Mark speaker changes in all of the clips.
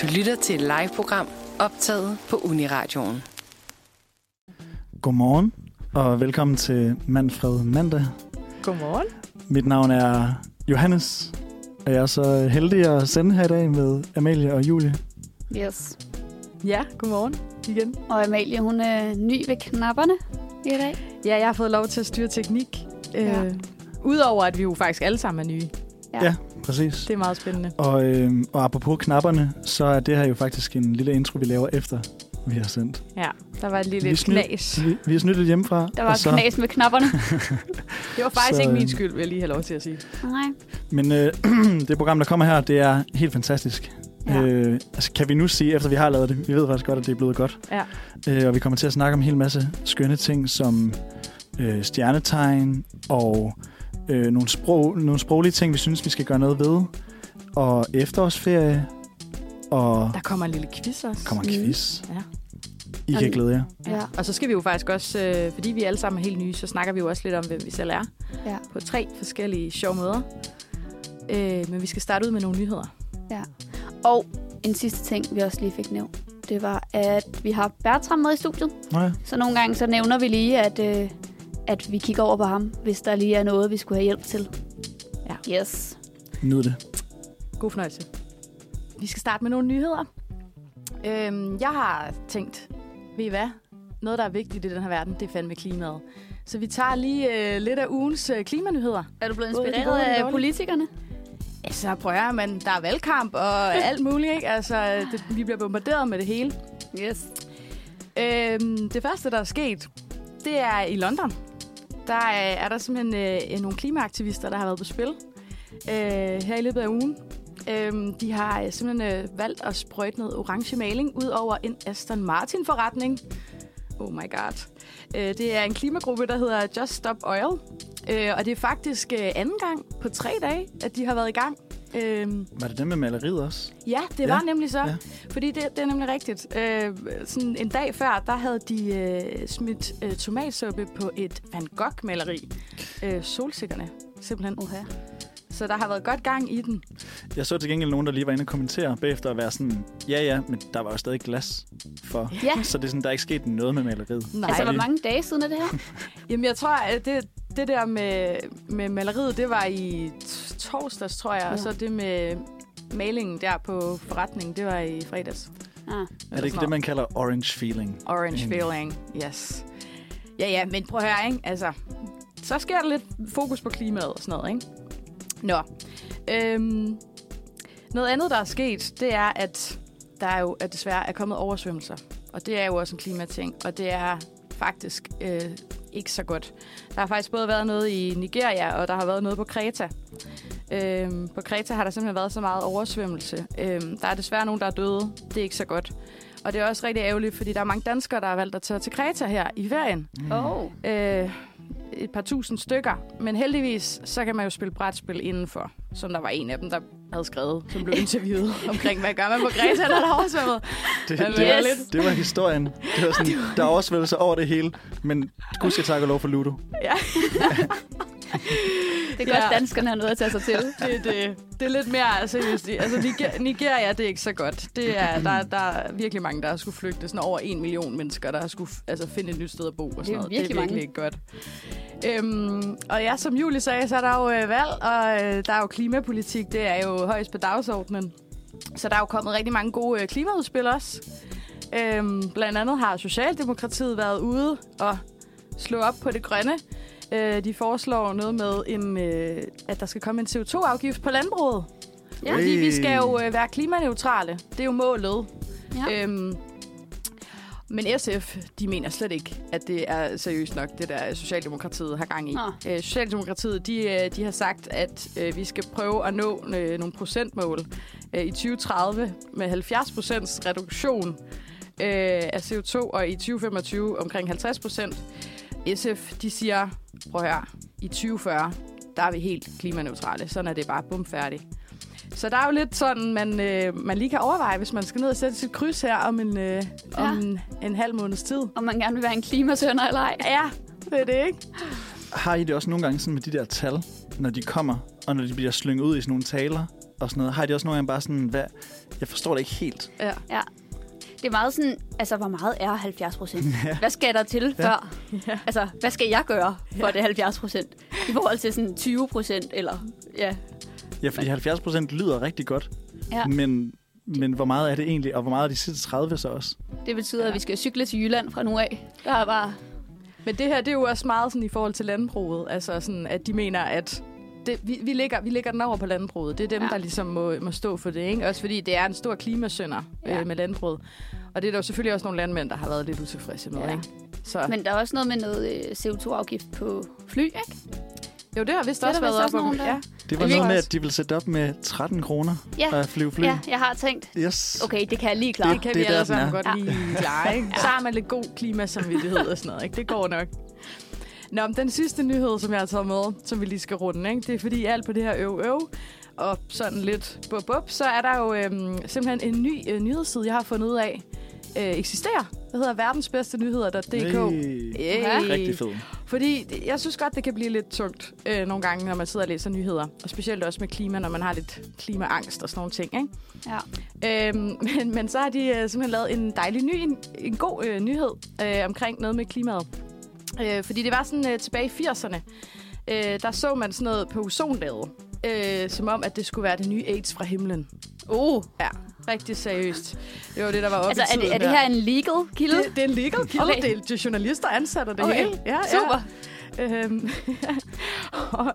Speaker 1: Du lytter til et live-program optaget på Uniradioen.
Speaker 2: Godmorgen, og velkommen til Manfred Mandag.
Speaker 3: Godmorgen.
Speaker 2: Mit navn er Johannes, og jeg er så heldig at sende her i dag med Amalie og Julie.
Speaker 4: Yes.
Speaker 3: Ja, godmorgen igen.
Speaker 4: Og Amalie, hun er ny ved knapperne i dag.
Speaker 3: Ja, jeg har fået lov til at styre teknik.
Speaker 4: Ja.
Speaker 3: Øh, Udover at vi jo faktisk alle sammen er nye.
Speaker 2: Præcis.
Speaker 3: Det er meget spændende.
Speaker 2: Og, øh, og apropos knapperne, så er det her jo faktisk en lille intro, vi laver efter vi har sendt.
Speaker 3: Ja, der var et lille
Speaker 2: Vi
Speaker 3: vi
Speaker 2: snyder.
Speaker 3: knas.
Speaker 2: Vi, vi er snyttet hjemmefra.
Speaker 4: Der var
Speaker 2: og så,
Speaker 4: knas med knapperne.
Speaker 3: Det var faktisk
Speaker 2: Så,
Speaker 3: så... ikke
Speaker 2: øh,
Speaker 3: min skyld, vil jeg lige have lov til at sige.
Speaker 4: Nej.
Speaker 2: Men øh, det program, der kommer her, det er helt fantastisk. Ja.
Speaker 3: Ja.
Speaker 2: Øh, altså, kan vi nu sige, efter vi har lavet det, vi ved faktisk godt, at det er blevet godt.
Speaker 3: Ja.
Speaker 2: Øh, og vi kommer til at snakke om en hel masse skønne ting, som øh, stjernetegn og øh, nogle, sprog, nogle sproglige ting, vi synes, vi skal gøre noget ved. Og efterårsferie, og
Speaker 3: Der
Speaker 2: der
Speaker 3: kommer en lille quiz også.
Speaker 2: kommer en
Speaker 4: Mm.
Speaker 2: quiz.
Speaker 3: Ja.
Speaker 2: I kan
Speaker 4: Og-
Speaker 2: glæde jer.
Speaker 4: Ja.
Speaker 3: Og så skal vi jo faktisk også, øh, fordi vi alle sammen er helt nye, så snakker vi jo også lidt om, hvem vi selv er.
Speaker 4: Ja.
Speaker 3: På tre forskellige sjove måder. Øh, men vi skal starte ud med nogle nyheder.
Speaker 4: Og en sidste ting, vi også lige fik nævnt, det var, at vi har Bertram med i studiet.
Speaker 2: Nå ja.
Speaker 4: Så nogle gange så nævner vi lige, at, øh, at vi kigger over på ham, hvis der lige er noget, vi skulle have hjælp til.
Speaker 3: Ja.
Speaker 4: Yes.
Speaker 2: Nyd det.
Speaker 3: God fornøjelse. Vi skal starte med nogle nyheder. Øhm, jeg har tænkt, ved I hvad? Noget, der er vigtigt i den her verden, det er fandme klimaet. Så vi tager lige øh, lidt af ugens øh, klimanyheder.
Speaker 4: Er du blevet
Speaker 3: Både de
Speaker 4: inspireret
Speaker 3: gode og de
Speaker 4: af
Speaker 3: dårlige?
Speaker 4: politikerne?
Speaker 3: Altså, prøv at høre, men der er valgkamp og alt muligt, ikke? Altså, det, vi bliver bombarderet med det hele.
Speaker 4: Yes.
Speaker 3: Øhm, det første, der er sket, det er i London. Der er, er der simpelthen øh, nogle klimaaktivister, der har været på spil øh, her i løbet af ugen. Øhm, de har øh, simpelthen øh, valgt at sprøjte noget orange maling ud over en Aston Martin-forretning. Oh my god. Øh, det er en klimagruppe, der hedder Just Stop Oil. Øh, og det er faktisk øh, anden gang på tre dage, at de har været i gang. Øhm,
Speaker 2: Var det dem med maleriet også?
Speaker 3: Ja, det
Speaker 2: Ja,
Speaker 3: ja. var nemlig så.
Speaker 2: ja.
Speaker 3: Ja. Fordi det, det er nemlig rigtigt. Øh, sådan en dag før, der havde de øh, smidt øh, tomatsuppe på et Van Gogh-maleri. Øh, solsikkerne, simpelthen.
Speaker 4: Oha.
Speaker 3: Så der har været godt gang i den.
Speaker 2: Jeg så til gengæld nogen, der lige var inde og kommentere bagefter og være sådan, ja ja, men der var jo stadig glas for.
Speaker 4: Ja.
Speaker 2: Så det er sådan, der er ikke sket noget med maleriet.
Speaker 3: Nej.
Speaker 4: Altså,
Speaker 2: Ej.
Speaker 4: hvor mange dage siden er det her?
Speaker 3: Jamen, jeg tror, at det, det der med, med maleriet, det var i t- torsdags, tror jeg. Ja. Og
Speaker 4: Ja.
Speaker 3: så det med malingen der på forretningen, det var i fredags.
Speaker 4: Ah.
Speaker 2: Er det ikke det, man kalder orange feeling?
Speaker 3: Orange
Speaker 2: Enig.
Speaker 3: feeling, yes. Ja, ja, men prøv at høre, ikke? Altså, så sker der lidt fokus på klimaet og sådan noget, ikke? Nå. Øhm, noget andet, der er sket, det er, at der er jo at desværre er kommet oversvømmelser. Og det er jo også en klimating, og det er faktisk øh, ikke så godt. Der har faktisk både været noget i Nigeria, og der har været noget på Kreta. Øhm, på Kreta har der simpelthen været så meget oversvømmelse. Øhm, der er desværre nogen, der er døde. Det er ikke så godt. Og det er også rigtig ærgerligt, fordi der er mange danskere, der har valgt at tage til Kreta her i ferien.
Speaker 4: Oh.
Speaker 3: Øh, et par tusind stykker. Men heldigvis, så kan man jo spille brætspil indenfor. Som der var en af dem, der havde skrevet, som blev interviewet omkring, hvad gør man på Kreta, når der er oversvømmet.
Speaker 2: Det,
Speaker 3: Ja,
Speaker 2: det,
Speaker 3: men-
Speaker 2: var,
Speaker 3: Yes.
Speaker 2: det var historien. Det var sådan, der er oversvømmelser over det hele, men gud skal takke og lov for Ludo.
Speaker 3: Ja,
Speaker 4: Det er godt,
Speaker 3: Ja.
Speaker 4: danskerne har noget at tage sig til.
Speaker 3: det, det, det er lidt mere seriøst. Altså, Niger- Nigeria, det er ikke så godt. Det er,
Speaker 4: Mm.
Speaker 3: der, der er virkelig mange, der har skulle flygte. Sådan over en million mennesker, der har skulle f- altså, finde et nyt sted at bo. Og sådan
Speaker 4: er
Speaker 3: noget.
Speaker 4: virkelig
Speaker 3: det er virkelig
Speaker 4: mange.
Speaker 3: ikke godt. Øhm, og ja, som Julie sagde, så er der jo øh, valg, og øh, der er jo klimapolitik. Det er jo højst på dagsordenen. Så der er jo kommet rigtig mange gode øh, klimaudspil også. Øhm, blandt andet har Socialdemokratiet været ude og slå op på det grønne. Øh, de foreslår noget med, en, øh, at der skal komme en CO2-afgift på landbruget.
Speaker 4: Ja.
Speaker 3: Ja. Fordi vi skal jo øh, være klimaneutrale. Det er jo målet.
Speaker 4: Ja.
Speaker 3: Ja. Øhm, men SF, de mener slet ikke, at det er seriøst nok, det der Socialdemokratiet har gang i.
Speaker 4: Nå.
Speaker 3: Øh, Socialdemokratiet, de, øh, de har sagt, at øh, vi skal prøve at nå øh, nogle procentmål øh, i 2030 med 70 procents reduktion øh, af CO2, og i 2025 omkring 50 procent. SF, de siger, prøv at høre, i 2040, der er vi helt klimaneutrale. Sådan er det bare bumfærdigt. Så der er jo lidt sådan, man, øh, man lige kan overveje, hvis man skal ned og sætte sit kryds her om en, øh, ja. om
Speaker 4: Ja.
Speaker 3: en, en halv måneds tid.
Speaker 4: Om man gerne vil være en klimasønder eller ej.
Speaker 3: Ja, det er det, ikke?
Speaker 2: Har I det også nogle gange sådan med de der tal, når de kommer, og når de bliver slynget ud i sådan nogle taler? og sådan noget, har de også nogle gange bare sådan, hvad, jeg forstår det ikke helt.
Speaker 3: Ja.
Speaker 4: Det er meget sådan, altså, hvor meget er 70 procent? Hvad skal der til ja. før?
Speaker 3: Ja.
Speaker 4: Altså, hvad skal jeg gøre for ja. det 70 procent? I forhold til sådan 20 procent, eller... Ja.
Speaker 2: Ja, fordi 70 procent lyder rigtig godt,
Speaker 4: ja.
Speaker 2: men, men hvor meget er det egentlig, og hvor meget er de sidste 30 så også?
Speaker 4: Det betyder, ja. at vi skal cykle til Jylland fra nu af. Der er bare...
Speaker 3: Men det her, det er jo også meget sådan i forhold til landbruget. Altså sådan, at de mener, at det, vi, vi, ligger, vi ligger den over på landbruget. Det er dem,
Speaker 4: Ja.
Speaker 3: ja. der ligesom må, må stå for det. Ikke? Også fordi det er en stor klimasynder
Speaker 4: Ja.
Speaker 3: ja. øh, med landbruget. Og det er der jo selvfølgelig også nogle landmænd, der har været lidt utilfredse med.
Speaker 4: Ja.
Speaker 3: Ja. Ikke? Så
Speaker 4: Men der er også noget med noget øh, CO2-afgift på fly, ikke?
Speaker 3: jo, det har vist
Speaker 4: Det er
Speaker 3: også
Speaker 4: der
Speaker 3: været
Speaker 4: vist også
Speaker 3: op om-
Speaker 4: nogen, der-
Speaker 3: Ja.
Speaker 2: Det var
Speaker 4: Det
Speaker 2: noget
Speaker 4: virker
Speaker 2: med,
Speaker 3: også-
Speaker 2: at de ville sætte op med 13 kroner
Speaker 4: Ja.
Speaker 2: at flyve fly.
Speaker 4: Ja, jeg har tænkt,
Speaker 2: Yes.
Speaker 4: okay, det kan jeg lige klare.
Speaker 3: Det kan
Speaker 2: Det
Speaker 3: det
Speaker 2: er
Speaker 3: vi
Speaker 2: der,
Speaker 3: alle
Speaker 2: den er.
Speaker 3: sammen godt
Speaker 4: Ja.
Speaker 3: lige klare, ikke? Så har man lidt god klimasamvittighed og sådan noget, ikke? Det går nok. Nå, men den sidste nyhed, som jeg har taget med, som vi lige skal runde, ikke? Det er fordi alt på det her øv, øv og sådan lidt bup, bup, så er der jo øhm, simpelthen en ny øh, nyhedsside, jeg har fundet ud af, øh, eksisterer. Det hedder verdensbedstenyheder.dk.
Speaker 2: Hey.
Speaker 3: Hey.
Speaker 2: Rigtig fed.
Speaker 3: Fordi det- jeg synes godt, det kan blive lidt tungt øh, nogle gange, når man sidder og læser nyheder. Og specielt også med klima, når man har lidt klimaangst og sådan nogle ting, ikke?
Speaker 4: Ja.
Speaker 3: Øhm, men, men så har de øh, simpelthen lavet en dejlig ny, en, en god øh, nyhed øh, omkring noget med klimaet. Øh, fordi det var sådan øh, tilbage i 80'erne, øh, der så man sådan noget på ozonlaget, øh, som om, at det skulle være det nye AIDS fra himlen.
Speaker 4: Uh,
Speaker 3: Ja, rigtig seriøst. Det var det, der var oppe
Speaker 4: altså,
Speaker 3: i
Speaker 4: er
Speaker 3: tiden
Speaker 4: det, er det her en legal kilde?
Speaker 3: det, det er en legal kilde.
Speaker 4: Okay.
Speaker 3: Okay. Det, er, det er journalister ansat og det
Speaker 4: Okay.
Speaker 3: hele. Ja,
Speaker 4: Super.
Speaker 3: Ja. Øhm, og,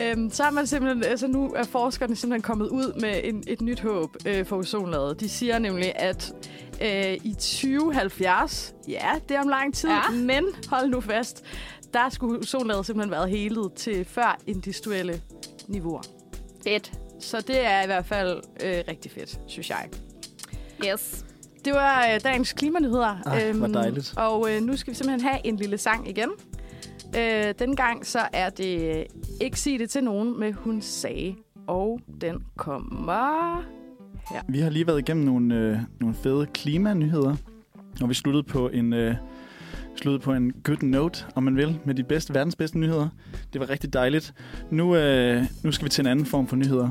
Speaker 3: øhm, så er man simpelthen, altså nu er forskerne simpelthen kommet ud med en, et nyt håb øh, for ozonlaget. De siger nemlig, at øh, i 2070, ja, det er om lang tid,
Speaker 4: Ja.
Speaker 3: ja. men hold nu fast, der skulle ozonlaget simpelthen været helet til før industrielle niveauer.
Speaker 4: Fedt.
Speaker 3: Så det er i hvert fald øh, rigtig fedt, synes jeg.
Speaker 4: Yes.
Speaker 3: Det var øh, dagens klimanyheder.
Speaker 2: Ej, Ah, hvor dejligt.
Speaker 3: Og øh, nu skal vi simpelthen have en lille sang igen. Øh, denne gang så er det øh, Ikke sig det til nogen med Hun sagde. Og den kommer...
Speaker 2: Vi har lige været igennem nogle, øh, nogle fede klimanyheder, og vi sluttede på en øh, sluttede på en good note, om man vil, med de bedste, verdens bedste nyheder. Det var rigtig dejligt. Nu, øh, nu skal vi til en anden form for nyheder.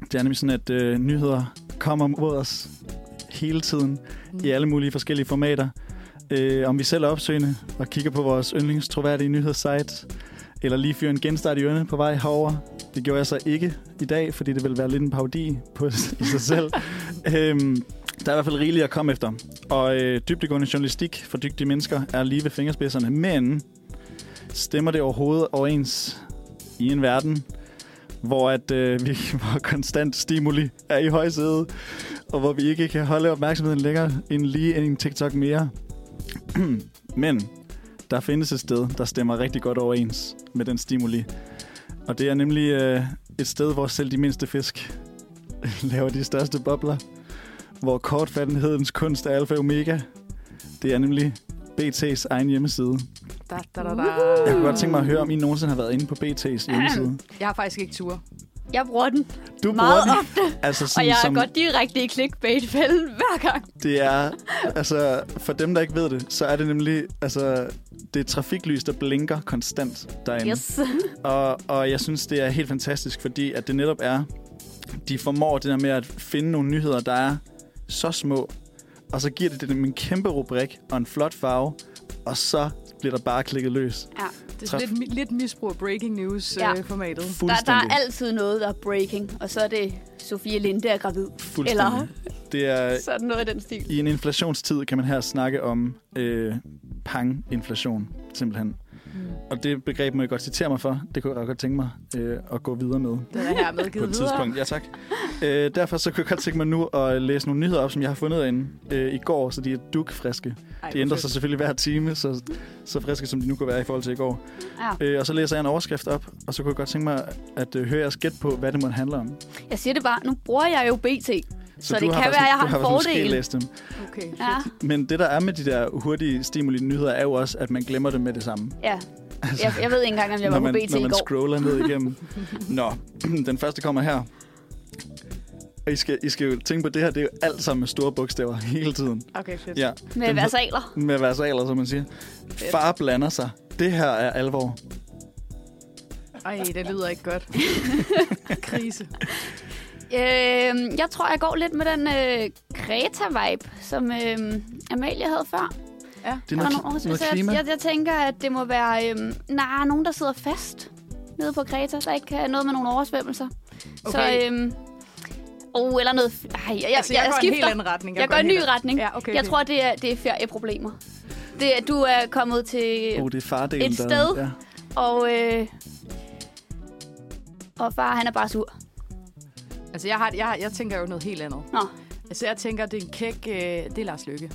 Speaker 2: Det er nemlig sådan, at øh, nyheder kommer mod os hele tiden, i alle mulige forskellige formater. Øh, om vi selv er opsøgende og kigger på vores yndlingstroværdige nyhedssite, eller lige fyrer en genstart i ørene på vej herover. Det gjorde jeg så ikke i dag, fordi det ville være lidt en parodi på i sig selv. øhm, der er i hvert fald rigeligt at komme efter. Og øh, dybdegående journalistik for dygtige mennesker er lige ved fingerspidserne. Men stemmer det overhovedet overens i en verden, hvor, at, øh, vi, hvor konstant stimuli er i højsædet, og hvor vi ikke kan holde opmærksomheden længere end lige en TikTok mere. Men der findes et sted, der stemmer rigtig godt overens med den stimuli. Og det er nemlig øh, et sted, hvor selv de mindste fisk laver de største bobler. Hvor kortfattenhedens kunst er alfa og omega. Det er nemlig BT's egen hjemmeside.
Speaker 3: Da, da, da, da.
Speaker 2: Jeg kunne godt tænke mig at høre, om I nogensinde har været inde på BT's hjemmeside.
Speaker 3: Jeg har faktisk ikke tur.
Speaker 4: Jeg bruger den,
Speaker 2: Du
Speaker 4: meget
Speaker 2: bruger
Speaker 4: ofte,
Speaker 2: den, altså
Speaker 4: og
Speaker 2: sådan,
Speaker 4: jeg er
Speaker 2: som
Speaker 4: godt direkte i clickbait-fælden hver gang.
Speaker 2: det er, altså for dem, der ikke ved det, så er det nemlig, altså det er trafiklys, der blinker konstant derinde.
Speaker 4: Yes.
Speaker 2: Og, og jeg synes, det er helt fantastisk, fordi at det netop er, de formår det der med at finde nogle nyheder, der er så små, og så giver det dem en kæmpe rubrik og en flot farve, og så bliver der bare klikket løs.
Speaker 4: Ja.
Speaker 3: Det er
Speaker 2: Træf.
Speaker 3: lidt, mi- lidt misbrug af breaking
Speaker 4: Ja.
Speaker 3: news-formatet. Øh, formatet.
Speaker 4: Der, der er
Speaker 2: Fuldstændig.
Speaker 4: altid noget, der er breaking, og så er det Sofie Linde er gravid.
Speaker 2: Fuldstændig. Det er,
Speaker 4: Sådan noget i den stil.
Speaker 2: I en inflationstid kan man her snakke om øh, panginflation, simpelthen.
Speaker 3: Mm.
Speaker 2: Og det begreb må jeg godt citere mig for. Det kunne jeg godt tænke mig øh, at gå videre med.
Speaker 3: Den er her med
Speaker 2: på et
Speaker 3: givet videre.
Speaker 2: tidspunkt. Ja, tak. Øh, derfor så kunne jeg godt tænke mig nu at læse nogle nyheder op, som jeg har fundet inde øh, i går, så de er dukfriske.
Speaker 3: Ej,
Speaker 2: De ændrer sig selvfølgelig hver time, så, så friske som de nu kunne være i forhold til i går.
Speaker 4: Ja.
Speaker 2: Øh, og så læser jeg en overskrift op, og så kunne jeg godt tænke mig at øh, høre jeres gæt på, hvad det måtte handle om. Så,
Speaker 4: Jeg siger det bare, nu bruger jeg jo BT. Så,
Speaker 2: du
Speaker 4: det kan
Speaker 2: været
Speaker 4: være,
Speaker 2: sådan-
Speaker 4: jeg
Speaker 2: du
Speaker 4: har en
Speaker 2: været sådan
Speaker 4: fordel.
Speaker 2: skælæst dem.
Speaker 3: Okay.
Speaker 4: Ja.
Speaker 2: Men det, der er med de der hurtige stimuli-nyheder, er jo også, at man glemmer dem med det samme.
Speaker 4: ja. Jeg, jeg ved ikke engang, om jeg var
Speaker 2: Altså, når man,
Speaker 4: på BT
Speaker 2: når
Speaker 4: i
Speaker 2: man
Speaker 4: går.
Speaker 2: scroller ned igennem. Nå, den første kommer her. Og I skal, I skal jo tænke på det her, det er jo alt sammen med store bogstaver hele tiden.
Speaker 3: Okay, fedt.
Speaker 2: Ja,
Speaker 4: Med
Speaker 2: Den hed-
Speaker 4: versaler.
Speaker 2: med versaler, som man siger. Far blander sig. Det her er alvor.
Speaker 3: Ej, det lyder ikke godt. Krise.
Speaker 4: Øh, jeg tror, jeg går lidt med den øh, Greta-vibe, som øh, Amalie havde før.
Speaker 2: Det er
Speaker 4: Der var
Speaker 2: noget,
Speaker 4: nogle år,
Speaker 2: noget, noget
Speaker 4: så jeg,
Speaker 2: klima.
Speaker 4: jeg, jeg tænker, at det må være øhm, nej, nogen, der sidder fast nede på Kreta, der ikke kan noget med nogle oversvømmelser.
Speaker 3: Okay.
Speaker 4: Så, øhm, oh, eller noget... Ej, jeg, jeg,
Speaker 3: Altså, øh, jeg, jeg går en
Speaker 4: skifter.
Speaker 3: helt anden retning.
Speaker 4: jeg, jeg går en
Speaker 3: en
Speaker 4: ny
Speaker 3: helt-
Speaker 4: retning.
Speaker 3: Ja, okay,
Speaker 4: Jeg
Speaker 3: fint.
Speaker 4: tror, det er, det er ferieproblemer. Det, er- du er kommet til...
Speaker 2: Oh, det er fardelen,
Speaker 4: Et
Speaker 2: der-
Speaker 4: sted.
Speaker 2: Ja.
Speaker 4: Og, øh, og far, han er bare sur.
Speaker 3: Altså, jeg, har, jeg, har- jeg tænker jo noget helt andet.
Speaker 4: Nå.
Speaker 3: Altså, jeg tænker, det er en kæk... Øh, det er Lars Lykke.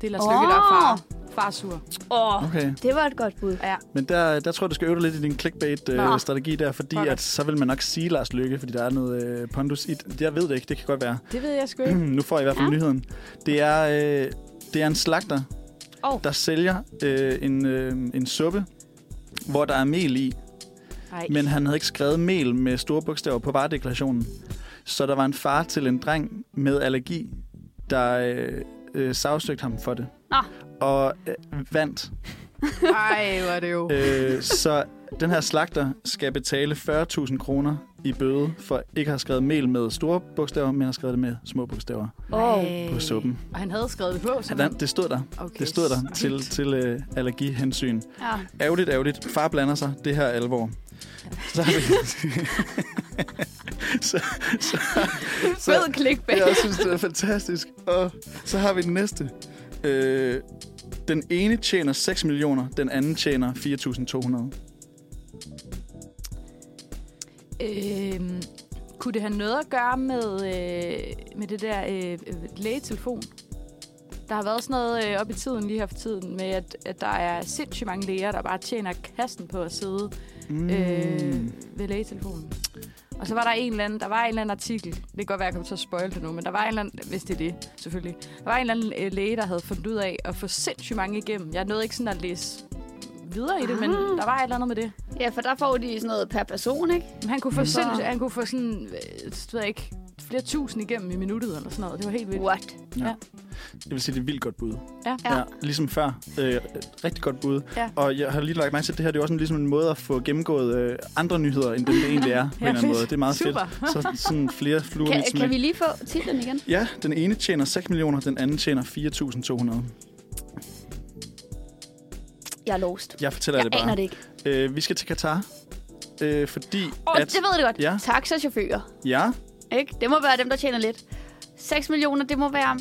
Speaker 3: Det er Lars
Speaker 4: Åh.
Speaker 3: oh. Lykke, der er far. Far er sur.
Speaker 4: Åh, oh,
Speaker 2: Okay.
Speaker 4: det var et godt bud.
Speaker 2: Men der, der tror jeg, du skal øve dig lidt i din
Speaker 4: Nå.
Speaker 2: clickbait-strategi der, fordi
Speaker 3: Okay.
Speaker 2: at, så vil man nok sige Lars Lykke, fordi der er noget øh, pondus i det. Jeg ved det ikke, det kan godt være.
Speaker 3: Det ved jeg sgu ikke.
Speaker 2: nu får jeg i hvert fald ja. nyheden. Det er, øh, det er en slagter,
Speaker 3: Åh.
Speaker 2: der sælger øh, en, øh, en suppe, hvor der er mel i,
Speaker 3: Nej.
Speaker 2: men han havde ikke skrevet mel med store bogstaver på varedeklarationen. Så der var en far til en dreng med allergi, der øh, øh, sagsøgte ham for det.
Speaker 4: Nå.
Speaker 2: Og øh, vandt.
Speaker 3: Ej, hvor er det jo.
Speaker 2: Øh, så den her slagter skal betale 40.000 kroner i bøde for ikke at have skrevet mel med store bogstaver, men har skrevet det med små bogstaver
Speaker 4: Åh.
Speaker 3: Ej.
Speaker 2: på suppen.
Speaker 3: Og han havde skrevet det på, så
Speaker 2: Ja, der- det stod der.
Speaker 3: okay,
Speaker 2: Det stod der til,
Speaker 3: sygt.
Speaker 2: til øh, allergihensyn.
Speaker 4: Ja.
Speaker 2: Ærgerligt, ærgerligt. Far blander sig. Det her er alvor. Så har vi... så, så, så,
Speaker 4: Fed clickbait.
Speaker 2: jeg synes, det er fantastisk. Og så har vi den næste. Øh, den ene tjener 6 millioner, den anden tjener 4.200.
Speaker 3: Øhm, kunne det have noget at gøre med, øh, med det der øh, øh, lægetelefon? Der har været sådan noget øh, op i tiden lige her for tiden med, at, at der er sindssygt mange læger, der bare tjener kassen på at sidde
Speaker 2: Mm.
Speaker 3: øh, ved lægetelefonen. Og så var der en eller anden, der var en eller anden artikel, det kan godt være, jeg kommer til at spoil det nu, men der var en eller anden, hvis det er det, selvfølgelig. Der var en eller anden øh, læge, der havde fundet ud af at få sindssygt mange igennem. Jeg nåede ikke sådan at læse videre i det, men der var et eller andet med det.
Speaker 4: ja, for der får de sådan noget per person, ikke?
Speaker 3: Men han kunne få,
Speaker 4: Mm.
Speaker 3: sinds- han kunne få sådan, øh, det ved jeg ikke, flere tusind igennem i minuttet eller sådan noget. Det var helt vildt.
Speaker 4: What?
Speaker 2: Jeg vil sige, det er et vildt godt bud.
Speaker 3: Ja.
Speaker 4: Ja.
Speaker 2: ligesom før. Øh, et rigtig godt bud.
Speaker 3: Ja.
Speaker 2: Og jeg har lige lagt mærke til, at det her det er også en, ligesom en måde at få gennemgået øh, andre nyheder, end dem det egentlig er. på en eller anden
Speaker 3: fedt.
Speaker 2: måde. Det er meget
Speaker 3: Super.
Speaker 2: fedt. Så sådan flere fluer i et
Speaker 4: Kan,
Speaker 2: smæk.
Speaker 4: kan vi lige få titlen igen?
Speaker 2: Ja, den ene tjener 6 millioner, den anden tjener 4.200.
Speaker 4: Jeg er lost.
Speaker 2: Jeg fortæller
Speaker 4: Jeg
Speaker 2: det bare.
Speaker 4: aner det ikke.
Speaker 2: Øh, vi skal til Katar, øh, fordi
Speaker 4: Åh,
Speaker 2: at...
Speaker 4: det ved jeg det godt.
Speaker 2: Ja.
Speaker 4: Taxachauffører,
Speaker 2: Ja,
Speaker 4: ikke? Det må være dem, der tjener lidt. 6 millioner, det må være...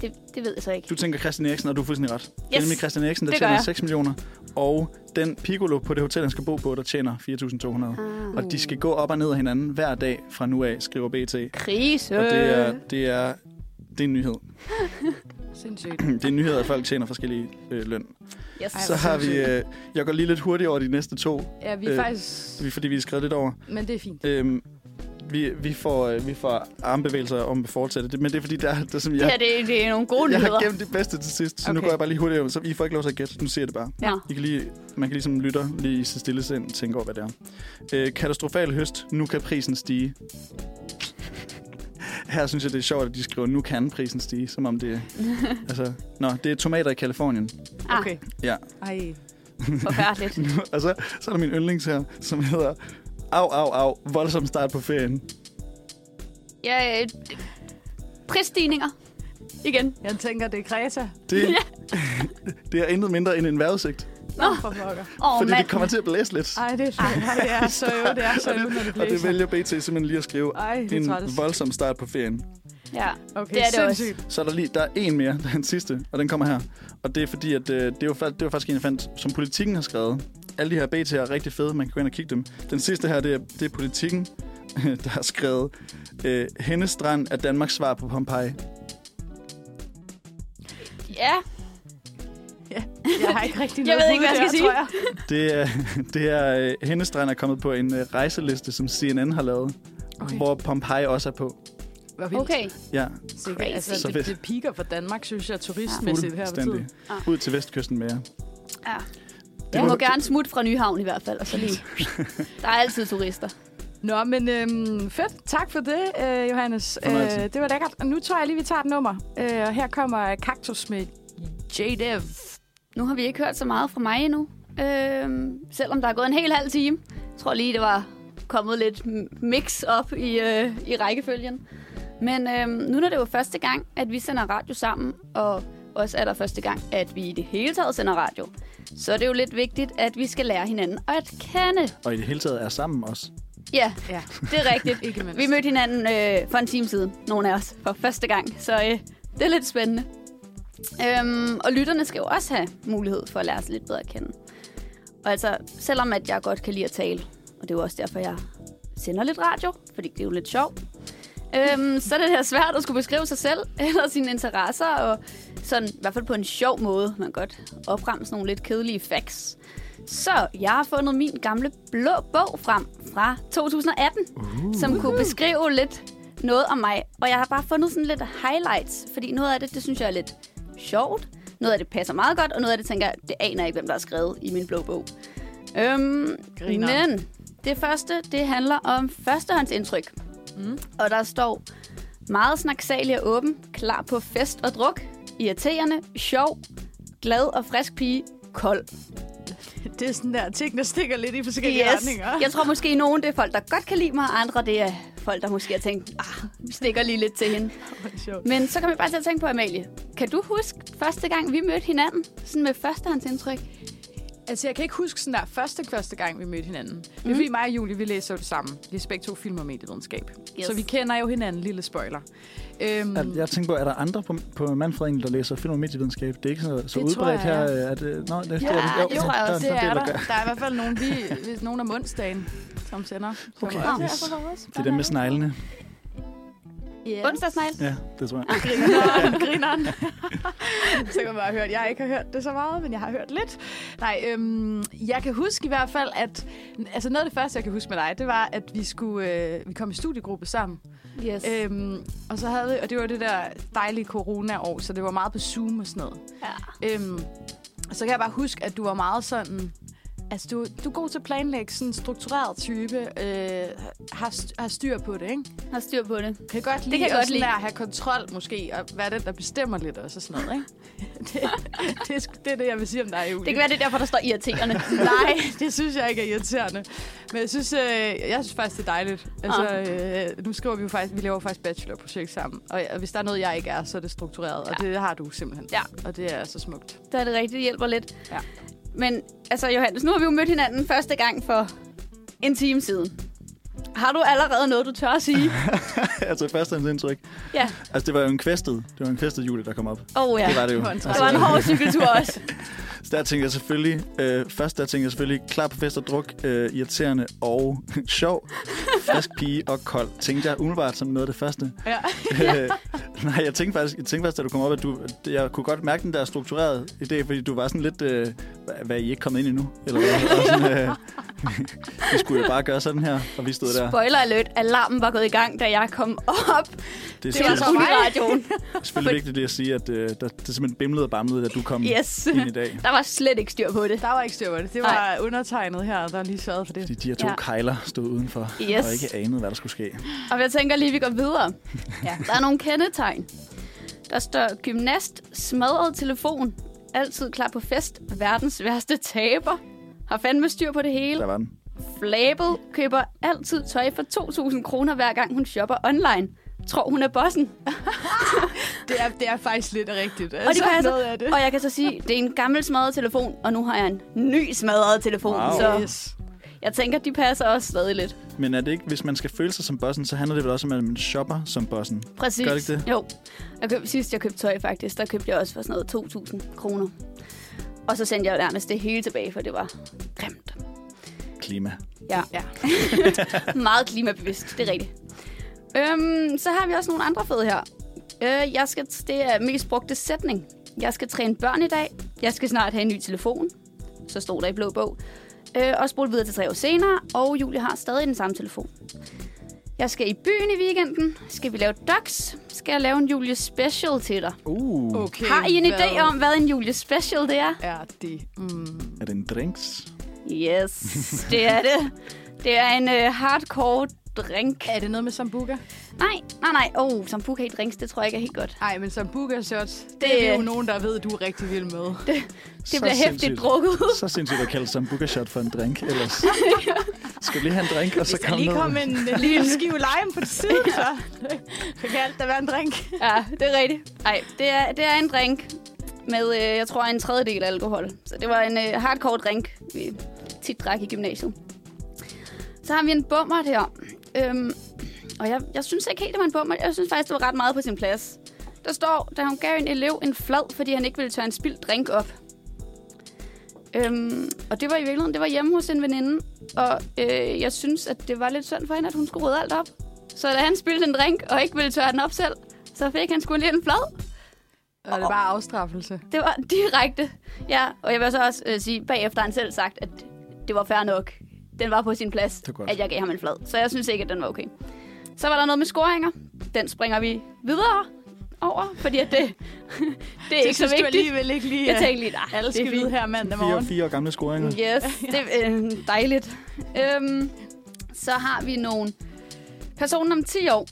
Speaker 4: Det, det ved jeg så ikke.
Speaker 2: du tænker Christian Eriksen, og du er fuldstændig ret. Yes. Det er nemlig Christian Eriksen, der
Speaker 4: Det gør
Speaker 2: tjener
Speaker 4: jeg.
Speaker 2: 6 millioner, og den Piccolo på det hotel, han skal bo på, der tjener 4.200.
Speaker 4: Ah.
Speaker 2: Og de skal gå op og ned af hinanden hver dag fra nu af, skriver BT.
Speaker 4: Krise.
Speaker 2: Og det
Speaker 4: Øh.
Speaker 2: er, det er, det er en nyhed.
Speaker 3: Sindssygt.
Speaker 2: Det er en nyhed, at folk tjener forskellige øh, løn.
Speaker 4: Yes.
Speaker 3: Ej,
Speaker 2: Så
Speaker 3: hvor
Speaker 2: har vi...
Speaker 3: sindssygt.
Speaker 2: Øh, jeg går lige lidt hurtigt over de næste to,
Speaker 3: Ja, vi er
Speaker 2: Øh,
Speaker 3: øh, faktisk...
Speaker 2: vi- fordi vi er skrevet lidt over.
Speaker 3: Men det er fint.
Speaker 2: Øhm, vi, vi, får, øh, vi får armbevægelser om at fortsætte det, men det er fordi, der, der som
Speaker 4: Det
Speaker 2: jeg,
Speaker 4: her, det, det er nogle gode
Speaker 2: jeg
Speaker 4: nyheder.
Speaker 2: har gemt det bedste til sidst, så okay. nu
Speaker 3: Okay.
Speaker 2: går jeg bare lige hurtigt over, så I får ikke lov til at gætte, nu siger jeg det bare.
Speaker 4: Ja.
Speaker 2: I kan lige, man kan ligesom lytter lige i sit stille sind tænke over, hvad det er. Øh, katastrofal høst, nu kan prisen stige. Her synes jeg, det er sjovt, at de skriver, nu kan prisen stige, som om det altså, Nå, det er tomater i Kalifornien.
Speaker 4: Ah,
Speaker 3: Okay.
Speaker 2: Ja.
Speaker 3: Ej.
Speaker 4: forfærdeligt.
Speaker 2: og så, så er der min yndlings her, som hedder, au, au, au, voldsom start på ferien.
Speaker 4: Ja, øh, prisstigninger. Igen.
Speaker 3: Jeg tænker, det er Kreta.
Speaker 2: Det, det er intet mindre end en vejrudsigt.
Speaker 3: Nå, for pokker.
Speaker 4: Åh,
Speaker 2: fordi
Speaker 4: mand.
Speaker 2: det kommer til at blæse lidt.
Speaker 3: Ej, det er sjovt. Ej, det er så jo, det er så
Speaker 2: og,
Speaker 3: jo, når det
Speaker 2: det, og det
Speaker 3: blæser.
Speaker 2: vælger BT simpelthen lige at skrive.
Speaker 3: Ej, det er
Speaker 2: en
Speaker 3: træls.
Speaker 2: voldsom start på ferien.
Speaker 4: Ja.
Speaker 3: Okay,
Speaker 4: Det er det også.
Speaker 3: sindssygt.
Speaker 2: Så er der lige, der er en mere, der er den sidste, og den kommer her. Og det er fordi, at øh, det, er jo, fa- det var faktisk en, jeg fandt, som politikken har skrevet. Alle de her BT'er er rigtig fede, man kan gå ind og kigge dem. Den sidste her, det er, det er politikken, der har skrevet, øh, Hendes strand er Danmarks svar på Pompeji.
Speaker 4: Ja.
Speaker 3: Jeg har ikke rigtig
Speaker 4: Jeg
Speaker 3: noget
Speaker 4: ved ikke,
Speaker 3: bud
Speaker 4: hvad jeg skal
Speaker 3: der,
Speaker 4: sige.
Speaker 3: tror jeg.
Speaker 2: Det er, det er øh, Hendes strand er kommet på en øh, rejseliste, som CNN har lavet, okay.
Speaker 3: Okay.
Speaker 2: hvor Pompeji også er på.
Speaker 3: Hvor vildt.
Speaker 4: Okay.
Speaker 2: Ja,
Speaker 3: Sikkert.
Speaker 4: Crazy.
Speaker 3: Altså,
Speaker 2: Så
Speaker 3: det,
Speaker 2: fedt.
Speaker 3: det piker for Danmark, synes jeg, turistmæssigt her på
Speaker 2: fuldstændig.
Speaker 3: tiden.
Speaker 4: Ah.
Speaker 2: Ud til vestkysten med jer.
Speaker 4: Ja.
Speaker 2: Det
Speaker 4: Jeg må
Speaker 2: var-
Speaker 4: gerne smutte fra Nyhavn i hvert fald, og så lige. Der er altid turister.
Speaker 3: Nå, men øhm, fedt. Tak for det, øh, Johannes. Øh,
Speaker 2: Fornøjelse.
Speaker 3: det var lækkert. Og nu tror jeg lige, vi tager et nummer. Øh, og her kommer Kaktus med JDev.
Speaker 4: Nu har vi ikke hørt så meget fra mig endnu. Øhm, selvom der er gået en hel halv time. Jeg tror lige, det var kommet lidt m- mix op i, øh, i rækkefølgen. Men øh, nu når det jo første gang, at vi sender radio sammen, og også er der første gang, at vi i det hele taget sender radio, så er det jo lidt vigtigt, at vi skal lære hinanden at kende.
Speaker 2: Og i det hele taget er sammen også.
Speaker 4: Ja,
Speaker 3: Ja,
Speaker 4: det er rigtigt.
Speaker 3: ikke mindst.
Speaker 4: Vi mødte hinanden øh, for en time siden, nogle af os, for første gang. Så øh, det er lidt spændende. Øhm, og lytterne skal jo også have mulighed for at lære os lidt bedre at kende. Og altså, selvom at jeg godt kan lide at tale, og det er jo også derfor, jeg sender lidt radio, fordi det er jo lidt sjovt, øhm, så er det her svært at skulle beskrive sig selv eller sine interesser, og sådan, i hvert fald på en sjov måde, man kan godt opremse nogle lidt kedelige facts. Så jeg har fundet min gamle blå bog frem fra 2018, uh. som kunne beskrive lidt noget om mig. Og jeg har bare fundet sådan lidt highlights, fordi noget af det, det synes jeg er lidt sjovt. Noget af det passer meget godt, og noget af det tænker jeg, det aner jeg ikke, hvem der har skrevet i min blå bog. Øhm,
Speaker 3: Grineren.
Speaker 4: men det første, det handler om førstehåndsindtryk. Mm. Og der står meget snaksalig og åben, klar på fest og druk, irriterende, sjov, glad og frisk pige, kold.
Speaker 3: Det er sådan der ting, der stikker lidt i forskellige retninger.
Speaker 4: Jeg tror måske, nogen det er folk, der godt kan lide mig, og andre det er folk, der måske har tænkt, ah, vi stikker lige lidt til hende.
Speaker 3: Sjovt.
Speaker 4: Men så kan vi bare til at tænke på, Amalie. Kan du huske første gang, vi mødte hinanden? Sådan med førstehåndsindtryk.
Speaker 3: Altså, jeg kan ikke huske sådan der første, første gang, vi mødte hinanden. Mm.
Speaker 4: Mhm.
Speaker 3: Det er fordi mig og Julie, vi læser jo det samme. Vi læser begge to film og medievidenskab.
Speaker 4: Yes.
Speaker 3: Yes. Så vi kender jo hinanden, lille spoiler. Øhm,
Speaker 2: Mm. Jeg tænker på, er der andre på, på Manfred egentlig, der læser film og medievidenskab? Det er ikke så, så
Speaker 3: Det tror
Speaker 2: udbredt
Speaker 3: jeg,
Speaker 2: her.
Speaker 3: ja.
Speaker 2: øh, At, øh, nå, det, det,
Speaker 3: ja,
Speaker 2: er det,
Speaker 3: jo, det, jo,
Speaker 2: der en
Speaker 3: det
Speaker 2: del,
Speaker 3: er der.
Speaker 2: gør.
Speaker 3: Der er i hvert fald nogen, vi, hvis nogen om onsdagen, som sender. Som
Speaker 2: Okay.
Speaker 3: også-
Speaker 2: Yes. Det er dem med sneglene.
Speaker 4: Yeah. Onsdagsnegl.
Speaker 2: Ja, det tror jeg.
Speaker 3: Grineren, grineren. så kan man bare høre, at jeg ikke har hørt det så meget, men jeg har hørt lidt. Nej, øhm, jeg kan huske i hvert fald, at altså noget af det første, jeg kan huske med dig, det var, at vi, skulle, øh, vi kom i studiegruppe sammen.
Speaker 4: Yes. Øh,
Speaker 3: Øhm, og, så havde vi, og det var det der dejlige corona-år, så det var meget på Zoom og sådan noget.
Speaker 4: ja.
Speaker 3: Øhm, og så kan jeg bare huske, at du var meget sådan... Altså, du, du er god til at planlægge sådan en struktureret type, øh, har, st- har styr på det, ikke?
Speaker 4: Har styr på det.
Speaker 3: Kan godt lide
Speaker 4: kan jeg
Speaker 3: at
Speaker 4: godt
Speaker 3: sådan
Speaker 4: lide.
Speaker 3: der have kontrol, måske, og være den, der bestemmer lidt også, og sådan noget, ikke? det, det, er sgu- det, er det, jeg vil sige om dig, Julie.
Speaker 4: Det kan være, det er derfor, der står irriterende.
Speaker 3: Nej, det synes jeg ikke er irriterende. Men jeg synes, øh, jeg synes faktisk, det er dejligt. Altså,
Speaker 4: Ah.
Speaker 3: øh, nu skriver vi jo faktisk, vi laver faktisk bachelorprojekt sammen. Og, og hvis der er noget, jeg ikke er, så er det struktureret. Ja. Og det har du simpelthen.
Speaker 4: Ja.
Speaker 3: Og det er så smukt.
Speaker 4: Der er det rigtigt, det hjælper lidt.
Speaker 3: Ja.
Speaker 4: Men altså, Johannes, nu har vi jo mødt hinanden første gang for en time siden. Har du allerede noget, du tør at sige?
Speaker 2: altså førstehåndsindtryk.
Speaker 4: ja.
Speaker 2: Altså, det var jo en kvæstet. Det var en kvæstet jule, der kom op.
Speaker 4: Åh oh, ja.
Speaker 2: Det var det jo.
Speaker 3: Det var en
Speaker 4: Det var en hård cykeltur også.
Speaker 2: Så der tænkte jeg selvfølgelig, øh, først der tænkte jeg selvfølgelig, klar på fest og druk, øh, irriterende og sjov, frisk pige og kold, tænkte jeg umiddelbart som noget af det første.
Speaker 3: Ja.
Speaker 2: øh, nej, jeg tænkte, faktisk, jeg tænkte faktisk, da du kom op, at du, at jeg kunne godt mærke den der strukturerede idé, fordi du var sådan lidt, øh, "Hva- hvad er I ikke kommet ind endnu? Eller hvad? Og sådan, øh, vi skulle jo bare gøre sådan her, og vi stod der.
Speaker 4: Spoiler alert, alarmen var gået i gang, da jeg kom op.
Speaker 2: Det er
Speaker 4: Det var
Speaker 3: var
Speaker 2: selvfølgelig,
Speaker 4: så
Speaker 3: så mig.
Speaker 4: radioen.
Speaker 2: selvfølgelig vigtigt lige at sige, at øh, der, det simpelthen bimlede og bamlede, da du kom
Speaker 4: Yes.
Speaker 2: ind i dag.
Speaker 4: Der var slet ikke styr på det.
Speaker 3: Der var ikke styr på det. Det var
Speaker 4: Nej.
Speaker 3: undertegnet her, der lige sørgede for det.
Speaker 2: De, de her to
Speaker 4: Ja.
Speaker 2: ja. kejler stod udenfor
Speaker 4: Yes.
Speaker 2: og ikke anede, hvad der skulle ske.
Speaker 4: Og jeg tænker lige, vi går videre.
Speaker 3: Ja.
Speaker 4: Der er nogle kendetegn. Der står gymnast, smadret telefon, altid klar på fest, verdens værste taber, har fandme styr på det
Speaker 2: Der
Speaker 4: hele,
Speaker 2: var den.
Speaker 4: flabet, køber altid tøj for 2.000 kroner, hver gang hun shopper online. Tror hun er bossen.
Speaker 3: Det er, det er faktisk lidt rigtigt.
Speaker 4: Og, det kan jeg
Speaker 3: noget af
Speaker 4: så,
Speaker 3: det.
Speaker 4: og jeg kan så sige, det er en gammel smadret telefon, og nu har jeg en ny smadret telefon.
Speaker 2: Wow.
Speaker 4: Så
Speaker 3: Yes.
Speaker 4: jeg tænker, de passer også stadig lidt.
Speaker 2: Men er det ikke, hvis man skal føle sig som bossen, så handler det vel også om, at man shopper som bossen?
Speaker 4: Præcis.
Speaker 2: Gør det ikke det?
Speaker 4: Jo. Jeg køb, sidst jeg købte tøj faktisk, der købte jeg også for sådan noget 2.000 kroner. Og så sendte jeg jo nærmest det hele tilbage, for det var grimt.
Speaker 2: Klima.
Speaker 4: Ja.
Speaker 3: Ja.
Speaker 4: Meget klimabevidst, det er rigtigt. Øhm, så har vi også nogle andre fede her. Øh, jeg skal, det er mest brugte sætning. Jeg skal træne børn i dag. Jeg skal snart have en ny telefon. Så stod der i blå bog. Øh, og spurgte videre til tre år senere, og Julie har stadig den samme telefon. Jeg skal i byen i weekenden. Skal vi lave docs? Skal jeg lave en Julie special til dig?
Speaker 2: Uh. Okay.
Speaker 3: Okay.
Speaker 4: Har I en
Speaker 3: hvad
Speaker 4: idé om, hvad en Julie special det er?
Speaker 3: Er det? Mm.
Speaker 2: Er det en drinks?
Speaker 4: Yes, det er det. Det er en øh, hardcore drink.
Speaker 3: Er det noget med sambuca?
Speaker 4: Nej, nej, nej. Åh, oh, sambuca i drinks, det tror jeg ikke er helt godt.
Speaker 3: Nej, men sambuca shots, det,
Speaker 4: Det-
Speaker 3: det er jo nogen, der ved, du er rigtig vild med.
Speaker 4: Det bliver hæftigt drukket.
Speaker 2: Så sindssygt at kalde sig en shot for en drink ellers. Skal vi lige have en drink, og så
Speaker 3: Hvis der
Speaker 2: komme
Speaker 3: lige
Speaker 2: ned?
Speaker 3: kom en øh, lille skive lime på siden, så så kan alt da være en drink.
Speaker 4: Ja, det er rigtigt. Nej, det er, det er en drink med, øh, jeg tror, en tredjedel alkohol. Så det var en øh, hardcore drink, vi tit drak i gymnasiet. Så har vi en bummer her. Øhm, og jeg, jeg synes ikke helt, det var en bummer. Jeg synes faktisk, det var ret meget på sin plads. Der står, da hun gav en elev en flad, fordi han ikke ville tørre en spildt drink op. Øhm, og det var i virkeligheden, det var hjemme hos en veninde. Og øh, jeg synes, at det var lidt synd for hende, at hun skulle rydde alt op. Så da han spildte en drink og ikke ville tørre den op selv, så fik han sgu lige en flad.
Speaker 3: Og det er bare afstraffelse.
Speaker 4: Det var direkte. Ja, og jeg vil så også øh, sige, bagefter har han selv sagt, at det var fair nok. Den var på sin plads,
Speaker 2: Det er godt.
Speaker 4: at jeg gav ham en flad. Så jeg synes ikke, at den var okay. Så var der noget med scoringer. Den springer vi videre over, fordi at det, det er ikke så
Speaker 3: synes du
Speaker 4: vigtigt.
Speaker 3: alligevel ikke lige,
Speaker 4: Jeg
Speaker 3: at
Speaker 4: tænkte lige, nej,
Speaker 3: alle
Speaker 4: det er
Speaker 3: skal
Speaker 4: fint.
Speaker 3: vide her mandag
Speaker 2: Fire,
Speaker 3: morgen.
Speaker 2: fire år gamle scoringer.
Speaker 4: Yes, det er øh, dejligt. Øhm, så har vi nogle personen om 10 år.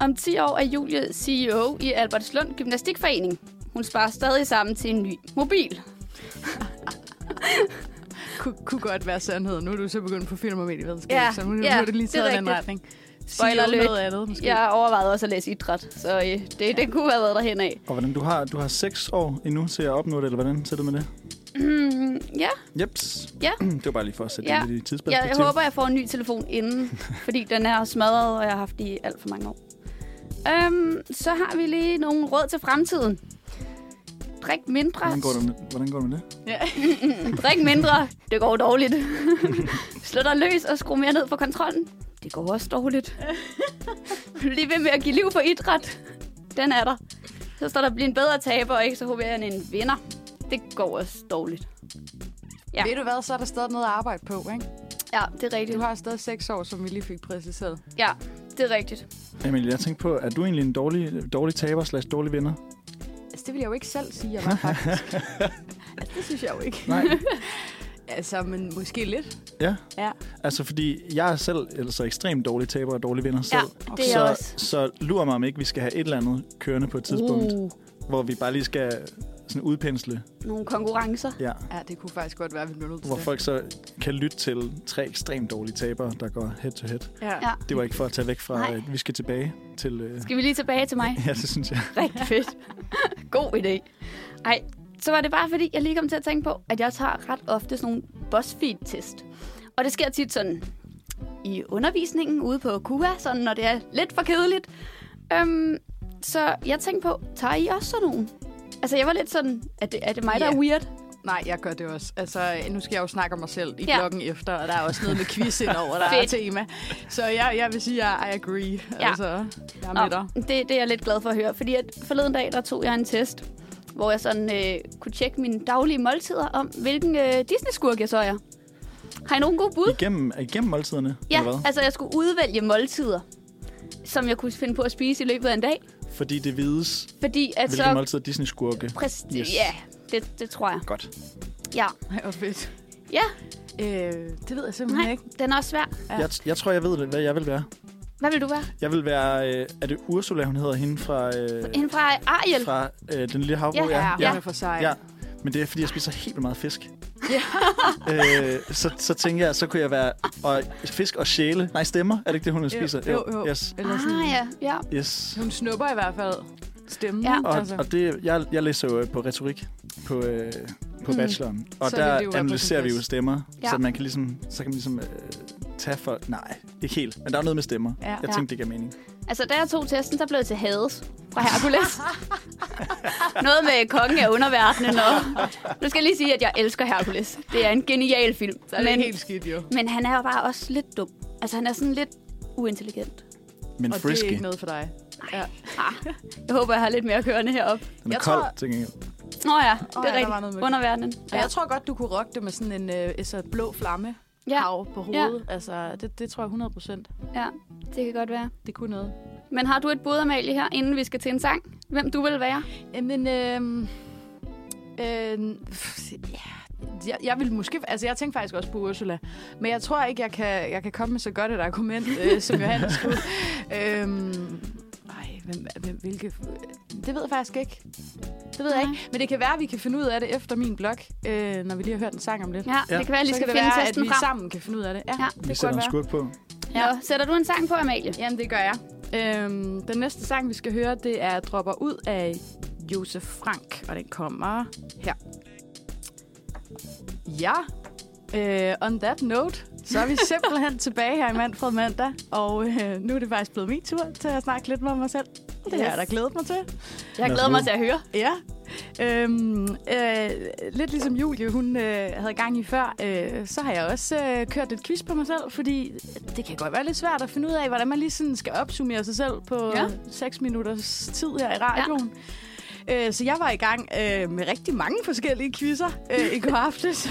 Speaker 4: Om 10 år er Julie CEO i Albertslund Gymnastikforening. Hun sparer stadig sammen til en ny mobil.
Speaker 3: Ku- kunne godt være sandhed. Nu er du så begyndt på film og medievidenskab,
Speaker 4: Ja,
Speaker 3: så nu, nu
Speaker 4: ja,
Speaker 3: er det lige
Speaker 4: det er
Speaker 3: taget i den
Speaker 4: rigtigt.
Speaker 3: retning.
Speaker 4: Spoiler
Speaker 3: Sige
Speaker 4: alert.
Speaker 3: noget andet, måske.
Speaker 4: Jeg overvejede også at læse idræt, så øh, det, det kunne have været derhen af.
Speaker 2: Og hvordan du har, du har seks år endnu til at opnå det, eller hvordan ser det med det?
Speaker 4: ja,
Speaker 2: Jeps.
Speaker 4: Ja.
Speaker 2: Det var bare lige for at sætte
Speaker 4: Ja.
Speaker 2: det lidt i
Speaker 4: jeg, jeg
Speaker 2: tidsperspektiv.
Speaker 4: håber, jeg får en ny telefon inden, fordi den er smadret, og jeg har haft den i alt for mange år. Øhm, så har vi lige nogle råd til fremtiden. Drik mindre.
Speaker 2: Hvordan går det med, hvordan går det, med det?
Speaker 3: Ja.
Speaker 4: Drik mindre. Det går dårligt. Slå dig løs og skru mere ned for kontrollen. Det går også dårligt. Bliv ved med at give liv for idræt. Den er der. Så står der, bliv en bedre taber, og ikke så håber jeg, en vinder. Det går også dårligt. Ja.
Speaker 3: Ved du hvad, så er der stadig noget at arbejde på, ikke?
Speaker 4: Ja, det er rigtigt.
Speaker 3: Du har stadig seks år, som vi lige fik præciseret.
Speaker 4: Ja, det er rigtigt.
Speaker 2: Emilie, jeg tænkte på, er du egentlig en dårlig, dårlig taber slash dårlig vinder?
Speaker 3: Altså, det vil jeg jo ikke selv sige, jeg var faktisk. altså, det synes jeg jo ikke.
Speaker 2: Nej.
Speaker 3: Altså, men måske lidt.
Speaker 2: ja.
Speaker 3: Ja.
Speaker 2: Altså, fordi jeg er selv altså, ekstremt dårlig taber og dårlig vinder selv.
Speaker 4: Ja, det er
Speaker 2: så,
Speaker 4: jeg også.
Speaker 2: så lurer mig, om ikke vi skal have et eller andet kørende på et tidspunkt,
Speaker 4: Uh,
Speaker 2: hvor vi bare lige skal sådan udpensle,
Speaker 4: nogle konkurrencer.
Speaker 2: ja,
Speaker 3: Ja, det kunne faktisk godt være, at vi blev nødt til
Speaker 2: hvor
Speaker 3: det.
Speaker 2: folk så kan lytte til tre ekstremt dårlige tabere, der går head to head.
Speaker 3: Ja.
Speaker 4: Ja.
Speaker 2: Det var ikke for at tage væk fra,
Speaker 4: Nej.
Speaker 2: at vi skal tilbage til... Øh,
Speaker 4: Skal vi lige tilbage til mig?
Speaker 2: ja, det synes jeg.
Speaker 4: Rigtig fedt. God idé. Ej, så var det bare fordi, jeg lige kom til at tænke på, at jeg tager ret ofte sådan nogle BuzzFeed-test. Og det sker tit sådan i undervisningen ude på KUA, sådan når det er lidt for kedeligt. Øhm, så jeg tænkte på, tager I også sådan nogle? Altså, jeg var lidt sådan, er det, er det mig, der
Speaker 3: Ja.
Speaker 4: er weird?
Speaker 3: Nej, jeg gør det også. Altså, nu skal jeg jo snakke om mig selv i
Speaker 4: Ja.
Speaker 3: ja. blokken efter, og der er også noget med quiz indover, der er
Speaker 4: Fedt.
Speaker 3: tema. Så jeg, jeg vil sige, at I agree.
Speaker 4: Ja.
Speaker 3: Ja. Altså, jeg er med dig.
Speaker 4: Nå, det, det er jeg lidt glad for at høre, fordi at forleden dag, der tog jeg en test, hvor jeg sådan øh, kunne tjekke mine daglige måltider om, hvilken øh, Disney-skurk jeg så er. Har I nogen gode bud?
Speaker 2: Igennem, igennem måltiderne,
Speaker 4: Ja,
Speaker 2: eller hvad?
Speaker 4: altså jeg skulle udvælge måltider, som jeg kunne finde på at spise i løbet af en dag.
Speaker 2: Fordi det vides,
Speaker 4: Fordi at
Speaker 2: hvilke
Speaker 4: så...
Speaker 2: måltider Disney-skurke.
Speaker 4: Præst-
Speaker 2: Yes.
Speaker 4: Ja, det, det tror jeg.
Speaker 2: Godt.
Speaker 4: Ja.
Speaker 3: Ej, hvor fedt.
Speaker 4: ja,
Speaker 3: Øh, det ved jeg simpelthen
Speaker 4: nej,
Speaker 3: ikke.
Speaker 4: den er også svær.
Speaker 3: Ja.
Speaker 2: Jeg, jeg tror, jeg ved, det, hvad jeg vil være.
Speaker 4: Hvad vil du være?
Speaker 2: Jeg vil være... Øh, er det Ursula, hun hedder hende fra... Øh,
Speaker 4: En fra Ariel.
Speaker 2: fra øh, Den Lille Havbro?
Speaker 4: Ja,
Speaker 2: ja.
Speaker 3: Ja.
Speaker 2: ja.
Speaker 3: er for sej.
Speaker 2: ja. Men det er, fordi jeg spiser helt vildt meget fisk. Ja. øh, så, så tænker jeg, så kunne jeg være... Og fisk og sjæle. Nej, stemmer. Er det ikke det, hun spiser?
Speaker 3: jo, jo.
Speaker 2: Yes.
Speaker 3: Eller sådan,
Speaker 4: Ah, ja, ja.
Speaker 2: yes.
Speaker 3: Hun snupper i hvert fald stemmen.
Speaker 4: Ja.
Speaker 2: Og,
Speaker 3: Altså.
Speaker 2: og det, jeg, jeg læser jo øh, på retorik på, øh, på
Speaker 4: Mm.
Speaker 2: bacheloren, og
Speaker 3: Så
Speaker 2: så
Speaker 3: vil det jo være
Speaker 2: der
Speaker 3: på
Speaker 2: analyserer
Speaker 3: sin
Speaker 2: vi jo
Speaker 3: plads.
Speaker 2: stemmer,
Speaker 4: Ja.
Speaker 2: ja. så man kan ligesom, så kan man ligesom øh, tage for... Nej, ikke helt, men der er noget med stemmer.
Speaker 3: Ja.
Speaker 2: Jeg tænkte, det gav mening.
Speaker 4: Altså, da jeg tog testen, der blev det til Hades fra Hercules. Noget med kongen af underverdenen. Og... Nu skal jeg lige sige, at jeg elsker Hercules. Det er en genial film.
Speaker 3: Så er det ikke helt skidt, jo.
Speaker 4: men han er jo bare også lidt dum. Altså, han er sådan lidt uintelligent.
Speaker 2: Men
Speaker 3: Og det er
Speaker 2: frisky.
Speaker 3: ikke noget for dig. Ja.
Speaker 4: Ah, jeg håber, jeg har lidt mere kørende heroppe.
Speaker 2: Den er
Speaker 3: Jeg
Speaker 2: kold,
Speaker 3: tror-
Speaker 2: til gengæld.
Speaker 4: Nå ja, det er
Speaker 3: ja, der var noget
Speaker 4: rigtigt.
Speaker 3: med-
Speaker 4: Underverdenen.
Speaker 3: Og jeg tror godt, du kunne rocke det med sådan en øh, altså, blå flamme ja. hav på hovedet. Ja. Altså, det, det tror jeg 100 procent.
Speaker 4: Ja, det kan godt være.
Speaker 3: Det kunne noget.
Speaker 4: Men har du et bud, Amalie, her, inden vi skal til en sang? Hvem du vil være?
Speaker 3: Jamen, øh, øh, pff, ja, jeg, jeg vil måske... Altså, jeg tænkte faktisk også på Ursula. Men jeg tror ikke, jeg kan, jeg kan komme med så godt et argument, øh, som Johannes skulle. øh, ej, hvem, hvem, hvilke... Det ved jeg faktisk ikke. Det ved jeg
Speaker 4: Nej.
Speaker 3: ikke. Men det kan være, at vi kan finde ud af det efter min blog, øh, når vi lige har hørt den sang om lidt.
Speaker 4: Ja,
Speaker 2: Ja.
Speaker 4: det kan være, at jeg lige
Speaker 3: så
Speaker 4: skal
Speaker 3: kan det
Speaker 4: finde
Speaker 3: være, at
Speaker 4: testen
Speaker 3: vi
Speaker 4: frem.
Speaker 3: sammen kan finde ud af det. Ja.
Speaker 4: Ja.
Speaker 2: Vi
Speaker 3: det
Speaker 2: sætter
Speaker 3: kunne
Speaker 2: en
Speaker 3: godt være.
Speaker 2: skurk på.
Speaker 4: Nå, sætter du en sang på, Amalie?
Speaker 3: Jamen, det gør jeg. Øhm, den næste sang, vi skal høre, det er Dropper ud af Josef Frank, og den kommer her. Ja, øh, on that note, så er vi simpelthen tilbage her i Manfred Mandag, og øh, nu er det faktisk blevet min tur til at snakke lidt med mig selv. Det har jeg da
Speaker 4: Yes.
Speaker 3: glædet mig til.
Speaker 4: Jeg
Speaker 2: Lad os
Speaker 4: glæder mig
Speaker 2: nu.
Speaker 4: til at høre.
Speaker 3: Ja. Øhm, øh, lidt ligesom Julie, hun øh, havde gang i før, øh, så har jeg også øh, kørt et quiz på mig selv, fordi det kan godt være lidt svært at finde ud af, hvordan man lige sådan skal opsummere sig selv på
Speaker 4: Ja.
Speaker 3: ja. 6 minutters tid her i radioen. Ja. Øh, så jeg var i gang øh, med rigtig mange forskellige quizzer øh, i går aftes.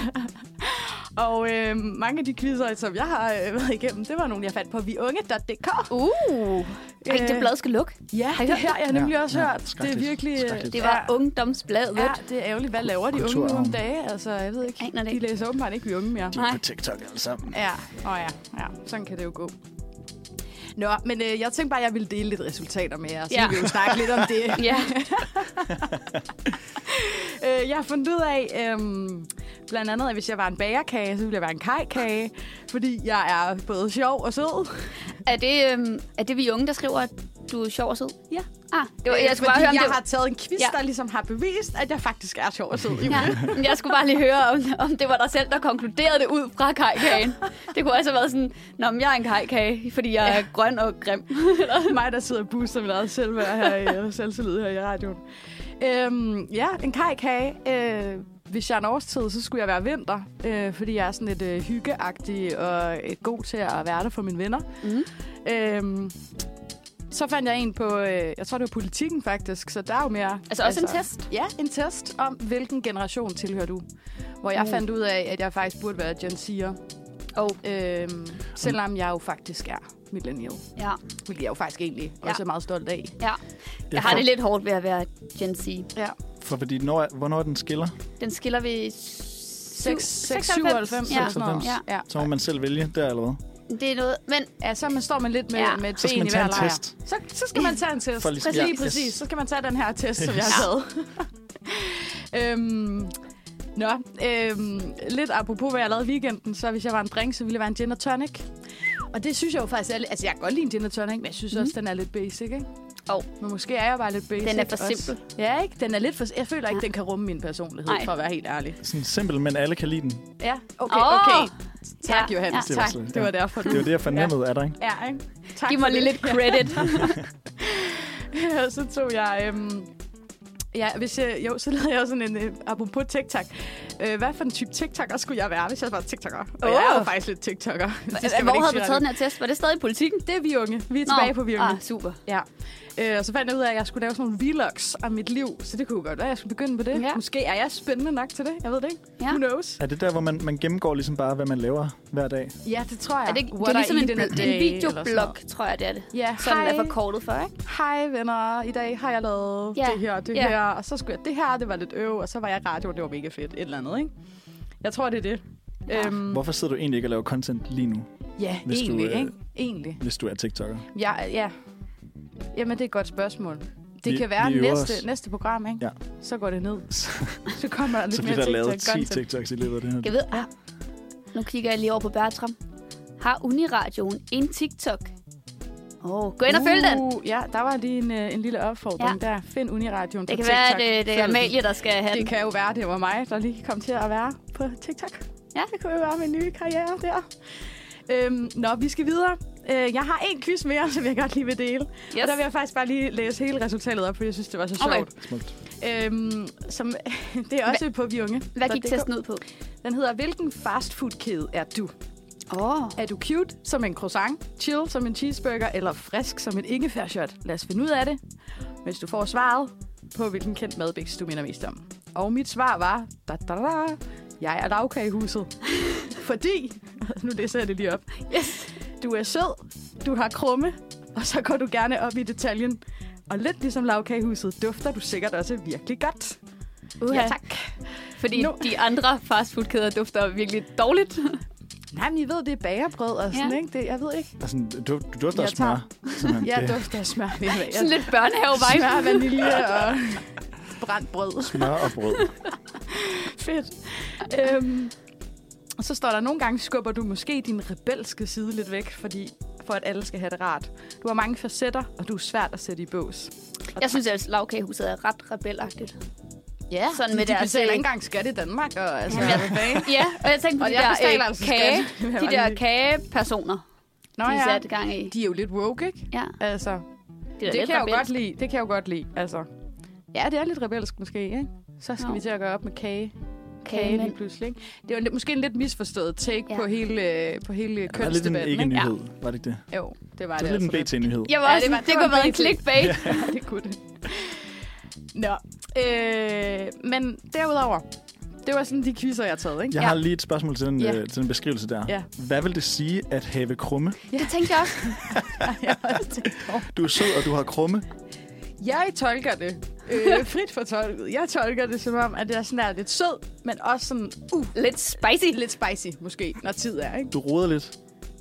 Speaker 3: Og øh, mange af de quizzer, som jeg har øh, været igennem, det var nogle, jeg fandt på viunge.dk.
Speaker 4: Uh, Ej, det blad skal lukke.
Speaker 3: Ja,
Speaker 4: Har I
Speaker 3: det her
Speaker 4: hørt
Speaker 3: har jeg nemlig
Speaker 2: Ja,
Speaker 3: også
Speaker 2: ja,
Speaker 3: hørt. Det er
Speaker 2: skrækkeligt,
Speaker 3: virkelig... øh,
Speaker 2: skrækkeligt.
Speaker 4: Det var
Speaker 3: ja.
Speaker 4: ungdomsbladet.
Speaker 3: Ja, det er ærgerligt. Hvad laver de unge nu om
Speaker 2: Kulturarven.
Speaker 3: dage? Altså, jeg ved ikke.
Speaker 4: Aner det
Speaker 3: De
Speaker 4: ikke.
Speaker 3: læser åbenbart ikke vi unge mere.
Speaker 2: De er
Speaker 4: Nej.
Speaker 2: på TikTok alle sammen.
Speaker 3: Ja, og ja, ja. Sådan kan det jo gå. Nå, men øh, jeg tænkte bare, at jeg ville dele lidt resultater med jer, så
Speaker 4: Ja.
Speaker 3: ja. vi jo snakke lidt om det.
Speaker 4: Ja,
Speaker 3: Øh, jeg har fundet ud af, øhm, blandt andet, at hvis jeg var en bagerkage, så ville jeg være en kajkage, fordi jeg er både sjov og sød.
Speaker 4: er det, øhm, er det vi unge, der skriver, at du er sjov og sød?
Speaker 3: Ja.
Speaker 4: Ah, det var, jeg
Speaker 3: Øh,
Speaker 4: skulle
Speaker 3: fordi
Speaker 4: bare høre, om
Speaker 3: jeg
Speaker 4: det var...
Speaker 3: har taget en quiz,
Speaker 4: Ja.
Speaker 3: ja. der ligesom har bevist, at jeg faktisk er sjov og sød.
Speaker 4: Ja, men jeg skulle bare lige høre, om, om det var dig selv, der konkluderede det ud fra kajkagen. Det kunne også have været sådan, Nå, men jeg er en kajkage, fordi jeg er grøn og grim.
Speaker 3: mig, der sidder og booster mit eget selvværd her i, og selvtillid her i radioen. Øhm, ja, en kajkage. Øh, hvis jeg er en årstid, så skulle jeg være vinter, øh, fordi jeg er sådan lidt øh, hyggeagtig og øh, god til at være der for mine venner.
Speaker 4: Mhm.
Speaker 3: Øhm, så fandt jeg en på, øh, jeg tror det var politikken faktisk, så der er jo mere...
Speaker 4: Altså også en test.
Speaker 3: Ja, en test om, hvilken generation tilhører du. Hvor jeg
Speaker 4: Uh.
Speaker 3: fandt ud af, at jeg faktisk burde være Gen Z'er,
Speaker 4: Oh,
Speaker 3: øhm, selvom jeg jo faktisk er millennial.
Speaker 4: ja.
Speaker 3: Hvilket jeg jo faktisk egentlig
Speaker 4: Ja.
Speaker 3: ja. også er meget stolt af.
Speaker 4: ja. Jeg har det lidt hårdt ved at være Gen Z.
Speaker 3: Ja.
Speaker 2: For fordi, når, er- hvornår den skiller,
Speaker 4: Den skiller vi...
Speaker 3: 6, 6, 97.
Speaker 4: Ja.
Speaker 3: Ja. Sådan noget.
Speaker 4: Ja.
Speaker 3: ja.
Speaker 2: så må man selv vælge der eller hvad?
Speaker 4: Det er noget, men
Speaker 3: ja, så man står man lidt med,
Speaker 4: Ja.
Speaker 3: ja. med et
Speaker 2: Så skal
Speaker 3: ben
Speaker 2: man
Speaker 3: i
Speaker 2: tage
Speaker 3: hver
Speaker 2: en
Speaker 3: lejr.
Speaker 2: test.
Speaker 3: Så, så skal man tage en test.
Speaker 2: For ligesom-
Speaker 3: præcis,
Speaker 2: ja,
Speaker 3: præcis.
Speaker 2: yes.
Speaker 3: Så skal man tage den her test, som jeg har taget. øhm, nå, øhm, lidt apropos, hvad jeg lavede i weekenden, så hvis jeg var en drink, så ville jeg være en gin og tonic. Og det synes jeg jo faktisk er lidt... Altså, jeg kan godt lide en gin og tonic, men jeg synes mm. også, den er lidt basic, ikke?
Speaker 4: Jo.
Speaker 3: Men måske er jeg bare lidt basic
Speaker 4: den er for
Speaker 3: også.
Speaker 4: simpel.
Speaker 3: Ja, ikke? Den er lidt for... Jeg føler ikke, den kan rumme min personlighed,
Speaker 4: Nej.
Speaker 3: for at være helt ærlig.
Speaker 2: Sådan simpel, men alle kan lide den.
Speaker 3: Ja, okay,
Speaker 4: Åh!
Speaker 3: okay. Tak,
Speaker 4: Ja,
Speaker 3: ja, Johannes. Ja,
Speaker 4: ja.
Speaker 2: Det var
Speaker 3: tak.
Speaker 2: slet-
Speaker 3: Det var
Speaker 2: ja.
Speaker 3: derfor, du...
Speaker 2: Det er jo det, jeg fornemmede af dig, ikke?
Speaker 3: Ja, ikke? Tak
Speaker 4: Giv
Speaker 3: for
Speaker 4: mig lige
Speaker 3: det.
Speaker 4: lidt credit.
Speaker 3: Ja, så tog jeg... Øhm, ja, hvis jeg, jo, så lavede jeg også sådan en... Øh, apropos TikTok. Øh, hvad for en type TikToker skulle jeg være, hvis jeg var TikToker? Og oh. jeg er jo
Speaker 4: Åh.
Speaker 3: faktisk lidt TikToker. Det
Speaker 4: Hvor havde du taget den her test? Var det stadig i politikken?
Speaker 3: Det er vi unge. Vi er tilbage på vi unge.
Speaker 4: Ah, super.
Speaker 3: Ja. Øh, og så fandt jeg ud af, at jeg skulle lave sådan nogle vlogs om mit liv. Så det kunne jo godt være, at jeg skulle begynde på det.
Speaker 4: Ja.
Speaker 3: Ja. Måske er jeg spændende nok til det. Jeg ved det ikke.
Speaker 4: Ja.
Speaker 3: Who knows?
Speaker 2: Er det der, hvor man, man gennemgår ligesom bare, hvad man laver hver dag?
Speaker 3: Ja, det tror jeg.
Speaker 4: Er det, det er ligesom en, en videoblog, tror jeg, det er det.
Speaker 3: Ja,
Speaker 4: Sådan
Speaker 3: hej.
Speaker 4: er forkortet for, ikke?
Speaker 3: hej venner, i dag har jeg lavet
Speaker 4: Ja,
Speaker 3: det her, det
Speaker 4: ja.
Speaker 3: her, og så skulle jeg det her, det var lidt øv, og så var jeg i radioen, det var mega fedt, et eller andet, ikke? Jeg tror, det er det. Ja, øhm,
Speaker 2: Hvorfor sidder du egentlig ikke og laver content lige nu,
Speaker 3: ja
Speaker 2: Hvis du,
Speaker 3: egentlig,
Speaker 2: øh,
Speaker 3: ikke? Egentlig.
Speaker 2: hvis du er TikToker?
Speaker 3: Ja, ja. Jamen, det er et godt spørgsmål. Det
Speaker 2: Vi-
Speaker 3: kan være
Speaker 2: vi øver os.
Speaker 3: næste, næste program, ikke?
Speaker 2: Ja.
Speaker 3: Så går det ned.
Speaker 2: Så,
Speaker 3: Så kommer der lidt
Speaker 2: så
Speaker 3: mere
Speaker 2: bliver der lavet 10
Speaker 3: TikTok-content.
Speaker 2: TikToks i løbet af det her.
Speaker 4: Jeg ved, ah, nu kigger jeg lige over på Bertram. Har Uniradioen en TikTok? Åh, oh, gå ind og følg den.
Speaker 3: Uh, Ja, der var lige en, øh, en lille opfordring ja. der. Find Uniradioen
Speaker 4: Det
Speaker 3: på
Speaker 4: kan
Speaker 3: TikTok.
Speaker 4: være, at øh, det er
Speaker 3: Følg den.
Speaker 4: Amalie, der skal have den.
Speaker 3: Det kan jo være, det var mig, der lige kom til at være på TikTok.
Speaker 4: Ja.
Speaker 3: Det kunne jo være min nye karriere der. Øhm, nå, vi skal videre. Øh, jeg har en quiz mere, som jeg godt lige vil dele. Yes. Og
Speaker 4: Yes.
Speaker 3: der vil jeg faktisk bare lige læse hele resultatet op, for jeg synes, det var så
Speaker 4: Okay.
Speaker 3: sjovt.
Speaker 2: Smukt.
Speaker 3: Øhm, som, det er også på Viunge.
Speaker 4: Hvad gik testen ud på?
Speaker 3: Den hedder, hvilken fastfoodkæde er du?
Speaker 4: Åh, oh,
Speaker 3: Er du cute som en croissant, chill som en cheeseburger eller frisk som en ingefærshot? Lad os finde ud af det, mens du får svaret på, hvilken kendt madbiks du minder mest om. Og mit svar var, da, da, da, jeg er lavkagehuset. Fordi, nu læser jeg det lige op,
Speaker 4: yes.
Speaker 3: du er sød, du har krumme, og så går du gerne op i detaljen. Og lidt ligesom lavkagehuset dufter du sikkert også virkelig godt.
Speaker 4: Uha. Ja, tak. Fordi
Speaker 3: Nu.
Speaker 4: de andre fastfoodkæder dufter virkelig dårligt.
Speaker 3: Nej, men I ved, det er bagerbrød og sådan,
Speaker 4: Ja.
Speaker 3: ikke? Det, jeg ved ikke.
Speaker 2: Og sådan, Altså, du, du dufter af
Speaker 3: Jeg tager-
Speaker 2: smør. Simpelthen.
Speaker 3: Jeg
Speaker 2: Det-
Speaker 3: dufter af smør. Jeg, jeg,
Speaker 4: Sådan lidt børnehave-vibe.
Speaker 3: smør, vanilje og brændt brød.
Speaker 2: Smør og brød.
Speaker 3: Fedt. Øhm, og så står der, nogle gange skubber du måske din rebelske side lidt væk, fordi for at alle skal have det rart. Du har mange facetter, og du er svært at sætte i bås.
Speaker 4: Jeg synes, at lavkagehuset er ret rebelagtigt.
Speaker 3: Ja,
Speaker 4: sådan med
Speaker 3: de
Speaker 4: deres,
Speaker 3: betaler
Speaker 4: øh,
Speaker 3: ikke engang skat i Danmark, og altså,
Speaker 4: Jamen,
Speaker 3: ja. hvad fanden?
Speaker 4: Ja, og jeg tænkte på
Speaker 3: Og
Speaker 4: de
Speaker 3: jeg
Speaker 4: der,
Speaker 3: betaler
Speaker 4: øh,
Speaker 3: altså
Speaker 4: kage,
Speaker 3: skat. Det vil jeg
Speaker 4: de
Speaker 3: bare
Speaker 4: der
Speaker 3: lige-
Speaker 4: kagepersoner,
Speaker 3: Nå
Speaker 4: de er
Speaker 3: ja,
Speaker 4: sat gang i.
Speaker 3: de er jo lidt woke, ikke?
Speaker 4: Ja,
Speaker 3: Altså,
Speaker 4: er
Speaker 3: det
Speaker 4: lidt
Speaker 3: kan jeg jo
Speaker 4: rebelsk.
Speaker 3: godt lide. Det kan jeg jo godt lide, altså. Ja, det er lidt rebelsk måske, ikke? Så skal
Speaker 4: Jo.
Speaker 3: vi til at gøre op med kage. Kage
Speaker 4: Kagemænd.
Speaker 3: lige pludselig, ikke? Det er jo lidt- måske en lidt misforstået take
Speaker 4: Ja.
Speaker 3: ja. på hele, øh, på
Speaker 2: Det var
Speaker 3: hele
Speaker 2: lidt en
Speaker 3: kønsdebatten, ikke?
Speaker 2: ikke-nyhed, ja. var det ikke det?
Speaker 3: Ja. Jo, det var
Speaker 2: Det
Speaker 3: det.
Speaker 2: var lidt en
Speaker 3: altså
Speaker 2: BT-nyhed.
Speaker 4: Jeg var
Speaker 3: Ja,
Speaker 4: også,
Speaker 3: det var-
Speaker 4: det,
Speaker 3: det
Speaker 4: det
Speaker 3: var
Speaker 4: kunne have været en
Speaker 3: virkelig-
Speaker 4: clickbait. Ja.
Speaker 3: Ja, det kunne det. Nå, øh, men derudover, det var sådan de quizzer, jeg har taget, ikke?
Speaker 2: Jeg
Speaker 4: Ja.
Speaker 2: har lige et spørgsmål til den,
Speaker 3: Ja.
Speaker 2: øh, til den beskrivelse der.
Speaker 3: Ja.
Speaker 2: Hvad vil det sige at have krumme?
Speaker 4: Det tænkte jeg også.
Speaker 3: Jeg, har også tænkt over.
Speaker 2: Du er sød, og du har krumme.
Speaker 3: jeg tolker det øh, frit fortolket. Jeg tolker det som om, at det er sådan der lidt sød, men også sådan uh,
Speaker 4: Lidt spicy.
Speaker 3: lidt spicy måske, når tid er, ikke?
Speaker 2: Du roder lidt.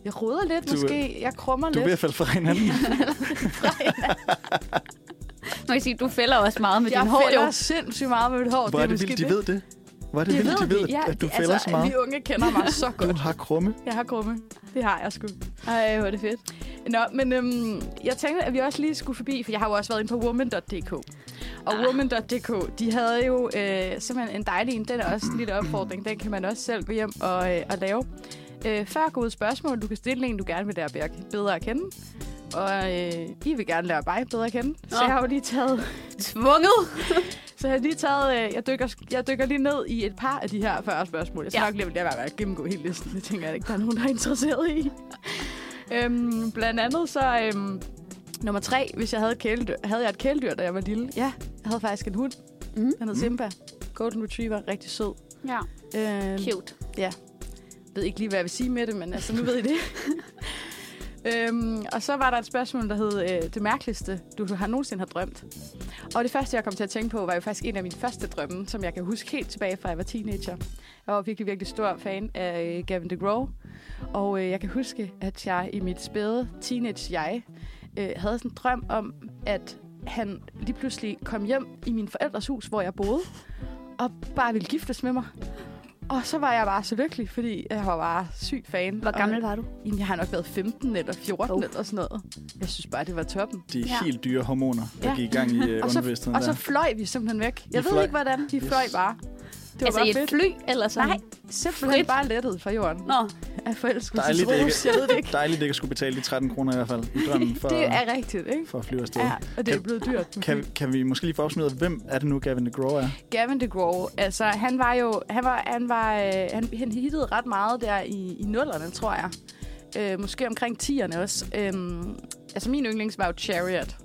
Speaker 3: Jeg roder lidt
Speaker 2: Du, øh,
Speaker 3: måske, jeg krummer
Speaker 2: Du er ved at
Speaker 3: lidt.
Speaker 2: falde fra hinanden.
Speaker 4: Nu kan jeg sige, du fælder også meget med
Speaker 3: Jeg
Speaker 4: din hår, jo.
Speaker 3: fælder sindssygt meget med mit hår.
Speaker 2: Hvor er det
Speaker 3: måske
Speaker 2: vildt, de ved det. Hvor er det,
Speaker 3: Det
Speaker 2: vildt, de ved,
Speaker 3: vi, ja,
Speaker 2: at du
Speaker 3: det-
Speaker 2: falder
Speaker 3: altså,
Speaker 2: så meget.
Speaker 3: Vi unge kender mig så godt.
Speaker 2: Du har krumme.
Speaker 3: Jeg har krumme. Det har jeg sgu.
Speaker 4: Ej, hvor er det fedt.
Speaker 3: Nå, men øhm, jeg tænkte, at vi også lige skulle forbi, for jeg har jo også været inde på woman.dk. Og ah. woman.dk, de havde jo øh, simpelthen en dejlig en. Den er også en lille opfordring. Den kan man også selv gå hjem og, øh, og lave. Øh, før gode spørgsmål, du kan stille en, du gerne vil lære Bjerg bedre at kende. Og øh, I vil gerne lære mig bedre at kende. Så
Speaker 4: Nå.
Speaker 3: jeg har jo lige taget...
Speaker 4: Tvunget.
Speaker 3: Så jeg har lige taget... Øh, jeg, dykker, jeg dykker lige ned i et par af de her 40 spørgsmål. Jeg skal
Speaker 4: Ja.
Speaker 3: ja. nok lige lade være med at gennemgå hele listen. Det tænker jeg ikke, der er nogen, der er interesseret i. øhm, blandt andet så... Øhm, nummer tre, hvis jeg havde, et kæledyr, havde jeg et kæledyr, da jeg var lille. Ja, jeg havde faktisk en hund.
Speaker 4: Mhm.
Speaker 3: Mm. Den hed Simba. Golden Retriever, rigtig sød.
Speaker 4: Ja,
Speaker 3: Øhm,
Speaker 4: cute.
Speaker 3: jeg ved ikke lige, hvad jeg vil sige med det, men altså, nu ved I det. øhm, og så var der et spørgsmål, der hed, øh, det mærkeligste, du har nogensinde har drømt. Og det første, jeg kom til at tænke på, var jo faktisk en af mine første drømme, som jeg kan huske helt tilbage fra, jeg var teenager. Jeg var virkelig, virkelig stor fan af øh, Gavin DeGraw. Og øh, jeg kan huske, at jeg i mit spæde teenage-jeg øh, havde sådan en drøm om, at han lige pludselig kom hjem i min forældres hus, hvor jeg boede, og bare ville giftes med mig. Og så var jeg bare så lykkelig, fordi jeg var bare syg fan.
Speaker 4: Hvor gammel var du?
Speaker 3: Og, jamen, jeg har nok været 15 eller 14
Speaker 4: Oh.
Speaker 3: oh. eller sådan noget. Jeg synes bare, det var toppen.
Speaker 2: De
Speaker 4: Ja.
Speaker 2: ja. helt dyre hormoner, der
Speaker 3: Ja.
Speaker 2: gik i gang i øh,
Speaker 3: Og så,
Speaker 2: underbevidstheden
Speaker 3: og så
Speaker 2: der.
Speaker 3: fløj vi simpelthen væk. Jeg ved
Speaker 2: fløj.
Speaker 3: ikke, hvordan. De
Speaker 2: Yes.
Speaker 3: fløj bare. Det var
Speaker 4: Altså
Speaker 3: bare
Speaker 4: i et
Speaker 3: fedt.
Speaker 4: fly, eller sådan?
Speaker 3: Nej, simpelthen
Speaker 4: Frit.
Speaker 3: bare lettet fra jorden
Speaker 4: Nå,
Speaker 3: af
Speaker 2: Dejligt, det
Speaker 3: forelskelsesros. Jeg ved det
Speaker 2: ikke,
Speaker 3: ikke.
Speaker 2: dejligt, det ikke at skulle betale de 13 kroner i hvert fald i drømmen for,
Speaker 3: Det er rigtigt, ikke?
Speaker 2: for at flyve afsted.
Speaker 3: Ja,
Speaker 2: Ja.
Speaker 3: og det er
Speaker 2: Kan-
Speaker 3: blevet dyrt.
Speaker 2: Kan, kan vi måske lige få opsummeret, hvem er det nu, Gavin DeGraw er?
Speaker 3: Gavin DeGraw, altså han var jo, han var, han var, øh, han, han hittede ret meget der i, i nullerne, tror jeg. Øh, måske omkring 10'erne også. Øhm, altså min yndlings var jo Chariot.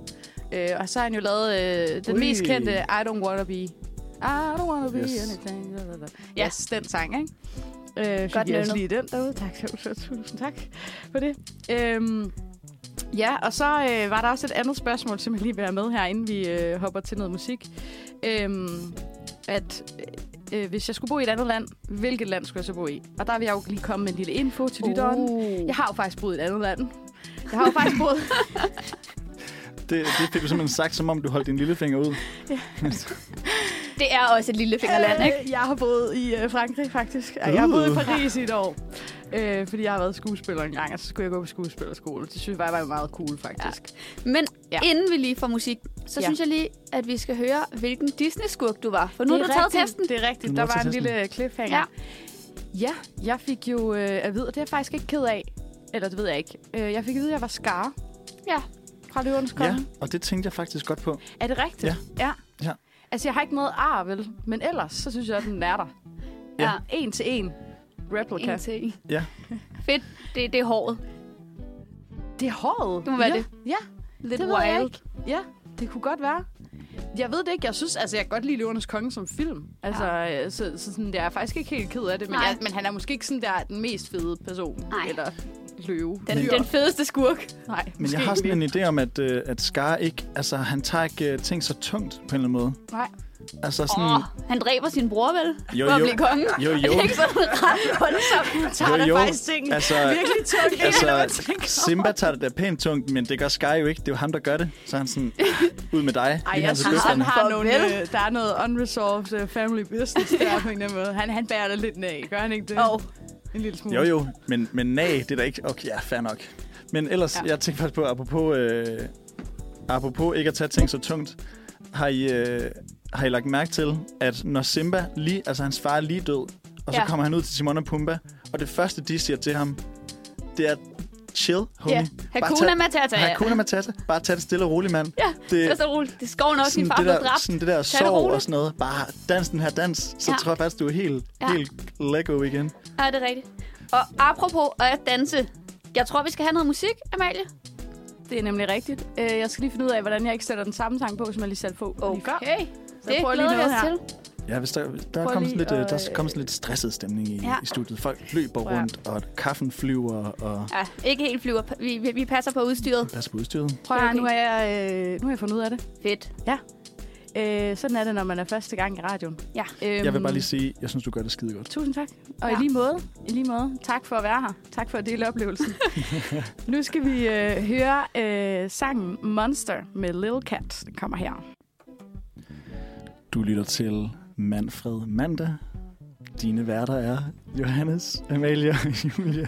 Speaker 3: Øh, og så har han jo lavet øh, den
Speaker 2: Ui.
Speaker 3: mest kendte I Don't Wanna Be. I don't wanna be
Speaker 2: Yes.
Speaker 3: anything. da, da, da. Ja, yes, den sang, ikke? Øh, fik
Speaker 4: Godt
Speaker 3: Godt I også
Speaker 4: nynnet.
Speaker 3: lige den derude. Tak, så, så, tusind tak for det. Øhm, ja, og så øh, var der også et andet spørgsmål, som jeg lige vil have med her, inden vi øh, hopper til noget musik. Øhm, at øh, øh, hvis jeg skulle bo i et andet land, hvilket land skulle jeg så bo i? Og der vil jeg jo lige komme med en lille info til lytteren. Jeg har jo faktisk boet i et andet land. Jeg har jo faktisk boet...
Speaker 2: Det, det fik du simpelthen sagt, som om du holdt din lillefinger ud.
Speaker 4: Det er også et lille fingerland, ikke?
Speaker 3: Øh, Jeg har boet i øh, Frankrig, faktisk. Og Jeg har boet i
Speaker 2: Uh.
Speaker 3: Paris i et år. Øh, fordi jeg har været skuespiller en gang, og så skulle jeg gå på skuespillerskole. Det synes jeg var meget cool, faktisk.
Speaker 4: Men ja.
Speaker 3: Ja.
Speaker 4: inden vi lige får musik, så ja.
Speaker 3: Ja.
Speaker 4: synes jeg lige, at vi skal høre, hvilken Disney-skurk du var. For nu har
Speaker 3: Det
Speaker 4: du
Speaker 3: er
Speaker 4: taget
Speaker 3: rigtigt.
Speaker 4: testen.
Speaker 3: Det er rigtigt.
Speaker 2: Du
Speaker 3: Der
Speaker 2: nåede
Speaker 3: var
Speaker 2: til
Speaker 3: en
Speaker 2: testen.
Speaker 3: lille cliffhanger.
Speaker 4: Ja.
Speaker 3: Ja. ja, jeg fik jo øh, at vide, og det er jeg faktisk ikke ked af. Eller det ved jeg ikke. Øh, jeg fik at vide, at jeg var Scar
Speaker 4: Ja.
Speaker 3: fra Løvernes Konge.
Speaker 2: Ja, og det tænkte jeg faktisk godt på.
Speaker 3: Er det rigtigt? Ja. ja.
Speaker 2: Ja.
Speaker 3: Altså, jeg har ikke noget ar, vel? Men ellers, så synes jeg, at den er der.
Speaker 4: Ja.
Speaker 3: En til en. Replica.
Speaker 4: En ting.
Speaker 2: Ja.
Speaker 4: Fedt. Det, det er håret.
Speaker 3: Det er håret.
Speaker 4: Det må være
Speaker 3: ja.
Speaker 4: det.
Speaker 3: Ja,
Speaker 4: Lidt
Speaker 3: det ved jeg
Speaker 4: wild.
Speaker 3: ikke. Ja, det kunne godt være. Jeg ved det ikke. Jeg synes, altså, jeg kan godt lide Løvernes Konge som film. Altså, ja. så, så sådan, jeg er faktisk ikke helt ked af det. Men,
Speaker 4: Nej.
Speaker 3: jeg, men han er måske ikke sådan der den mest fede person.
Speaker 4: Nej.
Speaker 3: Eller løve.
Speaker 4: Den,
Speaker 3: Dyr.
Speaker 4: den fedeste skurk.
Speaker 3: Nej,
Speaker 2: Men jeg har sådan en idé om, at, øh, at Scar ikke... Altså, han tager ikke øh, ting så tungt på en eller anden måde.
Speaker 3: Nej.
Speaker 2: Altså sådan...
Speaker 4: Åh, han dræber sin bror, vel?
Speaker 2: Jo,
Speaker 4: For at
Speaker 2: jo.
Speaker 4: blive konge.
Speaker 2: Jo,
Speaker 4: Er
Speaker 2: jo.
Speaker 4: det ikke sådan ret voldsomt?
Speaker 3: tager
Speaker 2: Jo,
Speaker 3: da
Speaker 2: jo.
Speaker 3: faktisk ting
Speaker 2: Altså,
Speaker 3: virkelig tungt.
Speaker 2: altså, Simba tager det da pænt tungt, men det gør Sky jo ikke. Det er jo ham, der gør det. Så er han sådan, ud med dig. Lige
Speaker 3: Ej, jeg
Speaker 2: her til
Speaker 3: synes, han
Speaker 2: døtrene.
Speaker 3: har nogle,
Speaker 4: Farvel.
Speaker 3: øh, der er noget unresolved uh, family business der på en eller anden måde. Han, han bærer det lidt af, gør han ikke det?
Speaker 4: Og
Speaker 3: En lille smule.
Speaker 2: Jo, jo, men, men nej, det er da ikke... Okay, ja, fair nok. Men ellers,
Speaker 3: Ja.
Speaker 2: ja. jeg tænkte faktisk på, apropos, øh, apropos ikke at tage ting så tungt, har I, øh, har I lagt mærke til, at når Simba lige, altså hans far er lige død, og så
Speaker 4: Ja.
Speaker 2: ja. kommer han ud til Timon og Pumba, og det første, de siger til ham, det er, chill, homie.
Speaker 4: Ja.
Speaker 2: Yeah.
Speaker 4: Hakuna Matata.
Speaker 2: Hakuna Matata. Bare tag det stille og roligt, mand.
Speaker 4: Ja, det er så roligt. Det er skoven også, sin far
Speaker 2: det
Speaker 4: blev
Speaker 2: der,
Speaker 4: dræbt.
Speaker 2: sådan det der
Speaker 4: Tag det
Speaker 2: sorg
Speaker 4: roligt.
Speaker 2: og sådan noget. Bare dans den her dans, så
Speaker 4: Ja.
Speaker 2: ja. tror jeg faktisk, du er helt,
Speaker 4: Ja.
Speaker 2: ja. helt Lego igen.
Speaker 4: Ja, det er rigtigt. Og apropos at danse. Jeg tror, vi skal have noget musik, Amalie.
Speaker 3: Det er nemlig rigtigt. Øh, jeg skal lige finde ud af, hvordan jeg ikke sætter den samme sang på, som jeg lige satte på lige før. Så
Speaker 4: Okay. Det
Speaker 3: prøver jeg
Speaker 4: glæder vi
Speaker 3: noget
Speaker 4: os
Speaker 3: her.
Speaker 4: til.
Speaker 2: Ja, hvis der, der,
Speaker 3: Prøv
Speaker 2: er kommet sådan
Speaker 3: lige
Speaker 2: lidt, øh,
Speaker 3: at, øh,
Speaker 2: der er kommet sådan lidt stresset stemning i,
Speaker 4: Ja.
Speaker 2: ja. i studiet. Folk løber
Speaker 3: Prøv at-
Speaker 2: rundt, og kaffen flyver, og
Speaker 4: Ja, ikke helt flyver. Vi, vi, vi passer på udstyret.
Speaker 2: pas på udstyret.
Speaker 3: Prøv at høre,
Speaker 4: Okay.
Speaker 3: nu er jeg, øh, nu har jeg fundet ud af det.
Speaker 4: Fedt.
Speaker 3: Øh, sådan er det, når man er første gang i radioen.
Speaker 4: Ja.
Speaker 3: Øhm,
Speaker 2: Jeg vil bare lige sige, jeg synes, du gør det skide godt.
Speaker 3: Tusind tak. Og ja.
Speaker 4: Ja.
Speaker 3: i lige måde, i lige måde, tak for at være her. Tak for at dele oplevelsen. nu skal vi øh, høre øh, sangen Monster med Lil Cat. Den kommer her.
Speaker 2: Du lytter til Manfred Mandag. Dine værter er Johannes, Amalie og Julia.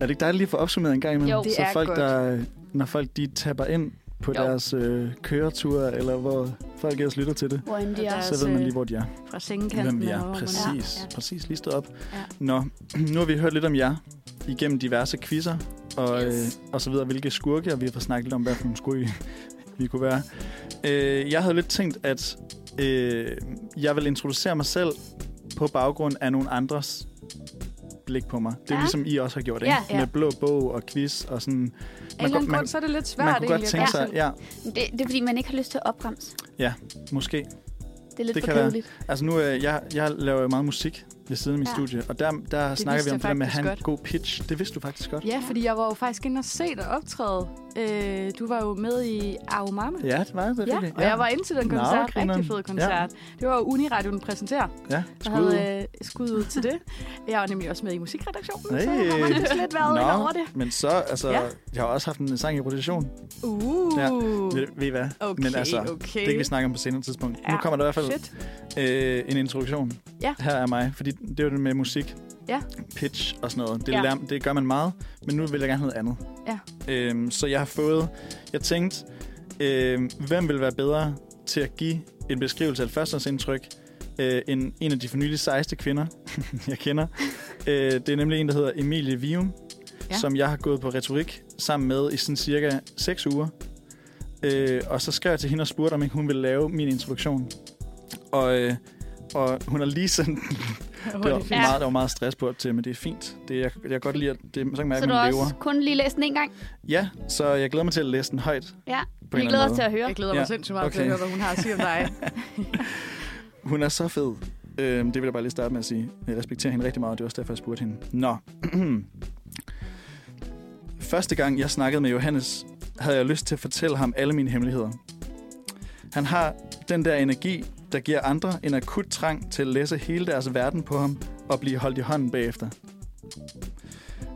Speaker 2: Er det ikke dejligt lige at få opsummeret en gang imellem?
Speaker 4: Jo, det
Speaker 2: så
Speaker 3: er
Speaker 2: folk,
Speaker 3: godt.
Speaker 2: Der, når folk de tapper ind på
Speaker 4: Jo.
Speaker 2: jo. deres øh, køretur, eller hvor folk ellers lytter til det,
Speaker 4: Hvor end de
Speaker 3: Og
Speaker 4: er.
Speaker 3: der er-
Speaker 2: så
Speaker 3: Altså,
Speaker 2: ved man lige, hvor de er.
Speaker 3: Fra sengekanten.
Speaker 2: Hvem vi
Speaker 3: eller hvor
Speaker 2: er.
Speaker 3: man
Speaker 2: Præcis. Ja. Præcis. Lige stået op.
Speaker 4: Ja.
Speaker 2: Ja. Nå, nu har vi hørt lidt om jer igennem diverse quizzer og,
Speaker 4: Yes.
Speaker 2: yes. øh, og så videre, hvilke skurke, og vi har fået snakket lidt om, hvad for nogle skurke vi kunne være. Øh, jeg havde lidt tænkt, at øh, jeg vil introducere mig selv på baggrund af nogle andres blik på mig. Det er
Speaker 4: Ja.
Speaker 2: ja. ligesom I også har gjort,
Speaker 4: Ja.
Speaker 2: ikke? Med blå bog og quiz og sådan. Man,
Speaker 3: Af en eller anden
Speaker 2: man,
Speaker 3: grund, så er det lidt svært.
Speaker 2: man kunne godt
Speaker 3: egentlig at
Speaker 2: tænke
Speaker 3: gøre
Speaker 2: sig,
Speaker 3: selv.
Speaker 2: ja,
Speaker 4: Det, det er, fordi man ikke har lyst til at opremse.
Speaker 2: måske.
Speaker 4: Det er lidt
Speaker 2: Det
Speaker 4: for
Speaker 2: kan være.
Speaker 4: kedeligt.
Speaker 2: Altså nu, øh, jeg, jeg laver jo meget musik ved siden af mit
Speaker 4: Ja.
Speaker 2: ja. studie, og der, der snakker vi
Speaker 3: vidste
Speaker 2: om
Speaker 3: jeg
Speaker 2: det der med at
Speaker 3: faktisk
Speaker 2: have en
Speaker 3: godt.
Speaker 2: god pitch. Det vidste du faktisk godt.
Speaker 3: Ja, fordi jeg var jo faktisk inde og se dig optræde. Øh, du var jo med i Aumame.
Speaker 2: Ja, det var det.
Speaker 3: Ja,
Speaker 2: selvfølgelig.
Speaker 3: og jeg var inde til den
Speaker 2: Nå,
Speaker 3: koncert.
Speaker 2: grineren.
Speaker 3: Rigtig fed koncert. Det var jo Uniradioen præsenterer.
Speaker 2: Ja,
Speaker 3: Jeg
Speaker 2: skud.
Speaker 3: havde øh, skud ud til det. Jeg var nemlig også med i musikredaktionen, så
Speaker 2: Hey.
Speaker 3: har man også lidt været inde over det.
Speaker 2: men så, altså,
Speaker 3: Ja.
Speaker 2: ja. jeg har også haft en sang i rotation. Uh.
Speaker 3: Uh.
Speaker 2: Ja, ved, ved I hvad?
Speaker 3: Okay,
Speaker 2: men altså,
Speaker 3: okay.
Speaker 2: det kan vi snakke om på senere tidspunkt. Ja. Nu kommer der i hvert fald
Speaker 3: Shit.
Speaker 2: øh, en introduktion.
Speaker 3: Ja.
Speaker 2: Her er mig, fordi det er jo det med musik,
Speaker 3: Ja.
Speaker 2: pitch og sådan noget. Det,
Speaker 4: Ja.
Speaker 2: ja. lærer, det gør man meget, men nu vil jeg gerne have noget
Speaker 3: Ja.
Speaker 2: andet. Øhm, så jeg har fået, jeg tænkte, øh, hvem vil være bedre til at give en beskrivelse af et førstehåndsindtryk øh, end en af de for nylig sejeste kvinder, jeg kender. øh, det er nemlig en, der hedder Emilie Vium,
Speaker 3: Ja.
Speaker 2: ja. som jeg har gået på retorik sammen med i sådan cirka 6 uger. Øh, og så skrev jeg til hende og spurgte, om ikke hun ville lave min introduktion. Og, øh, og hun har lige sendt den. Det var,
Speaker 3: Hurtigt.
Speaker 4: Ja.
Speaker 2: meget, der var meget stress på til, men det er fint. Det, jeg, jeg kan godt lide, at det, så kan man
Speaker 4: Så
Speaker 2: mærke, at
Speaker 4: du
Speaker 2: man
Speaker 4: har
Speaker 2: lever.
Speaker 4: også kun lige læst den en gang.
Speaker 2: Ja, så jeg glæder mig til at læse den højt.
Speaker 4: Ja.
Speaker 2: På en
Speaker 4: Vi
Speaker 2: eller
Speaker 4: glæder
Speaker 2: anden
Speaker 4: os til at høre.
Speaker 3: Jeg glæder mig
Speaker 2: Ja,
Speaker 3: sindssygt meget okay. til at
Speaker 2: okay.
Speaker 3: høre, hvad hun har at sige om dig.
Speaker 2: Hun er så fed. Øhm, det vil jeg bare lige starte med at sige. Jeg respekterer hende rigtig meget, og det er også derfor, jeg spurgte hende. Nå. Første gang, jeg snakkede med Johannes, havde jeg lyst til at fortælle ham alle mine hemmeligheder. Han har den der energi, der giver andre en akut trang til at læse hele deres verden på ham og blive holdt i hånden bagefter.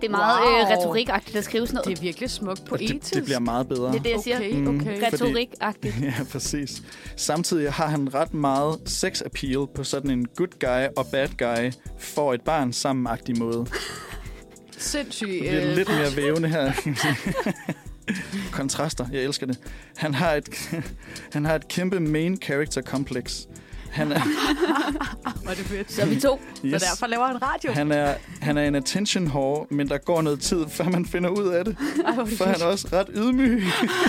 Speaker 4: Det er meget wow. øh,
Speaker 3: Wow.
Speaker 4: retorikagtigt at skrive sådan noget.
Speaker 3: Det er virkelig smukt
Speaker 2: Og det,
Speaker 3: poetisk.
Speaker 2: det bliver meget bedre.
Speaker 4: Det er det, jeg siger.
Speaker 3: Okay,
Speaker 2: Mm.
Speaker 3: okay.
Speaker 2: Ret-
Speaker 4: Retorikagtigt.
Speaker 2: Ja, præcis. Samtidig har han ret meget sex appeal på sådan en good guy og bad guy får et barn sammenagtig måde.
Speaker 3: Sindssygt. øh,
Speaker 2: Det er lidt mere vævende her. Kontraster, jeg elsker det. Han har et, han har et kæmpe main character complex. Han er,
Speaker 3: Var det fedt.
Speaker 4: Så er vi to.
Speaker 3: Så
Speaker 2: yes,
Speaker 3: derfor laver han radio.
Speaker 2: han er, han er en attention whore, men der går noget tid, før man finder ud af det.
Speaker 3: Ej, hvor er det
Speaker 2: For han
Speaker 3: fedt.
Speaker 2: er også ret ydmyg.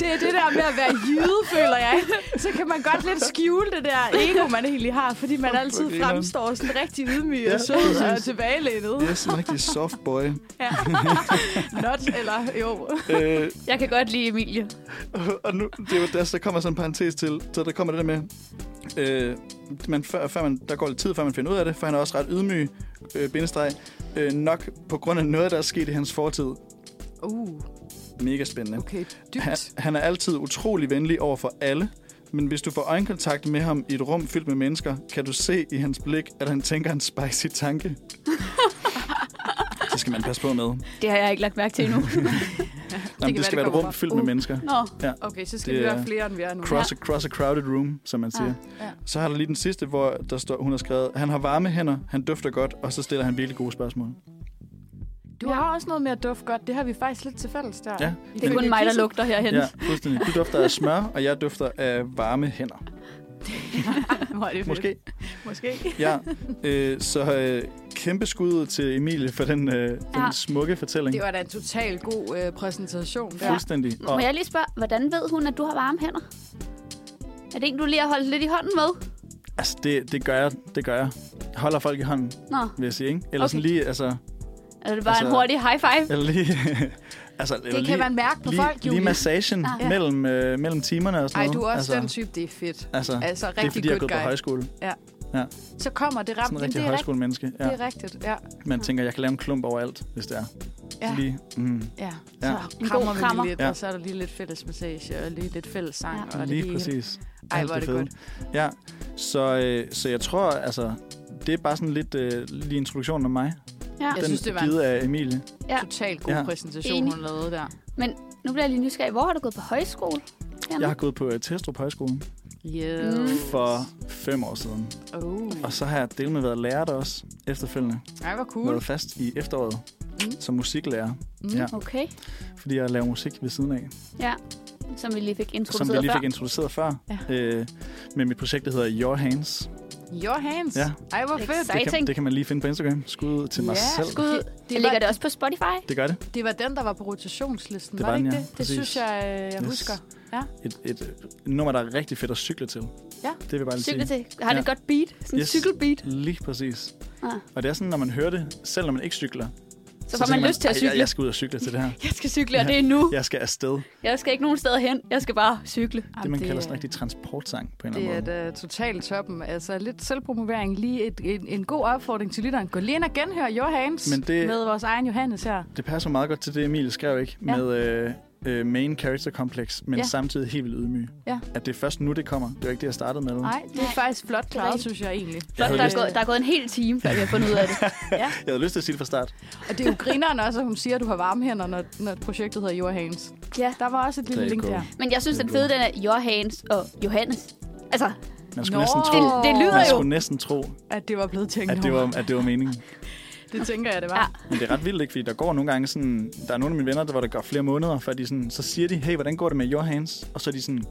Speaker 3: Det er det der med at være jyde, føler jeg. ikke? Så kan man godt lidt skjule det der ego, man egentlig har, fordi man altid
Speaker 2: grineren.
Speaker 3: fremstår sådan rigtig ydmyg
Speaker 2: Ja,
Speaker 3: og sød og
Speaker 2: præcis.
Speaker 3: tilbagelænet.
Speaker 2: Yes, en rigtig soft boy.
Speaker 3: Ja. Not, eller jo.
Speaker 2: Øh,
Speaker 4: Jeg kan godt lide Emilie.
Speaker 2: og nu, det er jo der, så kommer sådan en parentes til, så der kommer det der med, øh, man, før, før man, der går lidt tid, før man finder ud af det, for han er også ret ydmyg, øh, bindestreg, øh, nok på grund af noget, der er sket i hans fortid.
Speaker 3: Uh,
Speaker 2: Mega spændende.
Speaker 3: okay.
Speaker 2: Han,
Speaker 3: Dybt.
Speaker 2: han er altid utrolig venlig over for alle, men hvis du får øjenkontakt med ham i et rum fyldt med mennesker, kan du se i hans blik, at han tænker en spicy tanke. det skal man passe på med. Jamen,
Speaker 4: Det har jeg ikke lagt mærke til endnu.
Speaker 2: det,
Speaker 3: være,
Speaker 2: det skal
Speaker 3: det
Speaker 2: være et
Speaker 3: kommer
Speaker 2: rum
Speaker 3: fra-
Speaker 2: fyldt med
Speaker 4: Uh.
Speaker 2: mennesker.
Speaker 4: Nå,
Speaker 3: Okay, så skal
Speaker 2: Det
Speaker 3: vi
Speaker 2: er
Speaker 3: være flere, end vi er nu.
Speaker 2: Cross, a, cross a crowded room, som man siger.
Speaker 3: Ja, ja.
Speaker 2: Så har der lige den sidste, hvor der står, hun har skrevet, han har varme hænder, han dufter godt, og så stiller han virkelig gode spørgsmål.
Speaker 3: Du har også noget med at dufte godt. Det har vi faktisk lidt til fælles der.
Speaker 2: Ja.
Speaker 3: I
Speaker 4: det er
Speaker 2: Men-
Speaker 4: kun mig, der lugter herhen.
Speaker 2: Ja, fuldstændig. Du dufter af smør, og jeg dufter af varme hænder.
Speaker 3: Hvor er det fedt.
Speaker 2: Måske.
Speaker 3: Måske.
Speaker 2: Ja. Øh, så øh, kæmpe skud ud til Emilie for den, øh,
Speaker 4: Ja.
Speaker 2: den smukke fortælling.
Speaker 3: Det var da en total god øh, præsentation. Der.
Speaker 2: Fuldstændig.
Speaker 4: Må jeg lige spørge, hvordan ved hun, at du har varme hænder? Er det en, du lige har holdt lidt i hånden med?
Speaker 2: Altså, det, det gør jeg. Det gør jeg. Holder folk i hånden,
Speaker 4: Nå,
Speaker 2: vil jeg sige, ikke? Eller okay. sådan
Speaker 4: Okay.
Speaker 2: lige, altså...
Speaker 4: er det bare altså, en
Speaker 2: Altså-
Speaker 4: hurtig high five?
Speaker 2: Eller lige... altså, eller
Speaker 3: Det
Speaker 2: lige,
Speaker 3: kan man mærke på
Speaker 2: lige,
Speaker 3: folk,
Speaker 2: lige
Speaker 3: Julie.
Speaker 2: massagen
Speaker 4: Ah.
Speaker 2: ja. mellem, øh, mellem timerne og sådan
Speaker 3: Ej,
Speaker 2: noget.
Speaker 3: du er også
Speaker 2: altså,
Speaker 3: den type, det er fedt.
Speaker 2: Altså,
Speaker 3: Altså,
Speaker 2: det er
Speaker 3: rigtig
Speaker 2: fordi, jeg er
Speaker 3: good
Speaker 2: gået på
Speaker 3: guy.
Speaker 2: højskole.
Speaker 3: Så kommer det ramt.
Speaker 2: Sådan en rigtig
Speaker 3: Jamen, det, er rigtigt,
Speaker 2: højskolemenneske.
Speaker 3: det
Speaker 2: Ja.
Speaker 3: er rigtigt, ja.
Speaker 2: Man tænker, jeg kan lave en klump overalt, hvis det er.
Speaker 3: Ja.
Speaker 2: Så lige, mm,
Speaker 3: Ja,
Speaker 2: Ja.
Speaker 3: så
Speaker 4: En god
Speaker 3: krammer vi
Speaker 4: krammer.
Speaker 3: lige lidt,
Speaker 2: Ja.
Speaker 3: og så er der lige lidt fælles massage, og lige lidt fælles sang,
Speaker 4: Ja.
Speaker 3: ja. og det
Speaker 2: lige
Speaker 3: hele.
Speaker 2: præcis.
Speaker 3: Ej,
Speaker 2: Alt
Speaker 3: hvor er det
Speaker 2: fede.
Speaker 3: godt.
Speaker 2: Ja, så, øh, så jeg tror, altså... Det er bare sådan lidt øh, lige introduktionen af mig.
Speaker 4: Ja.
Speaker 3: Jeg
Speaker 2: den
Speaker 3: synes, det var en-
Speaker 2: givet af Emilie.
Speaker 4: Ja.
Speaker 3: Totalt god
Speaker 2: Ja.
Speaker 3: præsentation,
Speaker 4: Enig.
Speaker 3: hun lavede der.
Speaker 4: Nu bliver jeg lige nysgerrig. Hvor har du gået på højskole?
Speaker 2: Jeg har gået på øh, Testrup Højskole
Speaker 3: Yes.
Speaker 4: Mm.
Speaker 2: for fem år siden.
Speaker 3: Oh.
Speaker 2: Og så har jeg delt med været lærer der også efterfølgende.
Speaker 3: Ej, hvor
Speaker 2: Cool.
Speaker 3: cool.
Speaker 2: Været fast i efteråret
Speaker 3: Uh. Mm.
Speaker 2: mm. som musiklærer,
Speaker 3: Mm.
Speaker 2: Ja.
Speaker 4: Okay,
Speaker 2: fordi jeg laver musik ved siden af,
Speaker 4: ja. Som vi lige fik
Speaker 2: som vi
Speaker 4: introduceret
Speaker 2: lige
Speaker 4: før.
Speaker 2: fik introduceret før.
Speaker 3: Ja.
Speaker 2: Øh, med mit projekt, der hedder Your Hands.
Speaker 3: Your hands.
Speaker 2: Ja.
Speaker 3: Ej, hvor fedt.
Speaker 4: Exciting.
Speaker 2: Det kan, det kan man lige finde på Instagram. Skud ud til mig
Speaker 3: Ja,
Speaker 2: selv.
Speaker 4: Skud. ud.
Speaker 3: Det
Speaker 4: Det
Speaker 3: var,
Speaker 4: ligger det også på Spotify?
Speaker 2: Det gør det.
Speaker 3: det var den, der var på rotationslisten,
Speaker 2: Det
Speaker 3: var
Speaker 2: var den,
Speaker 3: det ikke
Speaker 2: ja.
Speaker 3: det? Det
Speaker 2: Præcis.
Speaker 3: synes jeg, øh, jeg
Speaker 2: Yes.
Speaker 3: husker.
Speaker 2: Et, et, et nummer, der er rigtig fedt at cykle til.
Speaker 3: Ja.
Speaker 2: Det vil jeg bare lige
Speaker 4: Cykle
Speaker 2: sige.
Speaker 4: til. Har det et godt beat? Sådan en
Speaker 2: Yes.
Speaker 4: cykelbeat.
Speaker 2: Lige præcis.
Speaker 4: Ah.
Speaker 2: Og det er sådan, når man hører det, selv når man ikke cykler.
Speaker 4: Så får man
Speaker 2: tænker
Speaker 4: lyst til at
Speaker 2: "Ej,
Speaker 4: cykle.
Speaker 2: Jeg, jeg skal ud og cykle til det her.
Speaker 4: Jeg skal cykle, og
Speaker 2: Ja.
Speaker 4: det er nu.
Speaker 2: Jeg skal afsted.
Speaker 4: Jeg skal ikke nogen steder hen. Jeg skal bare cykle.
Speaker 2: Det, man
Speaker 3: Jamen,
Speaker 2: kalder sådan en
Speaker 3: er-
Speaker 2: rigtig transportsang på en eller
Speaker 3: Det
Speaker 2: anden
Speaker 3: er
Speaker 2: måde.
Speaker 3: da totalt toppen. Altså lidt selvpromovering. Lige et, en, en god opfordring til lytteren. Gå lige ind og genhør Your Hands
Speaker 2: Men det-
Speaker 3: med vores egen Johannes her.
Speaker 2: Det passer meget godt til det, Emil skrev, ikke?
Speaker 3: Ja.
Speaker 2: Ja. Med øh, øh, main character complex, men
Speaker 3: Ja.
Speaker 2: ja. samtidig helt vildt ydmyg.
Speaker 3: Ja.
Speaker 2: At det er først nu, det kommer. Det var ikke det, jeg startede med.
Speaker 3: Nej, det er
Speaker 4: Nej.
Speaker 3: faktisk flot klaret,
Speaker 4: rigtigt.
Speaker 3: synes jeg egentlig.
Speaker 2: Jeg
Speaker 4: Flot,
Speaker 2: havde
Speaker 4: der, er
Speaker 2: lyst-
Speaker 4: gået, der er gået en hel time, før vi har fundet ud af det.
Speaker 2: Jeg havde lyst til at sige det fra start.
Speaker 3: Og det er jo grineren også, at hun siger, at du har varme hænder, når, når projektet hedder Your Hands.
Speaker 4: Ja.
Speaker 3: Der var også et lille
Speaker 2: Det er
Speaker 3: link
Speaker 2: cool.
Speaker 3: der.
Speaker 4: Men jeg synes, den fede, den er Your Hands og Johannes. Altså,
Speaker 2: Man skulle,
Speaker 3: Nå.
Speaker 2: næsten tro,
Speaker 4: Det- det lyder
Speaker 2: man
Speaker 4: jo.
Speaker 2: skulle næsten tro,
Speaker 3: At det var blevet tænkt
Speaker 2: at det,
Speaker 3: over.
Speaker 2: var, at det var meningen.
Speaker 3: Det tænker jeg, det var.
Speaker 4: Ja.
Speaker 2: Men det er ret vildt, ikke? Fordi der går nogle gange sådan... Der er nogle af mine venner, der, hvor der går flere måneder, før de sådan... Så siger de, hey, hvordan går det med your hands? Og så er de sådan,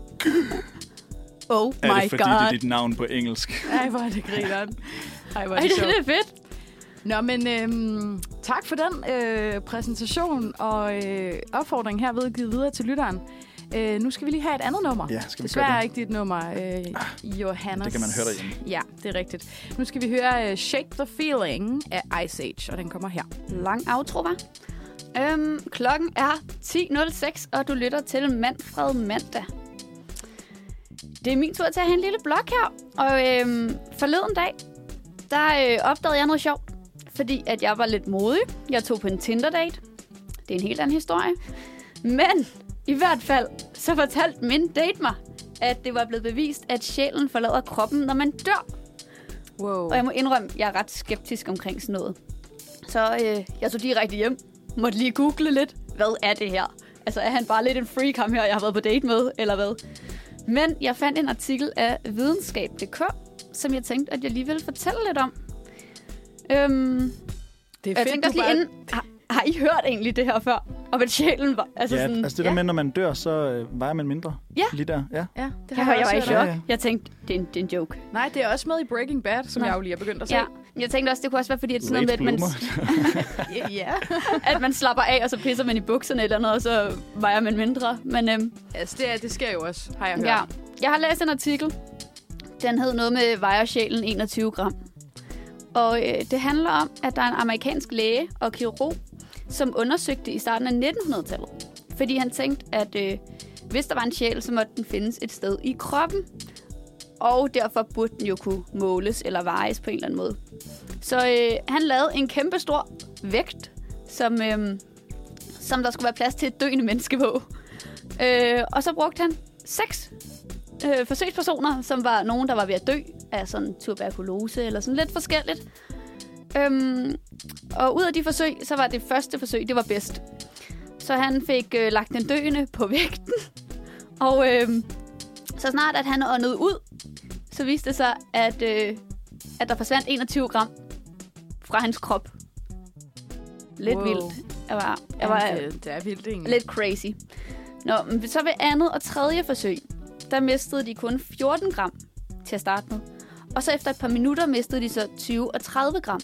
Speaker 4: oh
Speaker 2: er
Speaker 4: my
Speaker 2: det fordi, det er
Speaker 4: god.
Speaker 2: dit navn på engelsk?
Speaker 3: Ej, hvor er det grineren. Ej, hvor er
Speaker 4: Ej,
Speaker 3: det
Speaker 4: det
Speaker 3: sjovt.
Speaker 4: er fedt.
Speaker 3: Nå, men øhm, tak for den øh, præsentation og øh, opfordring her vedgivet videre til lytteren. Øh, nu skal vi lige have et andet nummer.
Speaker 2: Ja, skal vi
Speaker 3: Desværre
Speaker 2: gøre det? Ah,
Speaker 3: ikke dit nummer, øh, Johannes.
Speaker 2: det kan man høre derhjemme.
Speaker 3: Ja, det er rigtigt. Nu skal vi høre øh, Shake the Feeling af Ice Age, og den kommer her.
Speaker 4: Lang outro, var. Øhm, klokken er 10.06, og du lytter til Manfred Mandag. Det er min tur til at have en lille blog her. Og øhm, forleden dag, der øh, opdagede jeg noget sjovt. Fordi at jeg var lidt modig. Jeg tog på en Tinder-date. Det er en helt anden historie. Men i hvert fald, så fortalte min date mig, at det var blevet bevist, at sjælen forlader kroppen, når man dør.
Speaker 3: Wow.
Speaker 4: Og jeg må indrømme, jeg er ret skeptisk omkring sådan noget. Så øh, jeg tog direkte hjem, måtte lige google lidt, hvad er det her? Altså er han bare lidt en freak, ham her, jeg har været på date med, eller hvad? Men jeg fandt en artikel af videnskab.dk, som jeg tænkte, at jeg lige ville fortælle lidt om. Øhm,
Speaker 3: det
Speaker 4: jeg tænkte også lige inden, har, har I hørt egentlig det her før? Om at sjælen var... Altså
Speaker 2: Ja,
Speaker 4: sådan,
Speaker 2: altså det der med, når man dør, så øh, vejer man mindre.
Speaker 4: Ja.
Speaker 2: Lige der, ja.
Speaker 3: Ja, det
Speaker 4: jeg,
Speaker 3: har jeg,
Speaker 4: var, jeg var i
Speaker 3: også
Speaker 2: hørt
Speaker 4: chok.
Speaker 2: om. Ja, ja.
Speaker 4: Jeg tænkte, det er, en, det er en joke.
Speaker 3: hørt. Nej, det er også med i Breaking Bad, som
Speaker 4: Nå.
Speaker 3: jeg jo lige er begyndt at se.
Speaker 4: Ja, jeg tænkte også, det kunne også være fordi, at sådan noget med,
Speaker 2: Late
Speaker 4: at man,
Speaker 2: bloomer.
Speaker 3: ja.
Speaker 4: at man slapper af, og så pisser man i bukserne eller noget, og så vejer man mindre. Men øhm,
Speaker 3: altså, det, er- det sker jo også, har jeg hørt.
Speaker 4: ja, jeg har læst en artikel. Den hed noget med vejer sjælen 21 gram. Og øh, det handler om, at der er en amerikansk læge og kirurg, som undersøgte i starten af 1900-tallet. Fordi han tænkte, at øh, hvis der var en sjæl, så måtte den findes et sted i kroppen. og derfor burde den jo kunne måles eller vejes på en eller anden måde. Så øh, han lavede en kæmpe stor vægt, som, øh, som der skulle være plads til et døende menneske på. Øh, og så brugte han seks øh, forsøgspersoner, som var nogen, der var ved at dø af sådan tuberkulose eller sådan lidt forskelligt. Øhm, og ud af de forsøg, så var det første forsøg, det var bedst. Så han fik øh, lagt den døende på vægten, og øh, så snart at han åndede ud, så viste det sig, at, øh, at der forsvandt 21 gram fra hans krop. Lidt
Speaker 3: Wow.
Speaker 4: wow. vildt. Jeg var, jeg var,
Speaker 3: Jamen, det, det øh, er vildt, egentlig.
Speaker 4: Mm. Lidt crazy. Nå, men så ved andet og tredje forsøg, der mistede de kun 14 gram til at starte med. Og så efter et par minutter mistede de så 20 og 30 gram.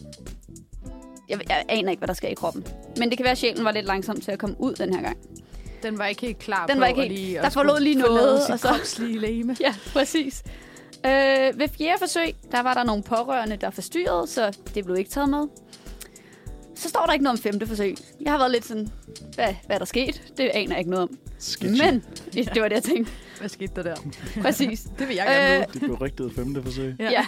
Speaker 4: Jeg, jeg aner ikke, hvad der sker i kroppen. Men det kan være, at sjælen var lidt langsom til at komme ud den her gang.
Speaker 3: Den var ikke helt klar
Speaker 4: Den
Speaker 3: på
Speaker 4: var ikke
Speaker 3: at
Speaker 4: helt-
Speaker 3: lige, at
Speaker 4: der forlod
Speaker 3: skulle
Speaker 4: lige noget,
Speaker 3: forlade sit
Speaker 4: og så-
Speaker 3: kropslige legeme.
Speaker 4: Ja, præcis. Øh, ved fjerde forsøg, der var der nogle pårørende, der forstyrrede, så det blev ikke taget med. Så står der ikke noget om femte forsøg. Jeg har været lidt sådan, hvad, hvad er der sket? Det aner jeg ikke noget om.
Speaker 2: Sketchy.
Speaker 4: Men det var det, jeg tænkte.
Speaker 3: Hvad skete der der?
Speaker 4: Præcis.
Speaker 3: Det vil jeg gerne
Speaker 4: Øh,
Speaker 3: vide.
Speaker 2: Det berygtede femte forsøg.
Speaker 3: Ja.
Speaker 4: Ja.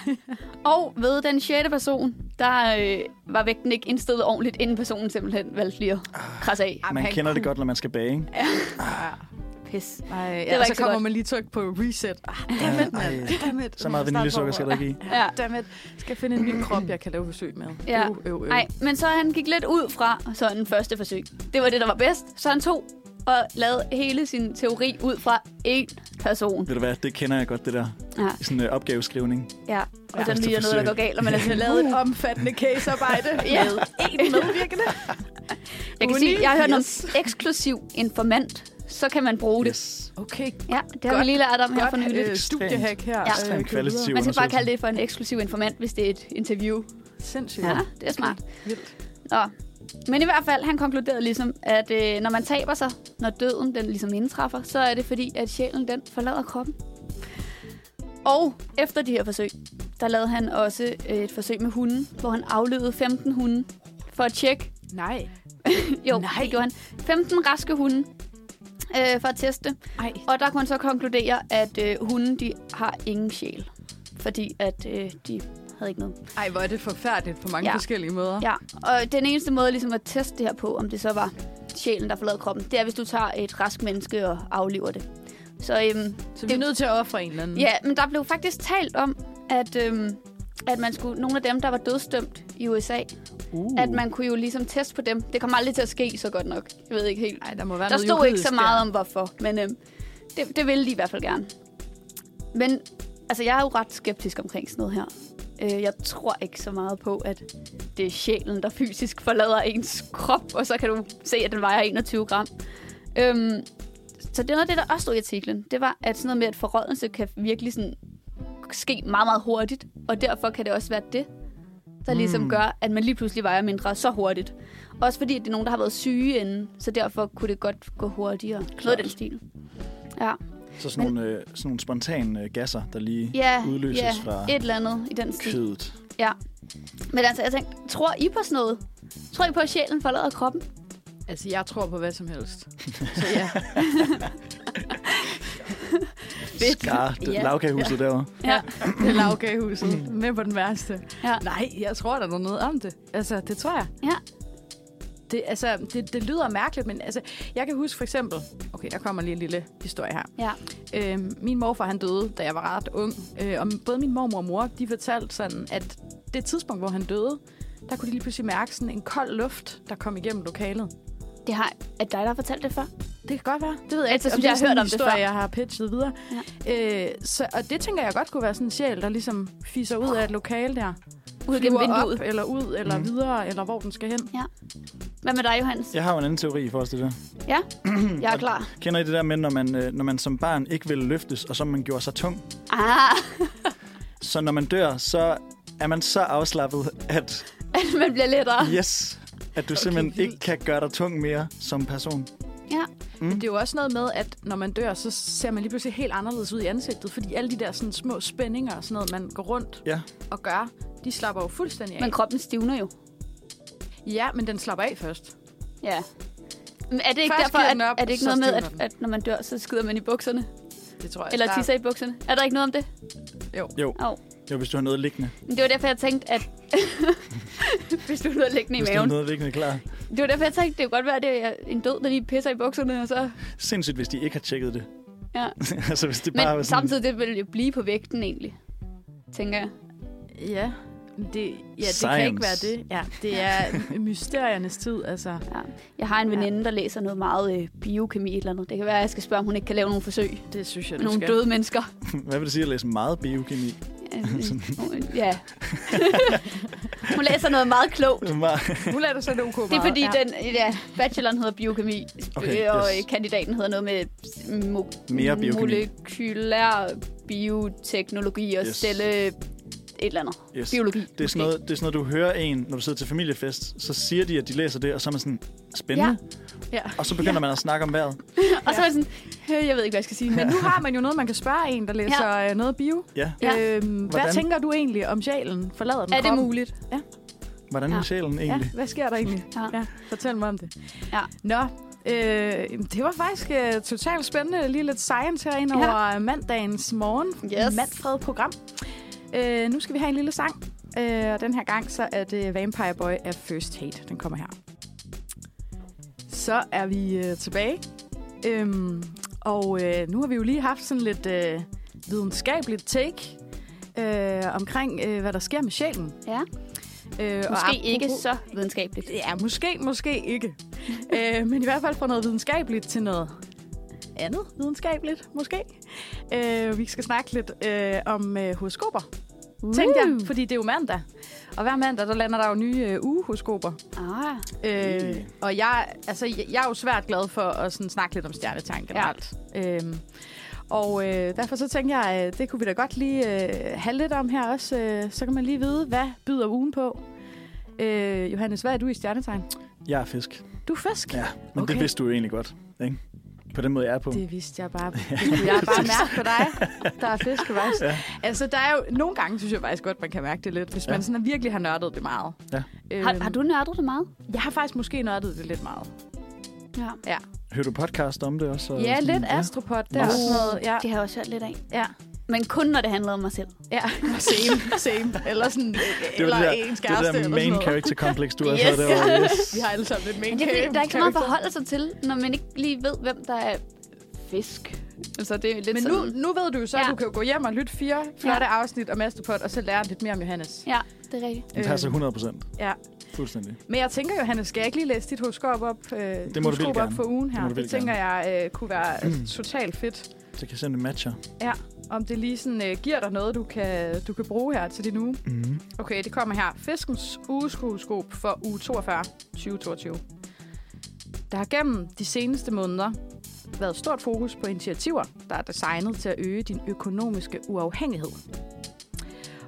Speaker 4: Og ved den sjette person, der øh, var vægten ikke indstillet ordentligt, inden personen simpelthen valgte lige at
Speaker 3: Ah.
Speaker 4: krasse af.
Speaker 3: Jamen,
Speaker 2: Man
Speaker 3: han
Speaker 2: kender det
Speaker 3: kunne-
Speaker 2: godt, når man skal bage, ikke?
Speaker 3: Ja.
Speaker 4: Pis.
Speaker 3: Ah. Ej, ja,
Speaker 4: var
Speaker 3: og så
Speaker 4: ikke så
Speaker 3: kommer
Speaker 4: godt.
Speaker 3: man lige tryk på reset. Ah, dammit, mand.
Speaker 2: Ej.
Speaker 3: Dammit.
Speaker 2: Så meget vaniljesukker skal der ikke i.
Speaker 4: Ja.
Speaker 3: Dammit. Skal jeg finde en ny krop, jeg kan lave forsøg med?
Speaker 4: Ja.
Speaker 3: Øv, øv, øv.
Speaker 4: Nej, men så han gik lidt ud fra sådan første forsøg. Det var det, der var bedst, så han tog og lavede hele sin teori ud fra én person.
Speaker 2: Ved du hvad, det kender jeg godt, det der.
Speaker 4: Ja,
Speaker 2: Sådan øh, opgaveskrivning.
Speaker 4: ja. Og så
Speaker 2: Første
Speaker 4: lige er noget, der
Speaker 2: forsøg.
Speaker 4: går galt, og man har sådan lavet et
Speaker 3: et omfattende casearbejde
Speaker 4: Ja.
Speaker 3: med én medvirkende.
Speaker 4: Jeg kan sige, jeg har hørt om
Speaker 3: Yes.
Speaker 4: eksklusiv informant. Så kan man bruge det.
Speaker 2: Yes.
Speaker 3: Okay,
Speaker 4: Ja, det har vi
Speaker 3: Godt.
Speaker 4: lige lært om her
Speaker 3: godt
Speaker 4: for nylig.
Speaker 3: øh, studiehack her.
Speaker 4: Ja.
Speaker 2: Ekstremt
Speaker 3: køre videre.
Speaker 2: kvalitativ.
Speaker 4: Man skal bare
Speaker 2: undersøgelse.
Speaker 4: kalde det for en eksklusiv informant, hvis det er et interview.
Speaker 3: Sindssygt.
Speaker 4: Ja, det er smart.
Speaker 3: Vildt.
Speaker 4: Nå. Men i hvert fald, han konkluderede ligesom, at øh, når man taber sig, når døden den ligesom indtræffer, så er det fordi, at sjælen den forlader kroppen. Og efter de her forsøg, der lavede han også øh, et forsøg med hunden, hvor han aflevede 15 hunde for at tjekke.
Speaker 3: Nej.
Speaker 4: Jo,
Speaker 3: Nej.
Speaker 4: det gjorde han. 15 raske hunde øh, for at teste.
Speaker 3: Ej.
Speaker 4: Og der kunne han så konkludere, at øh, hunden de har ingen sjæl. Fordi at øh, de havde ikke noget.
Speaker 3: Ej, hvor er det forfærdeligt på mange
Speaker 4: Ja.
Speaker 3: forskellige måder.
Speaker 4: Ja, og den eneste måde ligesom at teste det her på, om det så var sjælen, der forlod kroppen, det er, hvis du tager et rask menneske og afliver det. Så øhm,
Speaker 3: Så vi er nødt til at ofre en eller anden.
Speaker 4: ja, men der blev faktisk talt om, at, øhm, at man skulle, nogle af dem, der var dødsdømt i USA,
Speaker 2: Uh.
Speaker 4: uh. at man kunne jo ligesom teste på dem. Det kommer aldrig til at ske så godt nok. Jeg ved ikke helt.
Speaker 3: Ej, der må være
Speaker 4: Der
Speaker 3: noget
Speaker 4: stod ikke
Speaker 3: juridisk
Speaker 4: så meget om hvorfor, men øhm, det, det ville de i hvert fald gerne. Men altså, jeg er jo ret skeptisk omkring sådan noget her. Øh, jeg tror ikke så meget på, at det er sjælen, der fysisk forlader ens krop, og så kan du se, at den vejer 21 gram. Øhm, så det er noget af det, der også stod i artiklen. Det var, at sådan noget med, at forrådelse kan virkelig sådan ske meget, meget hurtigt, og derfor kan det også være det, der ligesom
Speaker 2: Mm.
Speaker 4: gør, at man lige pludselig vejer mindre så hurtigt. Også fordi, at det er nogen, der har været syge inden, så derfor kunne det godt gå hurtigere. Noget af den stil. Ja.
Speaker 2: Så sådan nogle, øh, sådan nogle spontane øh, gasser, der lige
Speaker 4: Ja,
Speaker 2: udløses
Speaker 4: ja,
Speaker 2: fra
Speaker 4: et eller andet i den stil.
Speaker 2: kødet.
Speaker 4: Men altså, jeg tænkte, tror I på sådan noget? Tror I på, at sjælen forlader kroppen?
Speaker 3: der. Altså, jeg tror på hvad som helst. Så ja.
Speaker 2: Skar, det
Speaker 4: Ja.
Speaker 2: lavkagehuset derovre.
Speaker 4: Ja.
Speaker 3: Det er lavkagehuset. Med på den værste.
Speaker 4: Ja.
Speaker 3: Mm. Nej, jeg tror, der er noget om det. Altså, det tror jeg.
Speaker 4: Ja.
Speaker 3: Det, altså, det, det lyder mærkeligt, men altså, jeg kan huske for eksempel... Okay, der kommer lige en lille historie her.
Speaker 4: Ja.
Speaker 3: Øh, min morfar, han døde, da jeg var ret ung. Øh, og både min mormor og mor, de fortalte sådan, at det tidspunkt, hvor han døde, der kunne de lige pludselig mærke sådan en kold luft, der kom igennem lokalet.
Speaker 4: Det har er det dig, der har fortalt det før?
Speaker 3: Det kan godt være. Det ved jeg
Speaker 4: Altså,
Speaker 3: ikke.
Speaker 4: synes
Speaker 3: det er
Speaker 4: jeg, jeg
Speaker 3: sådan en
Speaker 4: har hørt om det
Speaker 3: historie,
Speaker 4: før.
Speaker 3: jeg har pitchet videre. Ja. Øh, så, og det tænker jeg godt kunne være sådan en sjæl, der ligesom fiser ud af et lokale der.
Speaker 4: Ud
Speaker 3: Flyver
Speaker 4: gennem vinduet.
Speaker 3: Op, eller ud, eller
Speaker 2: Mhm.
Speaker 3: mm. videre, eller hvor den skal hen.
Speaker 4: Hvad med dig, Johannes?
Speaker 2: Jeg har jo en anden teori i forhold til det.
Speaker 4: Jeg er klar.
Speaker 2: Kender I det der med, når man, øh, når man som barn ikke ville løftes, og så man gjorde sig tung?
Speaker 4: Ah,
Speaker 2: Så når man dør, så er man så afslappet, at
Speaker 4: man bliver lettere.
Speaker 2: yes, at du simpelthen
Speaker 3: vildt.
Speaker 2: ikke kan gøre dig tung mere som person.
Speaker 4: Ja.
Speaker 3: Det er jo også noget med, at når man dør, så ser man lige pludselig helt anderledes ud i ansigtet, fordi alle de der sådan små spændinger og sådan noget, man går rundt
Speaker 2: Ja.
Speaker 3: og gør, de slapper jo fuldstændig af.
Speaker 4: Men kroppen stivner jo.
Speaker 3: Ja, men den slapper af først.
Speaker 4: Ja. Men er det ikke
Speaker 3: Først
Speaker 4: derfor,
Speaker 3: giver
Speaker 4: at,
Speaker 3: den op,
Speaker 4: er det ikke
Speaker 3: så
Speaker 4: noget med,
Speaker 3: stivner den.
Speaker 4: at, at når man dør, så skider man i bukserne?
Speaker 3: Det tror jeg.
Speaker 4: Eller
Speaker 3: der-
Speaker 4: tisser i bukserne. Er der ikke noget om det?
Speaker 2: Jo.
Speaker 4: Au.
Speaker 2: Jo, hvis du har noget liggende.
Speaker 4: Men Det var derfor, jeg tænkte, at... Hvis du havde liggende i
Speaker 2: Hvis du har
Speaker 4: maven.
Speaker 2: noget liggende klar.
Speaker 4: Det var derfor, jeg tænkte, det kunne godt være, at det er en død, der lige pisser i bukserne, og så...
Speaker 2: Sindssygt, hvis de ikke har tjekket det.
Speaker 4: Ja.
Speaker 2: altså, hvis det
Speaker 4: Men
Speaker 2: bare var sådan...
Speaker 4: samtidig, det ville jo blive på vægten, egentlig. Tænker jeg.
Speaker 3: Ja, men det, ja, det kan
Speaker 2: Science.
Speaker 3: ikke være det. Ja, det er mysteriernes tid, altså.
Speaker 4: Jeg har en veninde, der læser noget meget øh, biokemi eller noget. Det kan være, at jeg skal spørge, om hun ikke kan lave nogle forsøg med
Speaker 3: Det synes jeg, du
Speaker 4: nogle
Speaker 3: skal.
Speaker 4: døde mennesker.
Speaker 2: Hvad vil det sige at læse meget biokemi?
Speaker 4: Øh, ja. hun læser noget meget klogt.
Speaker 2: Meget-
Speaker 3: Nu lader du så det ok
Speaker 4: Det er fordi,
Speaker 3: ja.
Speaker 4: ja. den ja, bacheloren hedder biokemi,
Speaker 2: Okay,
Speaker 4: okay, og
Speaker 2: yes.
Speaker 4: yes. kandidaten hedder noget med mo-
Speaker 2: Mere biokemi.
Speaker 4: molekylær bioteknologi og
Speaker 2: Yes.
Speaker 4: yes. celle et eller andet.
Speaker 2: yes.
Speaker 4: Biologi.
Speaker 2: Det er, sådan noget, det er sådan noget, du hører en, når du sidder til familiefest, så siger de, at de læser det, og så er man sådan, spændende.
Speaker 3: Ja.
Speaker 2: Og så begynder ja. man at snakke om vejret.
Speaker 4: Og så er det sådan, "Øh, jeg ved ikke, hvad jeg skal sige.
Speaker 3: Men nu har man jo noget, man kan spørge en, der læser ja. noget bio.
Speaker 2: Ja,
Speaker 4: Ja.
Speaker 3: Ja. Øhm, hvad
Speaker 2: Hvordan?
Speaker 3: tænker du egentlig om sjælen? Forlader den
Speaker 4: Er det
Speaker 3: kroppen?
Speaker 4: muligt?
Speaker 2: hvordan er
Speaker 4: Ja.
Speaker 2: sjælen
Speaker 3: Ja,
Speaker 2: egentlig?
Speaker 3: hvad sker der egentlig?
Speaker 4: Ja.
Speaker 3: Ja, fortæl mig om det.
Speaker 4: Ja.
Speaker 3: Nå, øh, jamen, det var faktisk øh, totalt spændende. Lige lidt science herinde
Speaker 4: Ja.
Speaker 3: ja. over mandagens morgen.
Speaker 4: Yes.
Speaker 3: Matfred program. Øh, nu skal vi have en lille sang. Øh, og den her gang, så er det Vampire Boy af First Hate. Den kommer her. Så er vi øh, tilbage. Øhm, og øh, nu har vi jo lige haft sådan lidt øh, videnskabeligt take øh, omkring, øh, hvad der sker med sjælen.
Speaker 4: Ja.
Speaker 3: Øh,
Speaker 4: Måske
Speaker 3: apropos-
Speaker 4: ikke så videnskabeligt.
Speaker 3: Ja, måske, måske ikke. øh, men i hvert fald fra noget videnskabeligt til noget andet videnskabeligt, måske. Øh, vi skal snakke lidt øh, om øh, horoskoper, uh. tænkte jeg, fordi det er jo mandag. Og hver mandag, der lander der jo nye øh, ugehoroskoper.
Speaker 4: Ah,
Speaker 3: Øh,
Speaker 2: Mm.
Speaker 3: og jeg, altså, jeg, jeg er jo svært glad for at sådan, snakke lidt om stjernetegn generelt. Ja. Øhm, og øh, derfor så tænker jeg, øh, det kunne vi da godt lige øh, have lidt om her også. Øh, så kan man lige vide, hvad byder ugen på. Øh, Johannes, hvad er du i stjernetegn?
Speaker 2: Jeg er fisk.
Speaker 3: Du er fisk.
Speaker 2: Ja, men okay.
Speaker 3: Okay.
Speaker 2: det vidste du jo egentlig godt, ikke? På den måde, jeg er på. Det.
Speaker 3: Det vidste jeg bare. Jeg har bare mærke på dig, der er fisk på vej. Ja. Altså, der er jo, nogle gange synes jeg faktisk godt, man kan mærke det lidt, hvis ja.
Speaker 2: Ja.
Speaker 3: man sådan virkelig har nørdet det meget.
Speaker 2: Ja.
Speaker 3: Øhm,
Speaker 4: har, har du nørdet det meget?
Speaker 3: Jeg har faktisk måske nørdet det lidt meget.
Speaker 4: Ja.
Speaker 2: Hører du podcast om det også? og
Speaker 3: Ja,
Speaker 2: sådan-
Speaker 3: lidt astropod. Det er
Speaker 2: Nå.
Speaker 3: også noget, ja.
Speaker 4: Det har jeg også hørt lidt af.
Speaker 3: ja.
Speaker 4: Men kun når det handler om mig selv.
Speaker 3: Ja, same, same. Eller sådan,
Speaker 2: Det er jo
Speaker 3: eller
Speaker 2: det der,
Speaker 3: ens
Speaker 2: det er
Speaker 3: kæreste
Speaker 2: det der
Speaker 3: eller
Speaker 2: main
Speaker 3: sådan noget.
Speaker 2: character complex, du
Speaker 4: Yes.
Speaker 2: også havde derovre. Yes.
Speaker 3: Vi har alle sammen et main
Speaker 4: Men det er, fordi,
Speaker 3: character.
Speaker 4: der er ikke så meget at forholde sig til, når man ikke lige ved, hvem der er fisk. Altså, det er lidt
Speaker 3: Men
Speaker 4: sådan...
Speaker 3: nu, nu ved du jo så, at
Speaker 4: Ja.
Speaker 3: du kan jo gå hjem og lytte fire flotte afsnit om Astropod, og så lære lidt mere om Johannes.
Speaker 4: Ja, det er rigtigt.
Speaker 2: Den passer 100 procent.
Speaker 3: øh. Ja.
Speaker 2: Fuldstændig.
Speaker 3: Men jeg tænker, Johannes, skal jeg ikke lige læse dit horoskop op,
Speaker 2: du
Speaker 3: øh, horoskop
Speaker 2: virkelig
Speaker 3: op
Speaker 2: gerne.
Speaker 3: for ugen
Speaker 2: Det
Speaker 3: her?
Speaker 2: må du Mm.
Speaker 3: Det, det
Speaker 2: virkelig
Speaker 3: tænker jeg øh, kunne være øh, totalt fedt.
Speaker 2: Så kan jeg se, om det matcher.
Speaker 3: Om det lige sådan, øh, giver dig noget, du kan, du kan bruge her til din uge.
Speaker 2: Mm.
Speaker 3: Okay, det kommer her. Fiskens ugeskoroskop for uge 42, 2022. Der har gennem de seneste måneder været stort fokus på initiativer, der er designet til at øge din økonomiske uafhængighed.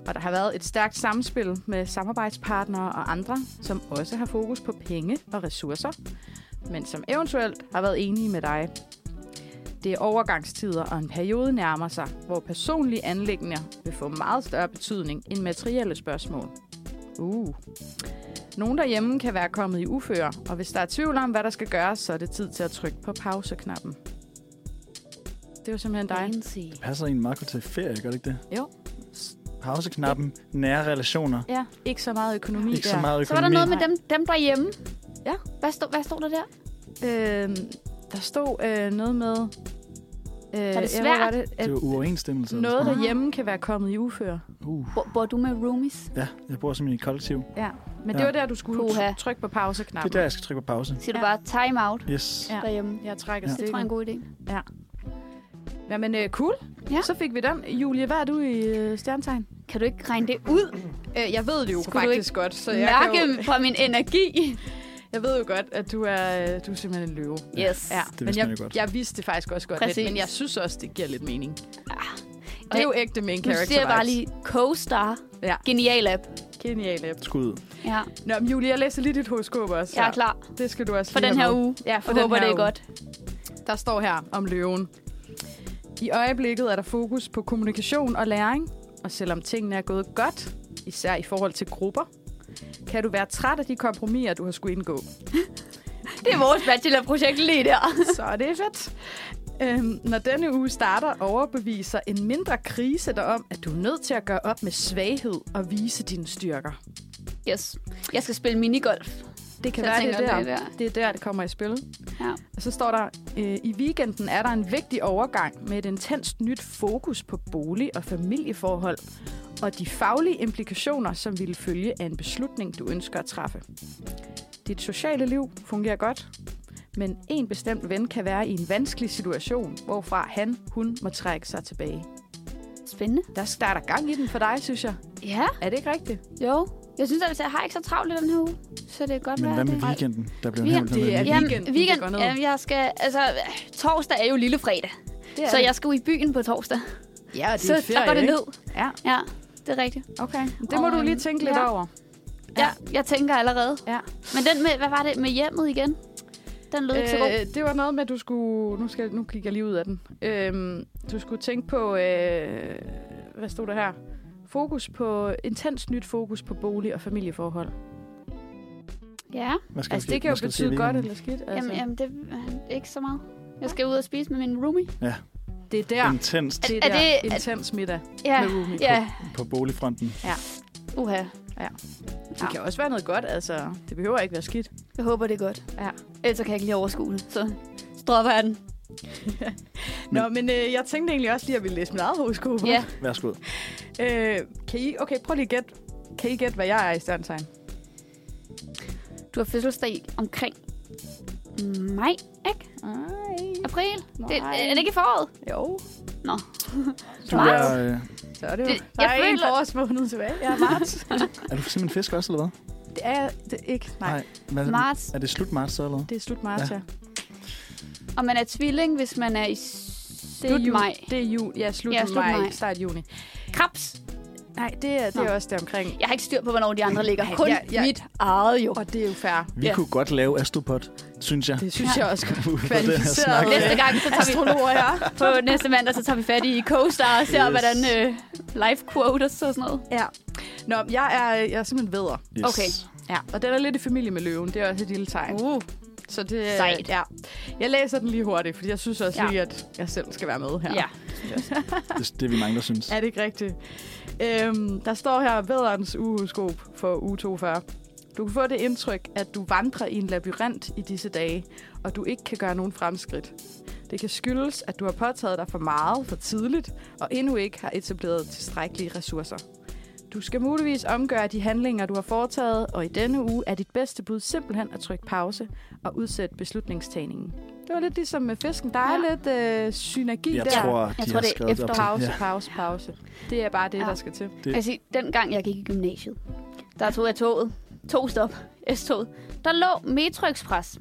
Speaker 3: Og der har været et stærkt samspil med samarbejdspartnere og andre, som også har fokus på penge og ressourcer, men som eventuelt har været enige med dig. Det er overgangstider, og en periode nærmer sig, hvor personlige anlæggende vil få meget større betydning end materielle spørgsmål. Uh. Nogen derhjemme kan være kommet i uføre, og hvis der er tvivl om, hvad der skal gøres, så er det tid til at trykke på pauseknappen. Det var simpelthen dig.
Speaker 4: Fancy.
Speaker 2: Passer en meget godt til ferie, gør det ikke det?
Speaker 3: Jo.
Speaker 2: Pauseknappen, nære relationer.
Speaker 3: Ja, ikke så meget økonomi
Speaker 2: Ikke
Speaker 3: der.
Speaker 2: så meget økonomi.
Speaker 4: Så var der noget med dem, dem derhjemme.
Speaker 3: Ja.
Speaker 4: Hvad stod, hvad stod der der?
Speaker 3: Øhm, der stod øh, noget med... Øh,
Speaker 4: det
Speaker 3: ja, hvad
Speaker 4: svært?
Speaker 3: var det? At
Speaker 2: Det var uoverensstemmelse. eller
Speaker 3: noget
Speaker 2: sådan
Speaker 3: derhjemme kan være kommet i uføre.
Speaker 2: Uh.
Speaker 4: Bor, bor du med roomies?
Speaker 2: Ja, jeg bor simpelthen i et kollektiv.
Speaker 3: Ja. Men det
Speaker 2: Ja.
Speaker 3: var der, du skulle
Speaker 4: Puha.
Speaker 3: Puha. trykke på
Speaker 2: Det
Speaker 3: pauseknappen.
Speaker 2: er der, jeg skal trykke på pause.
Speaker 4: Siger du
Speaker 3: Ja.
Speaker 4: bare time out
Speaker 2: Yes.
Speaker 3: Ja.
Speaker 4: derhjemme?
Speaker 3: Jeg trækker
Speaker 2: Ja.
Speaker 4: Det tror jeg er en
Speaker 3: stikken.
Speaker 4: god idé.
Speaker 3: Ja, men øh, cool.
Speaker 4: Ja.
Speaker 3: Ja. Så fik vi den. Julie, hvad er du i øh, stjernetegn?
Speaker 4: Kan du ikke regne det ud?
Speaker 3: Øh, jeg ved det jo
Speaker 4: Skulle du
Speaker 3: faktisk godt, så jeg,
Speaker 4: Mærke
Speaker 3: kan jo,
Speaker 4: fra min energi.
Speaker 3: jeg ved jo godt, at du er, øh, du er simpelthen en løve.
Speaker 4: Yes.
Speaker 3: Ja,
Speaker 2: det
Speaker 3: men
Speaker 2: vidste
Speaker 3: jeg,
Speaker 2: man jo godt.
Speaker 3: jeg vidste det faktisk også godt lidt,
Speaker 4: Præcis.
Speaker 3: men jeg synes også, det giver lidt mening. Og det er jo ægte main
Speaker 4: Nu
Speaker 3: character
Speaker 4: siger jeg bare
Speaker 3: vibes.
Speaker 4: lige co-star.
Speaker 3: Ja.
Speaker 4: Genial app.
Speaker 3: Genial app.
Speaker 2: Skud.
Speaker 4: Ja,
Speaker 3: Nå, men Julie, jeg læser lige dit horoskop også.
Speaker 4: jeg er klar
Speaker 3: Det skal du også
Speaker 4: for
Speaker 3: lige
Speaker 4: den
Speaker 3: have
Speaker 4: her
Speaker 3: med.
Speaker 4: uge.
Speaker 3: Ja,
Speaker 4: Jeg
Speaker 3: for den
Speaker 4: håber,
Speaker 3: her
Speaker 4: det er
Speaker 3: uge.
Speaker 4: godt.
Speaker 3: Der står her om løven. I øjeblikket er der fokus på kommunikation og læring, og selvom tingene er gået godt, især i forhold til grupper, kan du være træt af de kompromiser, du har skulle indgå.
Speaker 4: Det er vores bachelorprojekt lige der.
Speaker 3: Så er det fedt. Øhm, når denne uge starter, overbeviser en mindre krise dig om, at du er nødt til at gøre op med svaghed og vise dine styrker.
Speaker 4: Yes. Jeg skal spille minigolf.
Speaker 3: Det kan
Speaker 4: Så
Speaker 3: være,
Speaker 4: jeg
Speaker 3: det er,
Speaker 4: tænker,
Speaker 3: der.
Speaker 4: det er der.
Speaker 3: det er der, det kommer i spil.
Speaker 4: Ja.
Speaker 3: Og så står der, øh, i weekenden er der en vigtig overgang med et intenst nyt fokus på bolig- og familieforhold, og de faglige implikationer, som ville følge af en beslutning, du ønsker at træffe. Dit sociale liv fungerer godt, men en bestemt ven kan være i en vanskelig situation, hvorfra han, hun må trække sig tilbage.
Speaker 4: Spændende.
Speaker 3: Der starter gang i den for dig, synes jeg.
Speaker 4: Ja,
Speaker 3: Er det ikke rigtigt?
Speaker 4: jo. Jeg synes, at jeg har ikke så travlt i den her uge, så det er godt
Speaker 2: Men
Speaker 4: være,
Speaker 2: hvad med
Speaker 4: det-
Speaker 2: weekenden? Der blev
Speaker 4: Weekend,
Speaker 2: nævnt noget
Speaker 3: det
Speaker 2: med
Speaker 3: er
Speaker 2: weekend.
Speaker 4: Jamen,
Speaker 3: weekenden, det går
Speaker 4: weekend.
Speaker 3: ned.
Speaker 4: Jamen, jeg skal, altså, øh, torsdag er jo lille fredag,
Speaker 3: det
Speaker 4: så jeg skal ud i byen på torsdag.
Speaker 3: ja, det
Speaker 4: Så
Speaker 3: er ferie,
Speaker 4: går det
Speaker 3: ikke?
Speaker 4: ned.
Speaker 3: Ja,
Speaker 4: Ja, det er rigtigt.
Speaker 3: okay. Det må
Speaker 4: Og,
Speaker 3: du lige
Speaker 4: øhm,
Speaker 3: tænke lidt
Speaker 4: ja.
Speaker 3: over.
Speaker 4: Ja, jeg tænker allerede.
Speaker 3: Ja.
Speaker 4: Men den med, hvad var det, med hjemmet igen? Den lød øh, ikke så god.
Speaker 3: Øh, det var noget med, at du skulle... Nu, skal, nu kigger jeg lige ud af den. Øhm, du skulle tænke på... Øh, hvad stod der her? Fokus på... Intens nyt fokus på bolig- og familieforhold.
Speaker 4: Ja,
Speaker 2: Hvad skal
Speaker 3: Altså,
Speaker 2: der ske?
Speaker 3: det kan
Speaker 2: Hvad
Speaker 3: jo
Speaker 2: skal der ske i
Speaker 3: betyde godt
Speaker 2: weekenden?
Speaker 3: eller skidt. Altså.
Speaker 4: jamen, jamen det er ikke så meget. Jeg skal ud og spise med min roomie.
Speaker 3: Det er der.
Speaker 2: Intenst
Speaker 3: Det er,
Speaker 4: Er
Speaker 3: der
Speaker 4: det- er-
Speaker 3: intens middag
Speaker 4: Ja,
Speaker 3: med roomie.
Speaker 4: ja.
Speaker 2: på boligfronten.
Speaker 4: Uha.
Speaker 3: Det kan også være noget godt, altså. Det behøver ikke være skidt.
Speaker 4: Jeg håber, det er godt.
Speaker 3: Ja.
Speaker 4: Ellers så kan jeg ikke lige overskue det. Så stropper jeg den.
Speaker 3: Nå, men øh, jeg tænkte egentlig også lige, at jeg ville læse mit eget horoskop. op.
Speaker 4: Ja,
Speaker 2: Værsgo.
Speaker 3: Øh, kan I... Okay, prøv lige at gætte. Kan I gætte, hvad jeg er i stjernetegn?
Speaker 4: du har fødselsdag omkring maj, ikke?
Speaker 3: Nej.
Speaker 4: April? Det,
Speaker 3: Nej.
Speaker 4: er det ikke i foråret?
Speaker 3: Jo.
Speaker 4: Nå.
Speaker 2: Du
Speaker 4: What?
Speaker 2: er, øh,
Speaker 3: Så er det jo.
Speaker 4: Det-
Speaker 3: der
Speaker 4: jeg
Speaker 3: er en
Speaker 4: føler-
Speaker 3: forårsmåned tilbage. Jeg er marts.
Speaker 2: er du simpelthen fisk også, eller hvad?
Speaker 3: det er jeg det er ikke. Nej, Nej,
Speaker 2: Hvad,
Speaker 4: Marts.
Speaker 2: Er det slut marts så, eller hvad?
Speaker 3: det er slut marts,
Speaker 2: Ja.
Speaker 3: ja.
Speaker 4: Og man er tvilling, hvis man er i slut maj.
Speaker 3: Det er jul. Ja, slut, ja, slut maj, maj. Start juni.
Speaker 4: Krebs.
Speaker 3: Nej, det er, det
Speaker 4: Nå.
Speaker 3: er også deromkring.
Speaker 4: Jeg har ikke styr på, hvornår de andre ligger.
Speaker 3: Ej,
Speaker 4: Kun
Speaker 3: jeg- jeg-
Speaker 4: mit eget jo.
Speaker 3: Og det er jo fair.
Speaker 2: Vi
Speaker 4: Ja.
Speaker 2: kunne godt lave Astropod, synes jeg.
Speaker 3: Det synes
Speaker 4: Ja.
Speaker 3: jeg også godt.
Speaker 2: Ud fra den her snak.
Speaker 3: Kvalificeret.
Speaker 4: Næste gang, så tager vi
Speaker 3: astrologer, ja.
Speaker 4: på næste mandag, så tager vi fat i co-star og ser,
Speaker 2: Yes.
Speaker 4: yes. hvordan øh, live quotas og sådan noget.
Speaker 3: ja. Nå, men jeg er, jeg er simpelthen vedder.
Speaker 2: Yes.
Speaker 4: Okay.
Speaker 3: Ja. Og den er lidt i familie med løven. Det er også et lille tegn.
Speaker 4: Uh.
Speaker 3: Så det,
Speaker 4: Sejt.
Speaker 3: Ja. Jeg læser den lige hurtigt, fordi jeg synes også
Speaker 4: Ja.
Speaker 3: ja. lige, at jeg selv skal være med her.
Speaker 4: Ja.
Speaker 2: Det er det, vi mange, der synes.
Speaker 3: Er det ikke rigtigt? Øhm, der står her, vederens uhoroskop for uge 42. Du kan få det indtryk, at du vandrer i en labyrint i disse dage, og du ikke kan gøre nogen fremskridt. Det kan skyldes, at du har påtaget dig for meget for tidligt, og endnu ikke har etableret tilstrækkelige ressourcer. Du skal muligvis omgøre de handlinger, du har foretaget, og i denne uge er dit bedste bud simpelthen at trykke pause og udsætte beslutningstagningen. Det var lidt ligesom med fisken. Der er
Speaker 4: Ja.
Speaker 3: lidt øh, synergi
Speaker 2: Jeg
Speaker 3: der.
Speaker 2: tror, de
Speaker 4: Jeg tror,
Speaker 2: har
Speaker 4: det er
Speaker 2: skrevet op til.
Speaker 3: Pause,
Speaker 2: Ja.
Speaker 3: ja. pause, pause. Det er bare det,
Speaker 4: Ja.
Speaker 3: ja. der skal til.
Speaker 2: Det-
Speaker 4: Altså, dengang jeg gik i gymnasiet, der tog jeg toget. To stop. S-toget. Der lå Metro Express.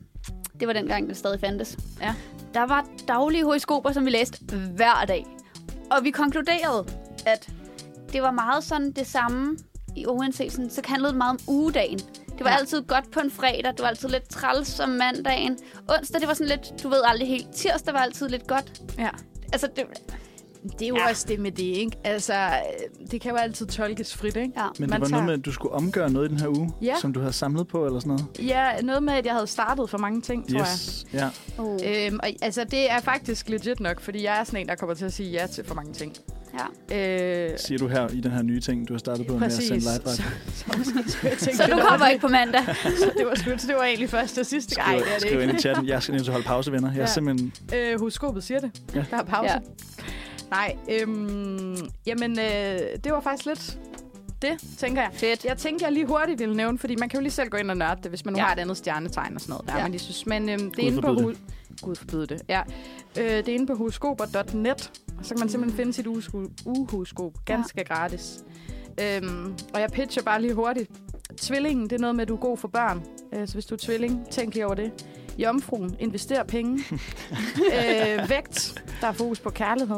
Speaker 4: Det var dengang, det stadig fandtes.
Speaker 3: Ja.
Speaker 4: Der var daglige horoskoper, som vi læste hver dag. Og vi konkluderede, at det var meget sådan det samme i uanset sådan, så handlede det meget om ugedagen. Det var
Speaker 3: Ja.
Speaker 4: altid godt på en fredag, det var altid lidt træls om mandagen. Onsdag, det var sådan lidt, du ved aldrig helt. Tirsdag var altid lidt godt.
Speaker 3: Ja.
Speaker 4: Altså, det,
Speaker 3: Det er jo
Speaker 4: Ja.
Speaker 3: ja. også det med det, ikke? Altså, øh, det kan jo altid tolkes frit, ikke?
Speaker 4: ja.
Speaker 2: Men det
Speaker 3: Man
Speaker 2: var noget
Speaker 3: tager-
Speaker 2: med, at du skulle omgøre noget i den her uge,
Speaker 3: Ja.
Speaker 2: som du havde samlet på, eller sådan noget.
Speaker 3: Ja, noget med, at jeg havde startet for mange ting, tror
Speaker 2: Yes. Ja.
Speaker 4: Uh,
Speaker 3: jeg. Øhm, og, altså, det er faktisk legit nok, fordi jeg er sådan en, der kommer til at sige ja til for mange ting.
Speaker 4: ja.
Speaker 3: Øh,
Speaker 2: Siger du her i den her nye ting, du har startet på med at
Speaker 3: Præcis.
Speaker 2: sende live
Speaker 3: Så- tænkte,
Speaker 4: Så du
Speaker 3: det var-
Speaker 4: kommer ikke på mandag.
Speaker 3: så det var slut. Så det var egentlig første og sidste gang.
Speaker 2: Skriv,
Speaker 3: det er det
Speaker 2: skriv
Speaker 3: ikke.
Speaker 2: ind i chatten. Jeg skal nødt til at holde pause, venner. Jeg er
Speaker 3: Ja.
Speaker 2: simpelthen...
Speaker 3: Øh, horoskopet siger det.
Speaker 2: Ja.
Speaker 3: Ja. Der er pause.
Speaker 4: Ja.
Speaker 3: Ja. Nej, øhm, jamen, øh, det var faktisk lidt det, tænker jeg.
Speaker 4: Fedt.
Speaker 3: Jeg tænkte, jeg lige hurtigt ville nævne, fordi man kan jo lige selv gå ind og nørde det, hvis man nu
Speaker 4: Ja.
Speaker 3: ja. har et andet stjernetegn og sådan noget. Der,
Speaker 4: Ja.
Speaker 3: ja. man lige synes. Men øhm, det
Speaker 2: Gud
Speaker 3: er inde på...
Speaker 2: forbyde
Speaker 3: Hu- Gud forbyde det, ja. Øh, det er inde på horoskoper.net, og så kan man simpelthen finde sit uhusko- uhoroskop ganske ja. gratis. Øhm, og jeg pitcher bare lige hurtigt. Tvillingen, det er noget med, at du er god for børn. Øh, så hvis du er tvilling, tænk lige over det. Jomfruen, invester penge. øh, vægt, der er fokus på kærlighed.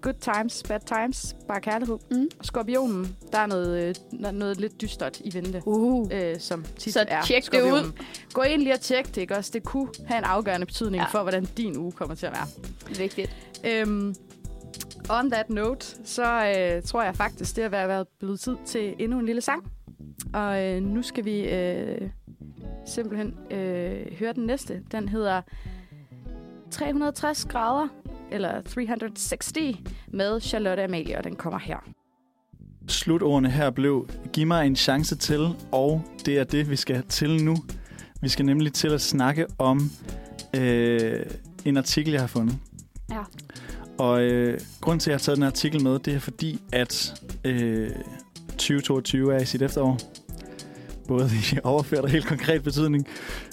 Speaker 3: Good times, bad times, bare kærlighed.
Speaker 4: Mm.
Speaker 3: Skorpionen, der er noget, øh, no- noget lidt dystert i vente,
Speaker 4: Uh.
Speaker 3: øh, som tit
Speaker 4: Så
Speaker 3: er
Speaker 4: tjek det
Speaker 3: Skorpionen.
Speaker 4: ud.
Speaker 3: Gå ind lige og tjek det, ikke også? Det kunne have en afgørende betydning
Speaker 4: Ja.
Speaker 3: ja. for, hvordan din uge kommer til at være.
Speaker 4: Vigtigt.
Speaker 3: Øhm, on that note, så øh, tror jeg faktisk, det har været- været blevet tid til endnu en lille sang. Og øh, nu skal vi øh, simpelthen øh, høre den næste. Den hedder 360 grader eller 360 med Charlotte Amalie, og den kommer her.
Speaker 2: Slutordene her blev, giv mig en chance til, og det er det, vi skal til nu. Vi skal nemlig til at snakke om øh, en artikel, jeg har fundet.
Speaker 4: Ja.
Speaker 2: Og øh, grunden til, at jeg har taget den her artikel med, det er fordi, at øh, 2022 er i sit efterår. Både i overført og helt konkret betydning.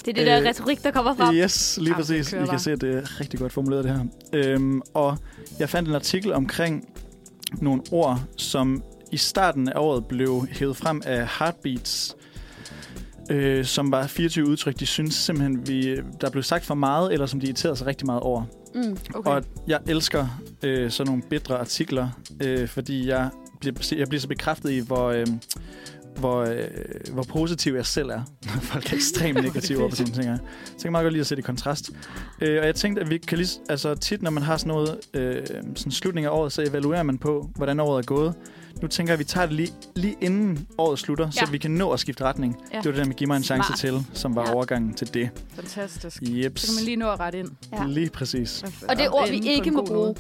Speaker 4: Det er det der
Speaker 2: Øh,
Speaker 4: retorik, der kommer frem.
Speaker 2: Yes, lige
Speaker 3: Ah,
Speaker 2: præcis.
Speaker 3: kører
Speaker 2: I
Speaker 3: bare.
Speaker 2: kan se, at det er rigtig godt formuleret, det her. Øhm, og jeg fandt en artikel omkring nogle ord, som i starten af året blev hævet frem af Heartbeats, øh, som var 24 udtryk, de synes simpelthen, vi, der blev sagt for meget, eller som de irriterede sig rigtig meget over.
Speaker 4: Mm.
Speaker 2: Okay. Og jeg elsker øh, sådan nogle bedre artikler, øh, fordi jeg bliver, jeg bliver så bekræftet i, hvor, øh, hvor, øh, hvor positiv jeg selv er, når folk er ekstremt negative over på sådan nogle ting. her. Så jeg kan meget godt lide at sætte i kontrast. Øh, og jeg tænkte, at vi kan lige... s- Altså tit, når man har sådan noget øh, sådan slutning af året, så evaluerer man på, hvordan året er gået. Nu tænker jeg, at vi tager det lige, lige inden året slutter, ja.
Speaker 4: Ja.
Speaker 2: så vi kan nå at skifte retning.
Speaker 3: Ja.
Speaker 2: Ja. Det var det der med Giv mig en chance
Speaker 4: Smart.
Speaker 2: til, som var
Speaker 4: Ja.
Speaker 2: ja. overgangen til det.
Speaker 3: Fantastisk.
Speaker 2: Jeps.
Speaker 3: Så kan man lige nå at rette ind.
Speaker 4: Ja.
Speaker 2: Lige præcis.
Speaker 4: Og det er ord, vi
Speaker 3: Inde på en
Speaker 4: ikke må
Speaker 3: god
Speaker 4: bruge.
Speaker 3: måde.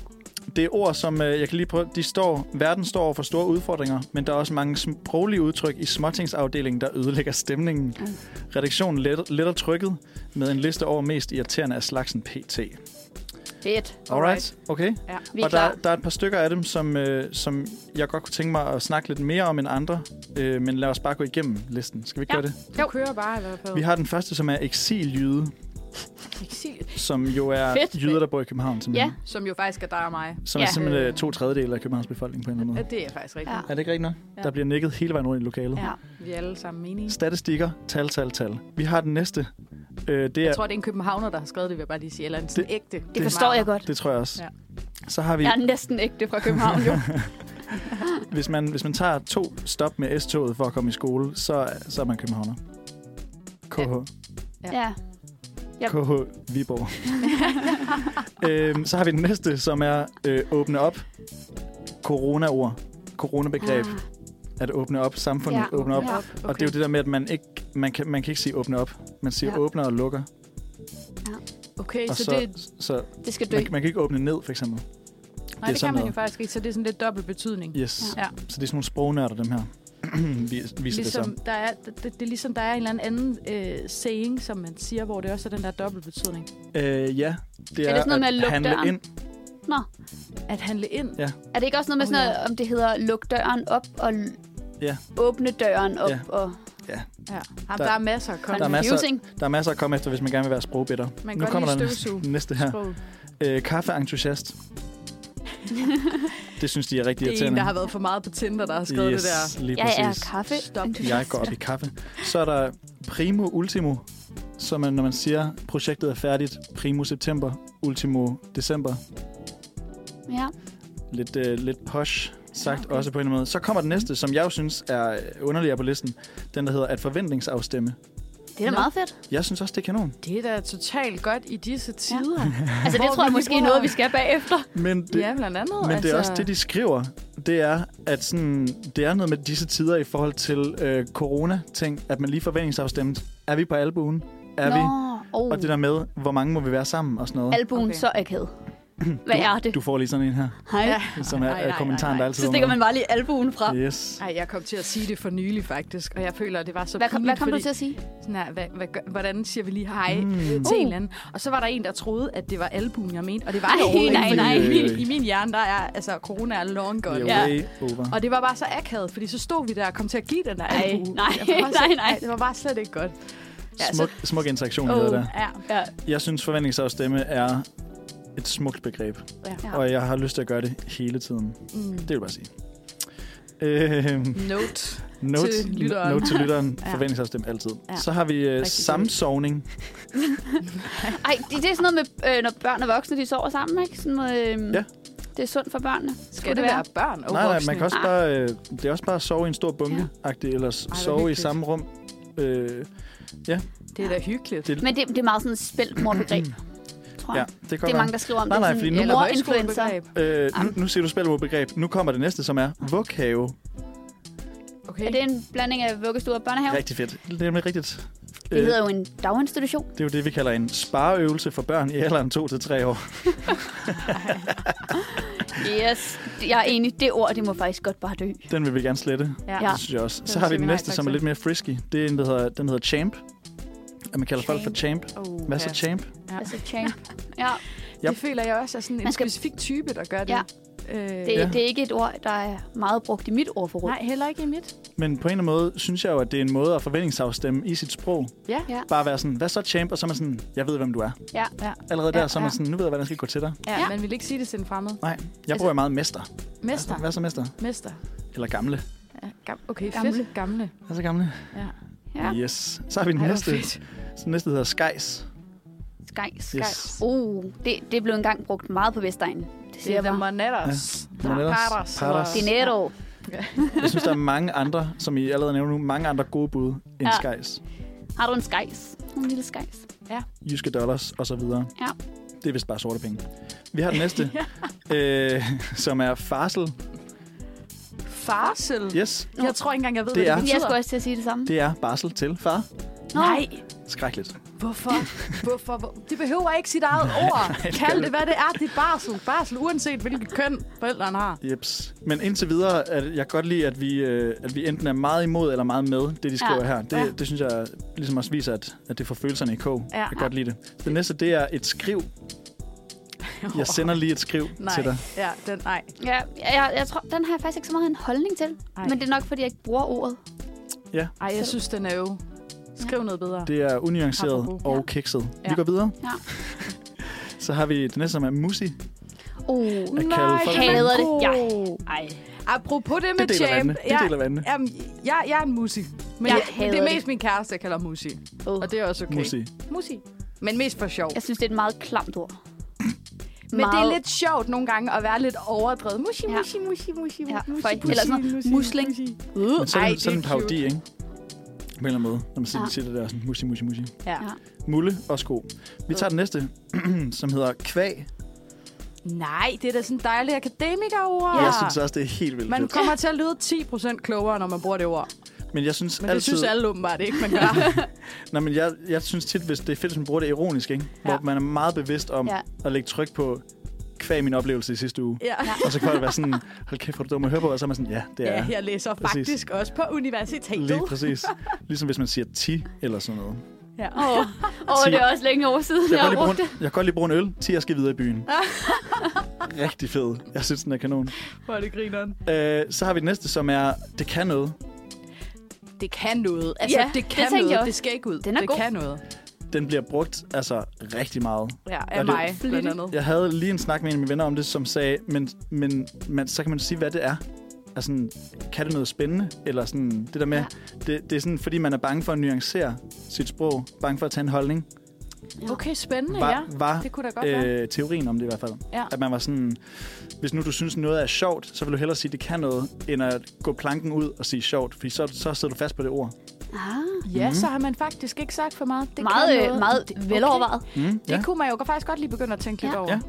Speaker 2: det er ord, som øh, jeg kan lige prøve. De står, verden står over for store udfordringer, men der er også mange sproglige udtryk i småtingsafdelingen, der ødelægger stemningen.
Speaker 4: Mm.
Speaker 2: Redaktionen letter, letter trykket med en liste over mest irriterende af slagsen PT.
Speaker 4: Fedt.
Speaker 2: Alright, okay.
Speaker 4: Vi er
Speaker 2: Og der,
Speaker 4: klar.
Speaker 2: der er et par stykker af dem, som, øh, som jeg godt kunne tænke mig at snakke lidt mere om end andre, øh, men lad os bare gå igennem listen. Skal vi ikke
Speaker 4: Ja.
Speaker 2: gøre det?
Speaker 3: Du kører bare, eller hvad?
Speaker 2: Vi har den første, som er eksiljyde,
Speaker 3: Eksil,
Speaker 2: som jo er
Speaker 4: Fedt.
Speaker 2: jyder, der bor i København, simpelthen,
Speaker 4: Ja.
Speaker 3: som jo faktisk er dig og mig.
Speaker 2: som
Speaker 4: Ja. Øh,
Speaker 2: er simpelthen øh, to tredjedele af Københavns befolkning på en eller anden
Speaker 3: Ja,
Speaker 2: måde.
Speaker 3: det er faktisk rigtigt.
Speaker 4: Ja.
Speaker 2: Er det ikke rigtigt nok?
Speaker 3: Ja.
Speaker 2: Der bliver nikket hele vejen rundt i lokalet.
Speaker 4: Ja.
Speaker 3: Vi er alle sammen enige.
Speaker 2: Statistikker, tal, tal, tal. Vi har den næste. Øh, det, er,
Speaker 3: Jeg tror, det er en københavner, der har skrevet det, vil jeg bare lige sige. Eller en sådan ægte.
Speaker 4: Det forstår jeg godt.
Speaker 2: det tror jeg også.
Speaker 3: Ja.
Speaker 2: Ja. Så har vi,
Speaker 4: Jeg er næsten ægte fra København, jo.
Speaker 2: hvis man, hvis man tager to stop med S-toget for at komme i skole, så, så er man københavner. KH.
Speaker 4: ja. Ja.
Speaker 2: KH Viborg. øhm, så har vi den næste, som er øh, åbne op. Corona-ord. Coronabegreb.
Speaker 4: Ah.
Speaker 2: At åbne op. Samfundet
Speaker 4: Ja.
Speaker 2: ja. åbner op.
Speaker 4: Ja.
Speaker 2: Ja. Okay. Og det er jo det der med, at man ikke man kan, man kan ikke sige åbne op. Man siger
Speaker 3: Ja.
Speaker 2: ja. åbner og lukker.
Speaker 3: Okay,
Speaker 2: Og
Speaker 3: så,
Speaker 2: så,
Speaker 3: så det,
Speaker 2: så, så
Speaker 4: Det skal dø.
Speaker 2: man, man kan ikke åbne ned, for eksempel.
Speaker 3: nej, det, det kan
Speaker 2: sådan
Speaker 3: man jo
Speaker 2: noget.
Speaker 3: faktisk ikke. Så det er sådan lidt dobbelt betydning.
Speaker 2: Yes.
Speaker 3: Ja.
Speaker 2: Ja. Så det er sådan nogle sprognørder, dem her. Vi- Viser ligesom...
Speaker 3: Ligesom
Speaker 2: det
Speaker 3: der er, det, det, det er ligesom, der er en eller anden øh, saying, som man siger, hvor det også er den der dobbelt betydning.
Speaker 2: så. Øh, ja, det er,
Speaker 4: sådan noget med at lukke
Speaker 2: handle
Speaker 4: døren?
Speaker 2: ind.
Speaker 4: Nå.
Speaker 3: At handle ind.
Speaker 2: Ja.
Speaker 4: Er det ikke også noget med
Speaker 3: Åh,
Speaker 4: sådan noget, om det hedder luk døren op og l-
Speaker 2: Ja.
Speaker 4: åbne døren op?
Speaker 2: Ja.
Speaker 4: Og
Speaker 3: ja. Jamen, der,
Speaker 2: Der-
Speaker 3: er masser af
Speaker 2: Der er
Speaker 3: konflikt.
Speaker 2: masser-
Speaker 4: confusing?
Speaker 2: Der er masser at komme efter, hvis man gerne vil være sprogbitter.
Speaker 3: Man kan
Speaker 2: nu
Speaker 3: godt
Speaker 2: kommer der
Speaker 3: lige støvsuge.
Speaker 2: næste, næste her.
Speaker 3: Sprog.
Speaker 2: Øh, kaffeentusiast. det synes de er rigtig
Speaker 3: Det er en,
Speaker 2: irriterende.
Speaker 3: der har været for meget på Tinder, der har skrevet
Speaker 2: yes,
Speaker 3: det der.
Speaker 2: lige
Speaker 4: Jeg er
Speaker 2: præcis.
Speaker 4: kaffe.
Speaker 3: Stop.
Speaker 2: Jeg går op i kaffe. Så er der primo ultimo, som er, når man siger, projektet er færdigt primo september, ultimo december.
Speaker 4: Ja.
Speaker 2: lidt, øh, lidt posh sagt,
Speaker 4: Okay.
Speaker 2: okay. også på en eller anden måde. Så kommer den næste, som jeg jo synes er underligere på listen. Den, der hedder at forventningsafstemme.
Speaker 4: Det er da
Speaker 3: Nå.
Speaker 4: meget fedt.
Speaker 2: Jeg synes også, det er kanon.
Speaker 3: Det er da totalt godt i disse tider. Ja,
Speaker 4: Altså, det
Speaker 3: Hvor
Speaker 4: tror jeg
Speaker 3: vi
Speaker 4: måske er
Speaker 3: bruger-
Speaker 4: noget, vi skal bagefter.
Speaker 2: Men det,
Speaker 3: ja blandt andet.
Speaker 2: men altså... det er også det, de skriver. Det er, at sådan, det er noget med disse tider i forhold til øh, corona-ting, at man lige forventningsafstemt. Er vi på albuen? Er
Speaker 4: Nå.
Speaker 2: vi?
Speaker 4: Oh.
Speaker 2: Og det der med, hvor mange må vi være sammen og sådan noget.
Speaker 4: Albuen
Speaker 3: Okay.
Speaker 4: så akavet. Hvad er det?
Speaker 2: Du får lige sådan en her,
Speaker 4: Hej.
Speaker 3: Ja.
Speaker 2: som er
Speaker 3: Ej, nej,
Speaker 2: nej, kommentaren,
Speaker 3: nej, nej.
Speaker 2: der altid
Speaker 4: Så
Speaker 2: er
Speaker 4: stikker
Speaker 2: med.
Speaker 4: man bare lige albuen fra.
Speaker 2: Yes.
Speaker 3: Ej, jeg kom til at sige det for nylig faktisk, og jeg føler, at det var så
Speaker 4: Hvad, kom,
Speaker 3: pinligt,
Speaker 4: hvad kom du
Speaker 3: fordi,
Speaker 4: til at sige?
Speaker 3: Sådan her, hvad, hvad, gør- hvordan siger vi lige hej mm.
Speaker 2: Mm.
Speaker 3: til
Speaker 4: Uh.
Speaker 3: en eller anden? Og så var der en, der troede, at det var albuen, jeg mente, og det var
Speaker 4: Ej,
Speaker 3: det overhovedet
Speaker 4: nej,
Speaker 3: ikke, fordi øh,
Speaker 4: nej.
Speaker 3: I, min, i min hjerne, der er, altså, corona er long gone.
Speaker 2: You're
Speaker 4: Ja.
Speaker 2: way over.
Speaker 3: Og det var bare så akavet, fordi så stod vi der og kom til at give den der
Speaker 4: Ej,
Speaker 3: albue.
Speaker 4: nej,
Speaker 3: Jeg var bare så-
Speaker 4: nej, nej.
Speaker 3: Ej, Det var bare slet ikke godt. Ja,
Speaker 2: Smuk, smuk interaktion,
Speaker 4: Oh.
Speaker 2: oh. der.
Speaker 3: ja,
Speaker 4: Ja.
Speaker 2: Jeg synes, forventningsafstemme er et smukt begreb,
Speaker 4: Ja.
Speaker 3: ja.
Speaker 2: og jeg har lyst til at gøre det hele tiden.
Speaker 3: Mm.
Speaker 2: Det vil jeg bare sige. Øh,
Speaker 3: Note.
Speaker 2: note,
Speaker 3: Til lytteren.
Speaker 2: note til lytteren.
Speaker 3: Ja.
Speaker 2: Forventningsafstemme altid.
Speaker 3: Ja.
Speaker 2: Ja. Så har vi øh,
Speaker 3: Rigtig
Speaker 2: samsovning.
Speaker 4: Ej, det, det er sådan noget med, øh, når børn og voksne, de sover sammen, ikke? Sådan noget, øh,
Speaker 2: Ja.
Speaker 4: Det er sundt for børnene.
Speaker 3: Skal det være børn og
Speaker 2: nej, nej, man
Speaker 3: voksne?
Speaker 2: kan også
Speaker 4: Ah.
Speaker 2: bare, øh, det er også bare at sove i en stor bunke, ja. eller
Speaker 3: hvor
Speaker 2: sove i
Speaker 3: hyggeligt.
Speaker 2: samme rum. Øh,
Speaker 3: Det er da hyggeligt.
Speaker 2: det,
Speaker 4: Men det, det er meget sådan et spælt mordbegreb, tror
Speaker 2: ja,
Speaker 4: jeg.
Speaker 2: det
Speaker 4: Det
Speaker 2: kommer.
Speaker 4: er mange, der skriver om
Speaker 2: Nej,
Speaker 4: det.
Speaker 2: nej,
Speaker 4: sådan, øh,
Speaker 2: fordi nu-
Speaker 4: eller mor-influencer.
Speaker 3: højskolebegreb.
Speaker 2: Øh, nu, nu siger du spil mod begreb. Nu kommer det næste, som er vughave.
Speaker 3: Okay.
Speaker 4: Er det en blanding af vuggestue og børnehave?
Speaker 2: Rigtig fedt. Det er nemlig rigtigt. Øh,
Speaker 4: Det hedder jo en daginstitution.
Speaker 2: Det er jo det, vi kalder en spareøvelse for børn i alderen 2-3 år.
Speaker 4: Yes. Jeg er enig. Det ord, det må faktisk godt bare dø.
Speaker 2: Den vil vi gerne slette.
Speaker 3: Ja.
Speaker 4: Ja.
Speaker 2: Det synes jeg også.
Speaker 3: Den
Speaker 2: Så har vi
Speaker 3: siger vi
Speaker 2: den
Speaker 3: nej
Speaker 2: næste,
Speaker 3: tak
Speaker 2: som er
Speaker 3: til.
Speaker 2: lidt mere frisky. Det er en, der hedder, den hedder champ. At man kalder folk for champ.
Speaker 3: Oh,
Speaker 2: Hvad så champ?
Speaker 3: Ja.
Speaker 4: Altså champ. Ja,
Speaker 3: Yep.
Speaker 2: Yep.
Speaker 3: Det føler jeg også er sådan en
Speaker 4: Man skal-
Speaker 3: specifik type, der gør det.
Speaker 4: Ja.
Speaker 3: Øh,
Speaker 4: det,
Speaker 2: Ja.
Speaker 4: ja. det er ikke et ord, der er meget brugt i mit ordforråd.
Speaker 3: Nej, heller ikke i mit.
Speaker 2: Men på en eller anden måde synes jeg jo, at det er en måde at forventningsafstemme i sit sprog.
Speaker 3: Ja.
Speaker 4: Ja.
Speaker 2: Bare være sådan, hvad så champ? Og så er man sådan, jeg ved, hvem du er.
Speaker 4: Ja.
Speaker 3: Ja.
Speaker 2: Allerede der,
Speaker 3: Ja,
Speaker 2: så er man
Speaker 3: ja.
Speaker 2: sådan, nu ved jeg, hvordan jeg skal gå til dig.
Speaker 3: Ja,
Speaker 4: Ja.
Speaker 3: ja, man vil ikke sige det til en fremmed.
Speaker 2: Nej, jeg
Speaker 3: Altså-
Speaker 2: bruger jo meget mester.
Speaker 3: Mester.
Speaker 2: Altså, Hvad så mester?
Speaker 3: Mester.
Speaker 2: Eller gamle.
Speaker 3: Ja. Gam- okay,
Speaker 4: Gamle.
Speaker 3: fedt. Gamle.
Speaker 2: Hvad så gamle?
Speaker 3: Ja.
Speaker 4: Ja.
Speaker 2: Yes. Så har vi den
Speaker 3: Ej, hvor
Speaker 2: næste.
Speaker 3: fedt.
Speaker 2: Så den næste hedder skejs.
Speaker 4: Sky. Sky.
Speaker 2: Yes.
Speaker 4: Uh, det, det blev engang brugt meget på Vestegnen. Det
Speaker 3: Det
Speaker 4: siger
Speaker 3: er
Speaker 4: jeg
Speaker 3: The
Speaker 4: bare.
Speaker 3: Monedas.
Speaker 2: Ja. Monedas.
Speaker 3: Pardas.
Speaker 2: Pardas.
Speaker 3: Eller-
Speaker 4: Dinero.
Speaker 2: Jeg synes, der er mange andre, som I allerede nævner nu, mange andre gode bud end ja.
Speaker 4: Ja.
Speaker 2: skejs.
Speaker 4: Har du en skejs? En lille skejs.
Speaker 2: Jyske dollars og så videre.
Speaker 4: Ja.
Speaker 2: Det er vist bare sorte penge. Vi har den næste, øh, som er farsel.
Speaker 3: Farsel.
Speaker 2: Yes,
Speaker 3: Jeg tror ikke engang, jeg ved,
Speaker 2: Det
Speaker 3: hvad
Speaker 2: er-
Speaker 3: det
Speaker 4: Jeg skulle
Speaker 3: betyder.
Speaker 4: også til at sige det samme.
Speaker 2: det er barsel til far.
Speaker 4: Nå.
Speaker 3: Nej,
Speaker 2: Skrækkeligt.
Speaker 3: hvorfor? hvorfor? Hvor... Det behøver ikke sit eget ord. Kald det, hvad det er. Det er barsel. Barsel, uanset hvilket køn forældrene har.
Speaker 2: Jeps. Men indtil videre, at jeg kan godt lide, at vi, øh, at vi enten er meget imod eller meget med det, de skriver ja.
Speaker 4: Ja.
Speaker 2: her. Det, ja.
Speaker 3: Ja.
Speaker 2: det synes jeg ligesom også viser, at, at det får følelserne i kog.
Speaker 3: Ja.
Speaker 2: Jeg kan godt lide det. Det næste, det er et skriv. Jeg sender lige et skriv
Speaker 3: Nej,
Speaker 2: til dig.
Speaker 3: ja, den, nej.
Speaker 4: Ja, jeg, jeg tror, den har jeg faktisk ikke så meget en holdning til.
Speaker 3: Ej.
Speaker 4: Ej. Men det er nok, fordi jeg ikke bruger ordet.
Speaker 3: Ej, jeg synes, den er jo. Skriv noget bedre.
Speaker 2: Det er unuanceret
Speaker 3: Apropos.
Speaker 2: og
Speaker 4: Ja.
Speaker 2: kikset. Ja. Vi
Speaker 3: Ja.
Speaker 2: går videre.
Speaker 4: Ja.
Speaker 2: Så har vi det næste, som er musi.
Speaker 3: Oh.
Speaker 4: Uh,
Speaker 2: at
Speaker 3: Nej,
Speaker 2: kalde folk-
Speaker 4: hader det. Ja.
Speaker 3: Åh.
Speaker 4: Ej.
Speaker 3: Apropos det med
Speaker 2: Det deler
Speaker 3: champ.
Speaker 2: vandene. Det deler vandene.
Speaker 3: Jamen, jeg, jeg er en musi. Men
Speaker 4: Jeg
Speaker 3: jeg, jeg det
Speaker 4: hader
Speaker 3: er
Speaker 4: det.
Speaker 3: mest min kæreste, jeg kalder musi.
Speaker 4: Uh.
Speaker 3: Og det er også okay.
Speaker 2: Musi.
Speaker 3: Musi. Men mest for sjov.
Speaker 4: Jeg synes, det er et meget klamt ord.
Speaker 3: Men det er lidt sjovt nogle gange at være lidt overdrevet. Musi,
Speaker 4: Ja.
Speaker 3: musi, musi, musi,
Speaker 4: Ja,
Speaker 3: musi,
Speaker 4: for- eller sådan noget musling. Uh,
Speaker 2: Men sådan,
Speaker 3: Ej,
Speaker 2: Ej,
Speaker 3: det
Speaker 2: sådan
Speaker 3: er
Speaker 2: en parodi,
Speaker 3: cute.
Speaker 2: ikke? På en eller anden måde, når man siger,
Speaker 4: Ja.
Speaker 2: ja. siger det der sådan, musi, musi, musi.
Speaker 3: Ja.
Speaker 4: Ja.
Speaker 2: Mulle og sko. Vi tager den næste, som hedder kvæg.
Speaker 3: Nej, det er da sådan dejlige akademikerord.
Speaker 2: Jeg synes også, det er helt vildt
Speaker 3: man
Speaker 2: fedt.
Speaker 3: kommer til at lyde 10% klogere, når man bruger det ord. Men
Speaker 2: Men jeg synes
Speaker 3: det
Speaker 2: altid...
Speaker 3: synes alle åbenbart ikke, man gør.
Speaker 2: Nej, men jeg, jeg synes tit, hvis det er fedt, hvis man bruger det ironisk, ikke? Hvor
Speaker 3: Ja.
Speaker 2: man er meget bevidst om ja.
Speaker 4: Ja.
Speaker 2: at lægge tryk på kvæg min oplevelse i sidste uge.
Speaker 3: ja.
Speaker 2: Og så kan det være sådan, hold kæft, hvor er du dum at høre på, og så er man sådan, ja, det er
Speaker 3: ja,
Speaker 2: jeg.
Speaker 3: jeg læser
Speaker 2: Præcis.
Speaker 3: faktisk også på universitetet.
Speaker 2: Lige præcis. Ligesom hvis man siger ti eller sådan noget.
Speaker 3: Ja.
Speaker 4: Åh, oh,
Speaker 2: Ti.
Speaker 4: det er også længe over siden,
Speaker 2: Jeg
Speaker 4: jeg
Speaker 2: kan,
Speaker 4: har
Speaker 2: godt
Speaker 4: brugt
Speaker 2: lide
Speaker 4: det.
Speaker 2: bruge en, jeg kan godt lige bruge en øl, til jeg skal videre i byen. Rigtig fed. Jeg synes, den er kanon.
Speaker 3: Hvor er det grineren.
Speaker 2: Øh, så har vi det næste, som er, det kan noget.
Speaker 3: Det kan noget. Altså,
Speaker 4: Ja,
Speaker 3: ja, det
Speaker 4: det
Speaker 3: kan
Speaker 4: tænkte jeg
Speaker 3: noget.
Speaker 4: også.
Speaker 3: Det skal ikke ud.
Speaker 4: Den er
Speaker 3: det
Speaker 4: god.
Speaker 3: kan noget.
Speaker 2: Den bliver brugt altså rigtig meget.
Speaker 3: Ja,
Speaker 2: er
Speaker 3: af
Speaker 2: det-
Speaker 3: mig, blandt andet.
Speaker 2: Jeg havde lige en snak med en af mine venner om det, som sagde, men, men man, så kan man sige, hvad det er. Altså, sådan, kan det noget spændende? Eller sådan, det der med, ja.
Speaker 4: Ja.
Speaker 2: det, det er sådan, fordi man er bange for at nuancere sit sprog, bange for at tage en holdning,
Speaker 3: Okay, spændende, ja.
Speaker 2: var, var
Speaker 3: Det kunne da godt være.
Speaker 2: øh, teorien om det i hvert fald.
Speaker 3: Ja.
Speaker 2: At man var sådan, hvis nu du synes noget er sjovt, så vil du hellere sige, det kan noget, end at gå planken ud og sige sjovt, fordi så, så sidder du fast på det ord.
Speaker 4: Ah,
Speaker 3: Ja,
Speaker 2: mm-hmm.
Speaker 3: så har man faktisk ikke sagt for meget. Det
Speaker 4: meget,
Speaker 3: kan
Speaker 4: øh,
Speaker 3: noget.
Speaker 4: meget
Speaker 3: Det-
Speaker 4: velovervejet.
Speaker 2: Mm,
Speaker 3: Det kunne man jo faktisk godt lige begynde at tænke lidt
Speaker 4: Ja.
Speaker 3: over.
Speaker 2: Ja.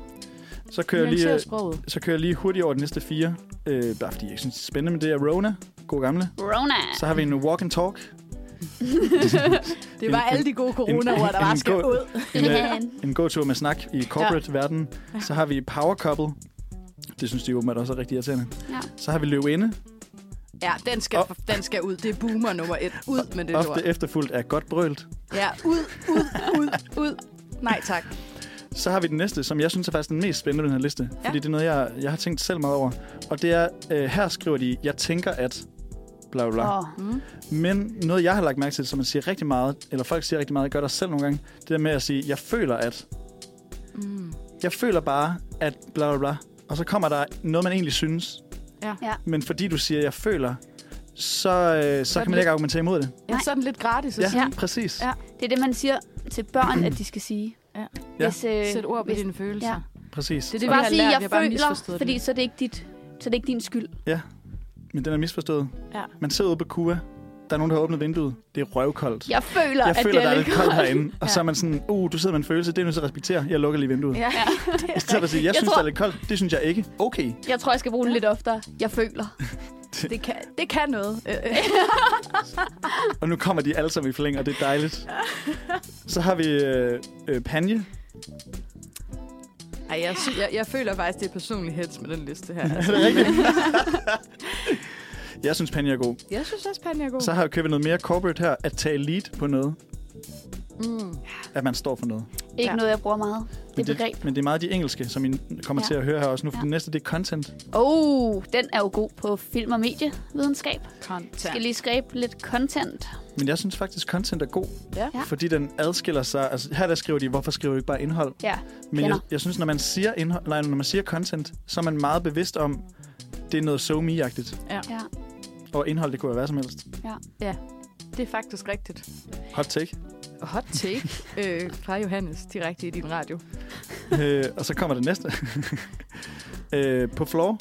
Speaker 2: Så kører jeg lige,
Speaker 3: Nuancere
Speaker 2: øh,
Speaker 3: sproget.
Speaker 2: så kører jeg lige hurtigt over de næste fire, øh, bare fordi jeg synes, det er spændende, men det er Rona, god gamle.
Speaker 4: Rona.
Speaker 2: Så har vi en walk and talk.
Speaker 3: Det var
Speaker 2: en-
Speaker 3: alle de gode corona-ord, der
Speaker 2: en-
Speaker 3: bare
Speaker 2: en
Speaker 3: skal
Speaker 2: god-
Speaker 3: ud.
Speaker 2: En,
Speaker 4: Ja.
Speaker 2: øh, en god tur med snak i corporate-verden. Så har vi power couple. Det synes de åbenbart også er rigtig irriterende.
Speaker 4: Ja.
Speaker 2: Så har vi løvinde.
Speaker 3: Ja, den skal,
Speaker 2: Og-
Speaker 3: den skal ud. Det er boomer nummer et. Ud med det ord.
Speaker 2: Ofte efterfulgt af godt brølt.
Speaker 3: Ja, ud, ud, ud, ud. Nej, tak.
Speaker 2: Så har vi den næste, som jeg synes er faktisk den mest spændende på den her liste. Ja.
Speaker 3: Ja.
Speaker 2: Fordi det er noget, jeg, jeg har tænkt selv meget over. Og det er, øh, her skriver de, jeg tænker at... Bla, bla, bla.
Speaker 4: Åh,
Speaker 2: Men noget, jeg har lagt mærke til, som man siger rigtig meget, eller folk siger rigtig meget, jeg gør det også selv nogle gange, det der med at sige, jeg føler at... Mm. Jeg føler bare, at bla bla bla. Og så kommer der noget, man egentlig synes.
Speaker 3: Ja.
Speaker 4: Ja.
Speaker 2: Men fordi du siger, jeg føler, så, øh, så kan
Speaker 3: er det
Speaker 2: man ikke argumentere imod det.
Speaker 3: Ja,
Speaker 4: Nej.
Speaker 3: sådan lidt gratis at øh,
Speaker 2: Ja,
Speaker 3: sige.
Speaker 2: ja. præcis.
Speaker 3: Ja.
Speaker 2: Ja.
Speaker 4: Det er det, man siger til børn, at de skal sige.
Speaker 3: Ja.
Speaker 2: Ja.
Speaker 4: Hvis, øh,
Speaker 3: Sæt ord på
Speaker 4: hvis,
Speaker 3: dine følelser.
Speaker 4: ja.
Speaker 2: præcis.
Speaker 3: Det er
Speaker 2: Det,
Speaker 3: det,
Speaker 4: det,
Speaker 3: vi har
Speaker 4: bare sige,
Speaker 3: lært.
Speaker 4: jeg,
Speaker 3: vi har
Speaker 4: jeg
Speaker 3: bare
Speaker 4: føler,
Speaker 3: misforstået
Speaker 4: fordi
Speaker 3: det.
Speaker 4: så er det ikke dit, så er det ikke din skyld.
Speaker 2: ja. Men den er misforstået.
Speaker 3: Ja.
Speaker 2: Man sidder ude på Cuba. Der er nogen, der har åbnet vinduet. Det er røvkoldt.
Speaker 4: Jeg føler,
Speaker 2: Jeg
Speaker 4: at
Speaker 2: føler,
Speaker 4: det
Speaker 2: der
Speaker 4: er
Speaker 2: er lidt
Speaker 4: lidt
Speaker 2: koldt herinde. Og
Speaker 3: Ja.
Speaker 2: så er man sådan, uh, du sidder med en følelse. Det er jeg nødt til at respektere. Jeg lukker lige vinduet.
Speaker 3: Ja. ja.
Speaker 2: I stedet for at sige, jeg, jeg
Speaker 4: Jeg
Speaker 2: synes,
Speaker 4: tror-
Speaker 2: det er lidt koldt. Det synes jeg ikke. Okay.
Speaker 4: Jeg tror, jeg skal bruge den lidt oftere. Jeg føler.
Speaker 3: Det kan, det kan noget. Øh, øh.
Speaker 2: Og nu kommer de alle sammen i flæng, og det er dejligt. Så har vi øh, øh, Panje.
Speaker 3: Ej, jeg, sy- jeg, jeg føler faktisk, det er personlig hets med den liste her.
Speaker 2: Er
Speaker 3: Altså.
Speaker 2: det rigtigt? jeg synes, Panje er god.
Speaker 3: Jeg synes også, Panja er god.
Speaker 2: Så har jeg købt noget mere corporate her. At tage lead på noget.
Speaker 3: Mm.
Speaker 2: At man står for noget.
Speaker 4: Ikke
Speaker 3: Ja.
Speaker 4: noget, jeg bruger meget.
Speaker 2: Men
Speaker 4: Det er begreb.
Speaker 2: det, men det er meget de engelske, som I kommer
Speaker 4: Ja.
Speaker 2: til at høre her også nu. For
Speaker 4: Ja.
Speaker 2: det næste, det er content.
Speaker 4: Oh, den er jo god på film- og medievidenskab. Skal
Speaker 3: Content.
Speaker 4: lige skabe lidt content.
Speaker 2: Men jeg synes faktisk, content er god.
Speaker 3: Ja.
Speaker 4: Ja.
Speaker 2: Fordi den adskiller sig. Altså, her der skriver de, hvorfor skriver du ikke bare indhold?
Speaker 4: Ja,
Speaker 2: Men
Speaker 4: Kender.
Speaker 2: jeg, jeg synes, når man, siger indhold, nej, når man siger content, så er man meget bevidst om, det er noget so me -agtigt.
Speaker 4: ja.
Speaker 2: Og indhold, det kunne være hvad som helst.
Speaker 3: Det er faktisk rigtigt.
Speaker 2: Hot take.
Speaker 3: Hot take øh, fra Johannes direkte i din radio.
Speaker 2: øh, og så kommer det næste. øh, på floor.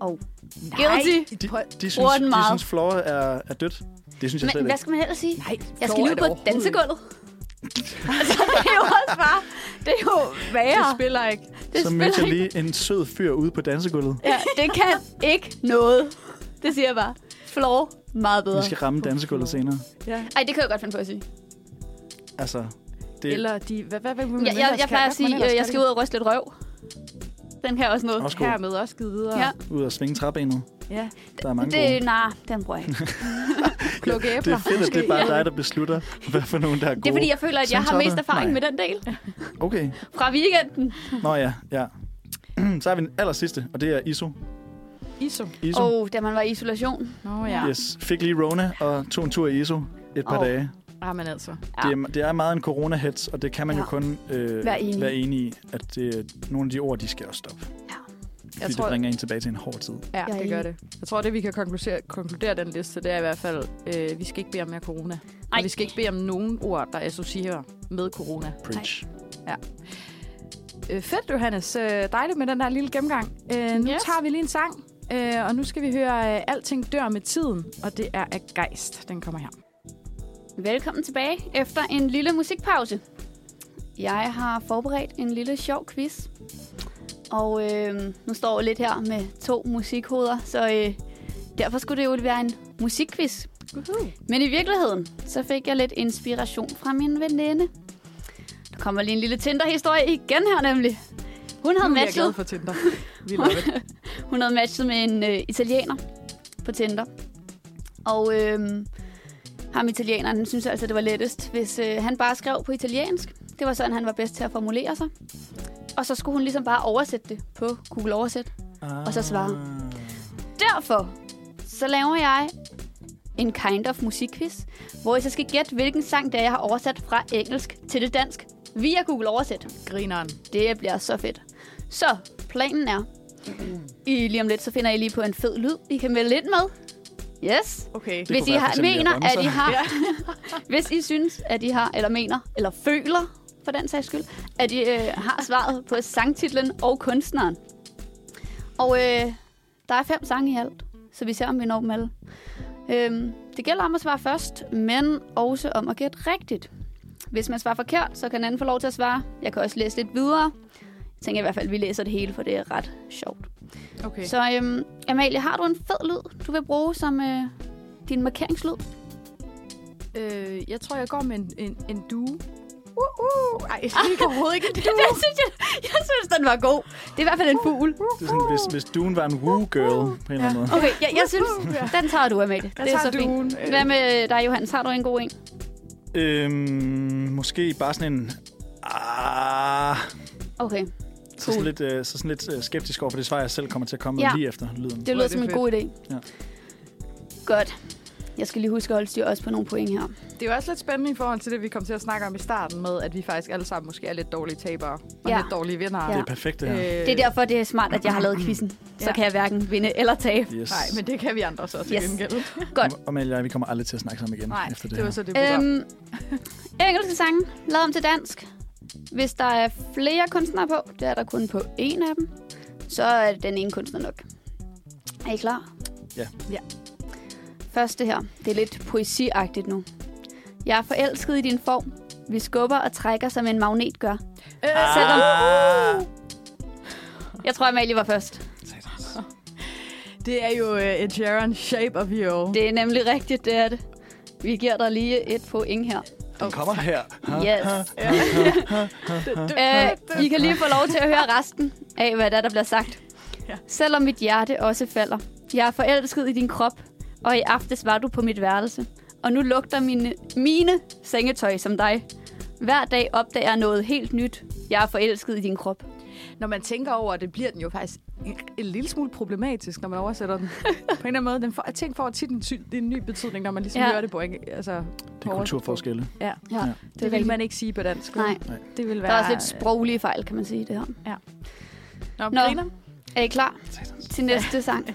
Speaker 4: Guilty.
Speaker 2: De,
Speaker 3: Nej,
Speaker 2: de, synes,
Speaker 4: Bruger den
Speaker 2: de
Speaker 4: meget.
Speaker 2: synes floor er, er dødt. Det synes jeg slet
Speaker 4: Men hvad
Speaker 2: ikke.
Speaker 4: skal man ellers sige?
Speaker 3: Nej
Speaker 4: Jeg skal nu på dansegulvet. altså, det er jo også bare... Det er jo værre.
Speaker 3: Det spiller ikke.
Speaker 2: Så
Speaker 4: Det spiller
Speaker 2: mødte jeg
Speaker 4: ikke.
Speaker 2: lige en sød fyr ude på dansegulvet.
Speaker 4: Ja, det kan ikke noget. Det siger jeg bare. Floor, meget bedre.
Speaker 2: Vi skal ramme dansegulvet senere.
Speaker 3: Ja.
Speaker 4: Ej, det kan jeg godt finde på at sige.
Speaker 2: Altså, det er
Speaker 3: Eller de... Hvad, hvad, hvad, hvad
Speaker 4: Jeg, jeg, jeg plejer at sige, øh, jeg skal ud og ryste lidt røv. Den kan også noget.
Speaker 2: også
Speaker 3: Her
Speaker 2: god.
Speaker 3: med også givet videre.
Speaker 4: Ja.
Speaker 2: Ud og svinge træbenet.
Speaker 3: ja.
Speaker 2: Der er mange gode.
Speaker 4: Det, nej, den bruger jeg ikke.
Speaker 3: Plukke æbler.
Speaker 2: Det er fedt, at det er bare
Speaker 3: måske.
Speaker 2: dig, der beslutter, hvad for nogen, der er gode.
Speaker 4: Det er fordi, jeg føler, at jeg har
Speaker 2: Sådan,
Speaker 4: mest
Speaker 2: Toppe.
Speaker 4: erfaring
Speaker 2: Nej.
Speaker 4: med den del.
Speaker 2: Okay.
Speaker 4: Fra weekenden.
Speaker 2: Nå ja, ja. Så har vi den aller sidste, og det er ISO.
Speaker 3: ISO.
Speaker 2: ISO.
Speaker 4: Åh, oh, da man var i isolation.
Speaker 3: Nå ja. Yes.
Speaker 2: Yes. Fik lige Rona og tog en tur i ISO et par
Speaker 4: Åh,
Speaker 2: dage.
Speaker 3: Jamen altså.
Speaker 4: Ja.
Speaker 2: Det, er, det er meget en corona-hets, og det kan man ja. jo
Speaker 4: Ja.
Speaker 2: kun øh,
Speaker 4: Være enig i.
Speaker 2: være enig i, at det, nogle af de ord, de skal også stoppe.
Speaker 3: Jeg
Speaker 2: Fordi
Speaker 3: tror,
Speaker 2: det bringer en tilbage til en hård tid.
Speaker 3: ja,
Speaker 4: Jeg er
Speaker 3: det gør
Speaker 4: enig.
Speaker 3: det. Jeg tror, det vi kan konkludere, konkludere den liste, det er i hvert fald, øh, vi skal ikke bede om mere corona. Ej.
Speaker 4: Ej.
Speaker 3: Og vi skal ikke bede om nogen ord, der associerer med corona.
Speaker 2: Preach.
Speaker 3: Øh, fedt, Johannes. Øh, dejligt med den der lille gennemgang. Øh, nu yes.
Speaker 4: Yes.
Speaker 3: tager vi lige en sang, øh, og nu skal vi høre øh, Alting dør med tiden, og det er af Geist. Den kommer her.
Speaker 4: Velkommen tilbage efter en lille musikpause. Jeg har forberedt en lille sjov quiz. Og øh, nu står jeg lidt her med to musikhoveder, så øh, derfor skulle det jo være en musikquiz. Men i virkeligheden, så fik jeg lidt inspiration fra min veninde. Der kommer lige en lille Tinder-historie igen her nemlig. Hun havde
Speaker 3: Nu er jeg glad
Speaker 4: matchet
Speaker 3: for Tinder. Vi laver det.
Speaker 4: Hun havde matchet med en øh, italiener på Tinder. Og øh, ham italieneren han synes altså, det var lettest, hvis øh, han bare skrev på italiensk. Det var sådan, han var bedst til at formulere sig. Og så skulle hun ligesom bare oversætte det på Google Oversæt.
Speaker 2: Ah.
Speaker 4: Og så svare. Derfor så laver jeg en kind of musikquiz, hvor I så skal gætte, hvilken sang det er, jeg har oversat fra engelsk til det dansk via Google Oversæt.
Speaker 3: Grineren.
Speaker 4: Det bliver så fedt. Så planen er, I lige om lidt, så finder I lige på en fed lyd, I kan melde ind med. Yes.
Speaker 3: Okay.
Speaker 4: Hvis I
Speaker 2: være for
Speaker 4: har,
Speaker 2: eksempel
Speaker 4: mener,
Speaker 2: Jørgensen.
Speaker 4: at I har, hvis I synes, at I har, eller mener, eller føler, for den sags skyld, at I øh, har svaret på sangtitlen og kunstneren. Og øh, der er fem sange i alt, så vi ser, om vi når dem alle. Øhm, det gælder om at svare først, men også om at gætte rigtigt. Hvis man svarer forkert, så kan den anden få lov til at svare. Jeg kan også læse lidt videre. Jeg tænker i hvert fald, at vi læser det hele, for det er ret sjovt.
Speaker 3: Okay.
Speaker 4: Så øhm, Amalie, har du en fed lyd, du vil bruge som øh, din markeringslyd?
Speaker 3: Øh, jeg tror, jeg går med en, en, en due. Uh, uh. Ej, det er ikke overhovedet ikke en
Speaker 4: Det, det synes jeg, jeg synes, den var god. Det er i hvert fald en fugl.
Speaker 2: Det er sådan, hvis, hvis duen var en woo-girl på en eller anden måde.
Speaker 4: Okay, jeg, jeg synes, den tager du, Amalie. Den det er
Speaker 3: tager øh.
Speaker 4: så
Speaker 3: duen.
Speaker 4: fint. Hvad med dig, Johannes? Har du en god en?
Speaker 2: Øhm, måske bare sådan en... Ah,
Speaker 4: Okay,
Speaker 2: så sådan lidt, øh, så sådan lidt øh, skeptisk over for det svar, jeg selv kommer til at komme med
Speaker 4: Ja.
Speaker 2: lige efter lyden.
Speaker 4: det
Speaker 3: Hvor er
Speaker 4: lyder som
Speaker 3: det
Speaker 4: en god idé.
Speaker 2: Ja.
Speaker 4: Godt. Jeg skal lige huske at holde styr også på nogle point her.
Speaker 3: Det er jo også lidt spændende i forhold til det, vi kom til at snakke om i starten med, at vi faktisk alle sammen måske er lidt dårlige tabere og
Speaker 4: Ja.
Speaker 3: lidt dårlige vindere.
Speaker 2: Det
Speaker 4: Ja.
Speaker 2: er perfekt, det her.
Speaker 3: Øh,
Speaker 4: Det er derfor, det er smart, at jeg har lavet quizzen. Så
Speaker 3: Ja.
Speaker 4: kan jeg hverken vinde eller tabe.
Speaker 2: Yes.
Speaker 3: Nej, men det kan vi andre så til
Speaker 4: Yes.
Speaker 3: gengæld.
Speaker 4: Godt.
Speaker 2: Og Amalie og jeg, vi kommer aldrig til at snakke sammen igen
Speaker 3: Nej,
Speaker 2: efter det,
Speaker 3: det var
Speaker 2: her.
Speaker 3: så det program.
Speaker 4: Øhm, engelske sange, lavet om til dansk. Hvis der er flere kunstnere på, det er der kun på en af dem, så er den ene kunstner nok. Er I klar?
Speaker 2: Ja.
Speaker 3: Ja.
Speaker 4: Første her. Det er lidt poesiagtigt nu. Jeg er forelsket i din form. Vi skubber og trækker, som en magnet gør.
Speaker 3: Øh,
Speaker 4: Selvom... Jeg tror, Amalie var først.
Speaker 3: Det er jo øh, Ed Sheeran, Shape of You.
Speaker 4: Det er nemlig rigtigt, det er det. Vi giver dig lige et point her.
Speaker 2: Den kommer her.
Speaker 4: Yes. Øh, I kan lige få lov til at høre resten af, hvad der, er, der bliver sagt.
Speaker 3: Ja.
Speaker 4: Selvom mit hjerte også falder. Jeg er forelsket i din krop, og i aftes var du på mit værelse. Og nu lugter mine, mine sengetøj som dig. Hver dag opdager jeg noget helt nyt. Jeg er forelsket i din krop.
Speaker 3: Når man tænker over det, bliver den jo faktisk en, en lille smule problematisk, når man oversætter den. på en eller anden måde. Den får, ting får tit en, sy- en ny betydning, når man ligesom
Speaker 4: Ja.
Speaker 3: ja. hører det på engelsk. Altså,
Speaker 2: Det er kulturforskelle.
Speaker 3: Ja,
Speaker 4: Ja,
Speaker 2: Ja.
Speaker 4: det,
Speaker 3: det, det vil man ikke sige på dansk. vel?
Speaker 4: Nej,
Speaker 3: Det vil
Speaker 4: der
Speaker 3: være...
Speaker 4: er også lidt sproglige fejl, kan man sige det her.
Speaker 3: Nå,
Speaker 4: Nå.
Speaker 3: Brina?
Speaker 4: Er I klar til næste sang?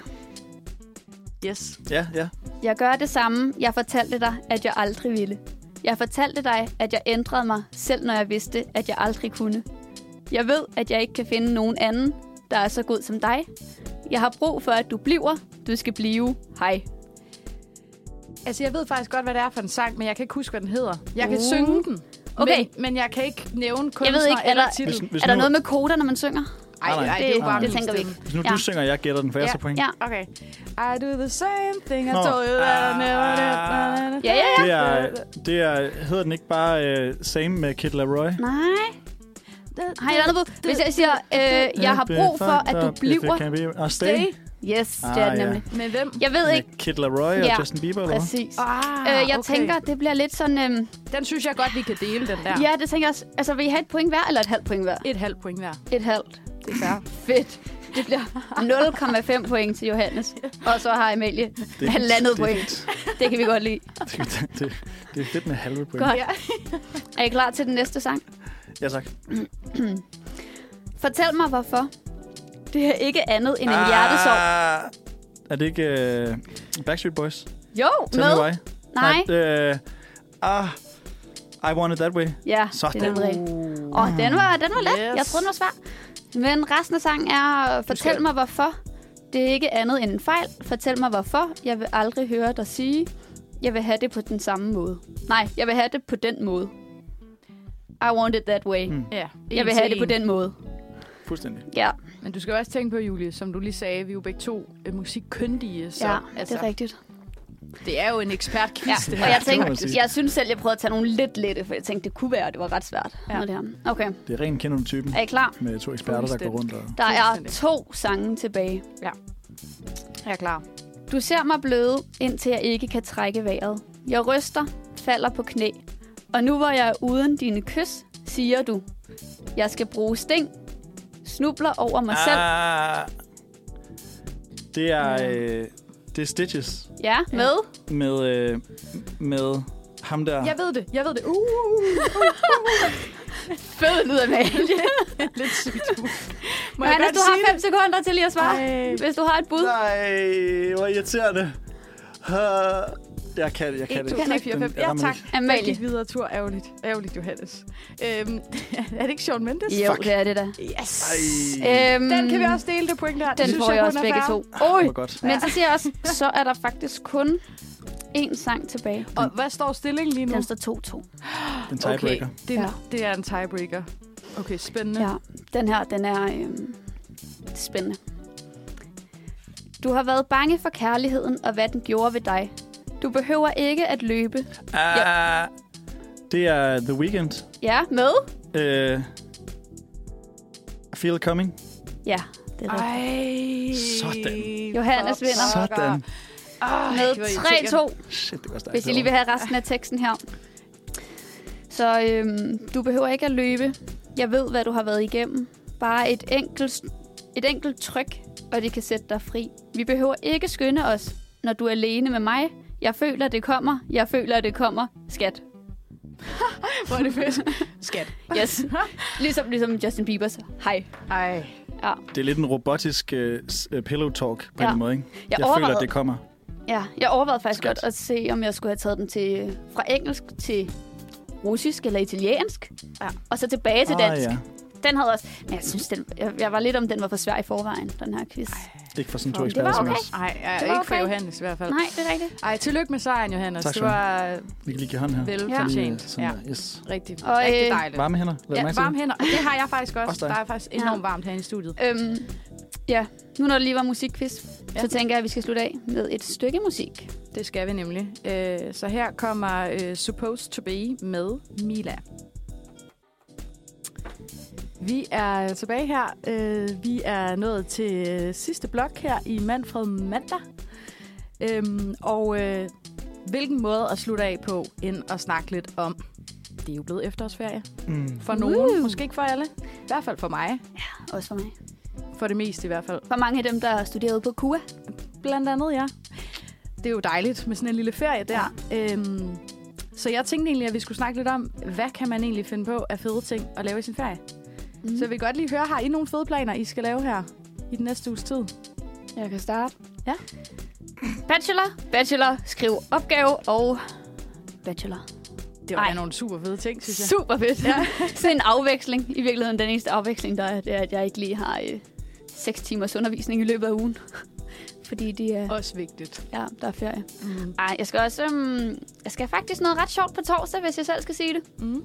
Speaker 3: Yes.
Speaker 2: Ja, ja.
Speaker 4: Jeg gør det samme. Jeg fortalte dig, at jeg aldrig ville. Jeg fortalte dig, at jeg ændrede mig, selv når jeg vidste, at jeg aldrig kunne. Jeg ved, at jeg ikke kan finde nogen anden, der er så god som dig. Jeg har brug for, at du bliver. Du skal blive. Hej.
Speaker 3: Altså, jeg ved faktisk godt, hvad det er for en sang, men jeg kan ikke huske, hvad den hedder. Jeg kan
Speaker 4: Uh.
Speaker 3: uh. synge den,
Speaker 4: Okay.
Speaker 3: men, men jeg kan ikke nævne kunstner
Speaker 4: Jeg ved ikke, er
Speaker 3: eller
Speaker 4: der-
Speaker 2: Hvis,
Speaker 3: titel.
Speaker 2: hvis,
Speaker 4: er der
Speaker 2: nu,
Speaker 4: noget med koder, når man synger?
Speaker 3: Ej,
Speaker 2: Nej, nej.
Speaker 3: ej, det, er jo
Speaker 4: Det-
Speaker 3: bare
Speaker 4: det
Speaker 3: min
Speaker 4: tænker vi
Speaker 3: stemme.
Speaker 2: hvis nu du
Speaker 4: Ja.
Speaker 2: synger, jeg gætter den, for jeg
Speaker 3: Ja,
Speaker 2: så point.
Speaker 4: Ja.
Speaker 3: Okay. I do the same thing I
Speaker 2: Nå.
Speaker 3: told you that I never did.
Speaker 2: Ah.
Speaker 4: Ja, ja, ja.
Speaker 2: Det er, det er, hedder den ikke bare uh, Same med Kid Laroi?
Speaker 4: Nej. Har jeg noget bud? Hvis jeg siger, øh, jeg har brug for, at du bliver.
Speaker 2: Og stay.
Speaker 3: Stay.
Speaker 4: Yes, det er
Speaker 2: Ah,
Speaker 4: det
Speaker 2: ja.
Speaker 4: nemlig.
Speaker 3: Med hvem?
Speaker 4: Jeg ved ikke
Speaker 2: Med Kid Laroi og
Speaker 4: Ja,
Speaker 2: Justin Bieber, eller hvad?
Speaker 4: præcis.
Speaker 3: Ah,
Speaker 4: Øh, jeg tænker, det bliver lidt sådan... Øhm,
Speaker 3: Den synes jeg godt, vi kan dele, den der.
Speaker 4: ja, det tænker jeg også. Altså, vil I have et point hver, eller et halvt point hver?
Speaker 3: Et halvt point hver.
Speaker 4: Et halvt. Det er fair. Fedt. Det bliver 0,5 point til Johannes. Og så har Amalie
Speaker 2: Det-
Speaker 4: halvandet
Speaker 2: det-
Speaker 4: point. Det kan vi godt lide.
Speaker 2: Det, det, det er fedt med halve point.
Speaker 4: Godt.
Speaker 3: Ja.
Speaker 4: Er I klar til den næste sang?
Speaker 2: Ja, tak.
Speaker 4: Fortæl mig, hvorfor. Det er ikke andet end en ah. hjertesorg.
Speaker 2: Er det ikke uh, Backstreet Boys?
Speaker 4: Jo,
Speaker 2: Tell me why.
Speaker 4: med. Nej.
Speaker 2: Uh, ah, I want it that way.
Speaker 4: Ja,
Speaker 2: Sådan.
Speaker 4: det er nemlig rigtigt.
Speaker 3: Uh.
Speaker 4: Åh, den var, den var let. Yes. Jeg troede, den var svær. Men resten af sangen er, øh, fortæl mig, hvorfor. Det er ikke andet end en fejl. Fortæl mig, hvorfor. Jeg vil aldrig høre dig sige, jeg vil have det på den samme måde. Nej, jeg vil have det på den måde. I want it that way.
Speaker 2: Hmm.
Speaker 4: Mm.
Speaker 3: ja.
Speaker 4: Jeg vil
Speaker 3: en
Speaker 4: have
Speaker 3: til
Speaker 4: det på
Speaker 3: en.
Speaker 4: den måde.
Speaker 2: Fuldstændig.
Speaker 4: Ja,
Speaker 3: Men du skal jo også tænke på, Julie, som du lige sagde, vi er jo begge to øh, musikkyndige. Så,
Speaker 4: så, ja
Speaker 3: altså,
Speaker 4: altså. det er rigtigt.
Speaker 3: det er jo en ekspertquiz,
Speaker 4: Ja.
Speaker 3: ja. det her.
Speaker 4: Og jeg
Speaker 2: det må man
Speaker 4: tænkte,
Speaker 2: sige.
Speaker 4: jeg synes selv, jeg prøvede at tage nogle lidt lette, for jeg tænkte, det kunne være, at det var ret svært.
Speaker 3: Ja.
Speaker 4: Ja. Det her. Okay,
Speaker 2: Det er ren kender typen
Speaker 4: er I klar?
Speaker 2: med to eksperter, der går rundt og...
Speaker 4: Der er
Speaker 3: Fuldstændig.
Speaker 4: to sange tilbage.
Speaker 3: Jeg er klar.
Speaker 4: Du ser mig bløde, indtil jeg ikke kan trække vejret. Jeg ryster, falder på knæ. Og nu hvor jeg er uden dine kys, siger du, jeg skal bruge sting, snubler over mig ah. selv.
Speaker 2: Ah, det er... Øh, det er Stitches
Speaker 4: Ja, med.
Speaker 2: med, øh, med ham der...
Speaker 3: Jeg ved det, jeg ved det. Uh, uh, uh.
Speaker 4: Fed lyd af Amalie.
Speaker 3: Lidt sygt. Må jeg
Speaker 4: Johannes,
Speaker 3: godt
Speaker 4: du har
Speaker 3: sige
Speaker 4: fem sekunder til lige at svare.
Speaker 3: Ej.
Speaker 4: Hvis du har et bud.
Speaker 2: Nej, hvor irriterende. Ah, Jeg kan, jeg kan
Speaker 3: det?
Speaker 2: det.
Speaker 3: 1, 2, 3, 4, 5.
Speaker 2: Den-
Speaker 3: Ja,
Speaker 2: rammer
Speaker 3: tak.
Speaker 2: ikke.
Speaker 3: Jeg
Speaker 4: Amalie.
Speaker 3: gik videre tur. Ærgerligt. Ærgerligt, Johannes. Øhm, er det ikke Sean Mendes?
Speaker 4: Jo, det er det da.
Speaker 3: Yes.
Speaker 2: Ej,
Speaker 4: Øhm,
Speaker 3: Den kan vi også dele, det point der. Det
Speaker 4: Den
Speaker 3: synes
Speaker 4: får jeg
Speaker 3: kun
Speaker 4: også
Speaker 3: er
Speaker 4: begge
Speaker 3: fair.
Speaker 4: to.
Speaker 2: det
Speaker 4: Oj.
Speaker 2: var godt.
Speaker 4: Men så siger jeg også, så er der faktisk kun én sang tilbage.
Speaker 3: Og hvad står stillingen lige nu?
Speaker 4: Den står 2-2.
Speaker 2: En tiebreaker.
Speaker 3: Okay, det,
Speaker 4: Ja.
Speaker 3: ja. det er en tiebreaker. Okay, spændende.
Speaker 4: Ja, den her, den er øhm, spændende. Du har været bange for kærligheden og hvad den gjorde ved dig. Du behøver ikke at løbe.
Speaker 2: Ah, Det er The Weeknd.
Speaker 4: Ja, med?
Speaker 2: Uh, feel it coming.
Speaker 4: Ja, det er det.
Speaker 3: Ej.
Speaker 2: Sådan.
Speaker 4: Johannes vinder.
Speaker 2: Sådan.
Speaker 3: Ej,
Speaker 4: Med
Speaker 3: hvor irriterende. Altså.
Speaker 4: 3-2.
Speaker 2: Shit, det var stærkt.
Speaker 4: Hvis I lige vil have resten af teksten her. Så øhm, du behøver ikke at løbe. Jeg ved, hvad du har været igennem. Bare et enkelt, et enkelt tryk, og det kan sætte dig fri. Vi behøver ikke skynde os, når du er alene med mig. Jeg føler, det kommer. Jeg føler, det kommer. Skat.
Speaker 3: Hvor er det fedt. Skat.
Speaker 4: Yes. Ligesom, ligesom Justin Bieber's Hej.
Speaker 3: Ej.
Speaker 4: Ja.
Speaker 2: Det er lidt en robotisk uh, pillow talk på
Speaker 4: Ja.
Speaker 2: ja. en måde, ikke?
Speaker 4: Jeg,
Speaker 2: jeg føler,
Speaker 4: overvejede,
Speaker 2: at det kommer.
Speaker 4: ja, jeg overvejede faktisk
Speaker 2: Skat.
Speaker 4: godt at se, om jeg skulle have taget den til, fra engelsk til russisk eller italiensk.
Speaker 3: Ja.
Speaker 4: Og så tilbage til dansk.
Speaker 2: Ah, ja.
Speaker 4: Den havde også... Men jeg synes, den, jeg, jeg var lidt om, den var for svær i forvejen, den her quiz.
Speaker 2: Ikke for sådan to
Speaker 3: Nå,
Speaker 2: eksperter
Speaker 4: var
Speaker 2: som
Speaker 4: okay.
Speaker 2: os.
Speaker 3: Nej, ja,
Speaker 4: Det var
Speaker 3: ikke for
Speaker 4: okay.
Speaker 3: Johannes i hvert fald.
Speaker 4: Nej, det er rigtigt.
Speaker 3: Ej, tillykke med sejren, Johannes.
Speaker 2: Tak
Speaker 3: det
Speaker 2: skal du
Speaker 3: var
Speaker 2: Vi kan lige give hånd her.
Speaker 3: velfortjent.
Speaker 2: Lige,
Speaker 3: Ja,
Speaker 2: øh, sådan der. Yes.
Speaker 3: rigtig,
Speaker 4: Og,
Speaker 3: rigtig
Speaker 4: øh,
Speaker 3: dejligt.
Speaker 2: Varme hænder. Lad
Speaker 3: Ja,
Speaker 2: mig
Speaker 3: varme hænder. Og det har jeg faktisk også.
Speaker 2: Også dig.
Speaker 3: Der er faktisk enormt varmt herinde i studiet.
Speaker 4: Øhm, ja, nu når det lige var musikquiz,
Speaker 3: Ja.
Speaker 4: ja. så tænker jeg, at vi skal slutte af med et stykke musik.
Speaker 3: Det skal vi nemlig. Øh, så her kommer øh, Supposed to Be med Mila. Vi er tilbage her. Øh, vi er nået til øh, sidste blok her i Manfred Mandag. Øhm, og øh, hvilken måde at slutte af på, end at snakke lidt om... Det er jo blevet efterårsferie.
Speaker 2: Mm.
Speaker 3: For nogen,
Speaker 4: Woo!
Speaker 3: måske ikke for alle. I hvert fald for mig.
Speaker 4: Også for mig.
Speaker 3: For det meste i hvert fald.
Speaker 4: For mange af dem, der studerede på KUA.
Speaker 3: Blandt andet, ja. Det er jo dejligt med sådan en lille ferie der. Ja. Øhm, så jeg tænkte egentlig, at vi skulle snakke lidt om, hvad kan man egentlig finde på af fede ting at lave i sin ferie? Mm. Så jeg vil godt lige høre, har I nogle fede planer, I skal lave her i den næste uges tid?
Speaker 4: Jeg kan starte.
Speaker 3: Ja.
Speaker 4: Bachelor, bachelor, skriv opgave og bachelor.
Speaker 3: Det var
Speaker 4: Ej.
Speaker 3: da nogle super fede ting, synes jeg.
Speaker 4: Super fedt. Ja. så en afveksling. I virkeligheden, den eneste afveksling, der er, det er, at jeg ikke lige har øh, 6 timers undervisning i løbet af ugen. Fordi de er,
Speaker 3: Også vigtigt.
Speaker 4: ja, der er ferie.
Speaker 3: Mm.
Speaker 4: Ej, jeg skal også... Øhm, jeg skal faktisk noget ret sjovt på torsdag, hvis jeg selv skal sige det.
Speaker 3: Mm.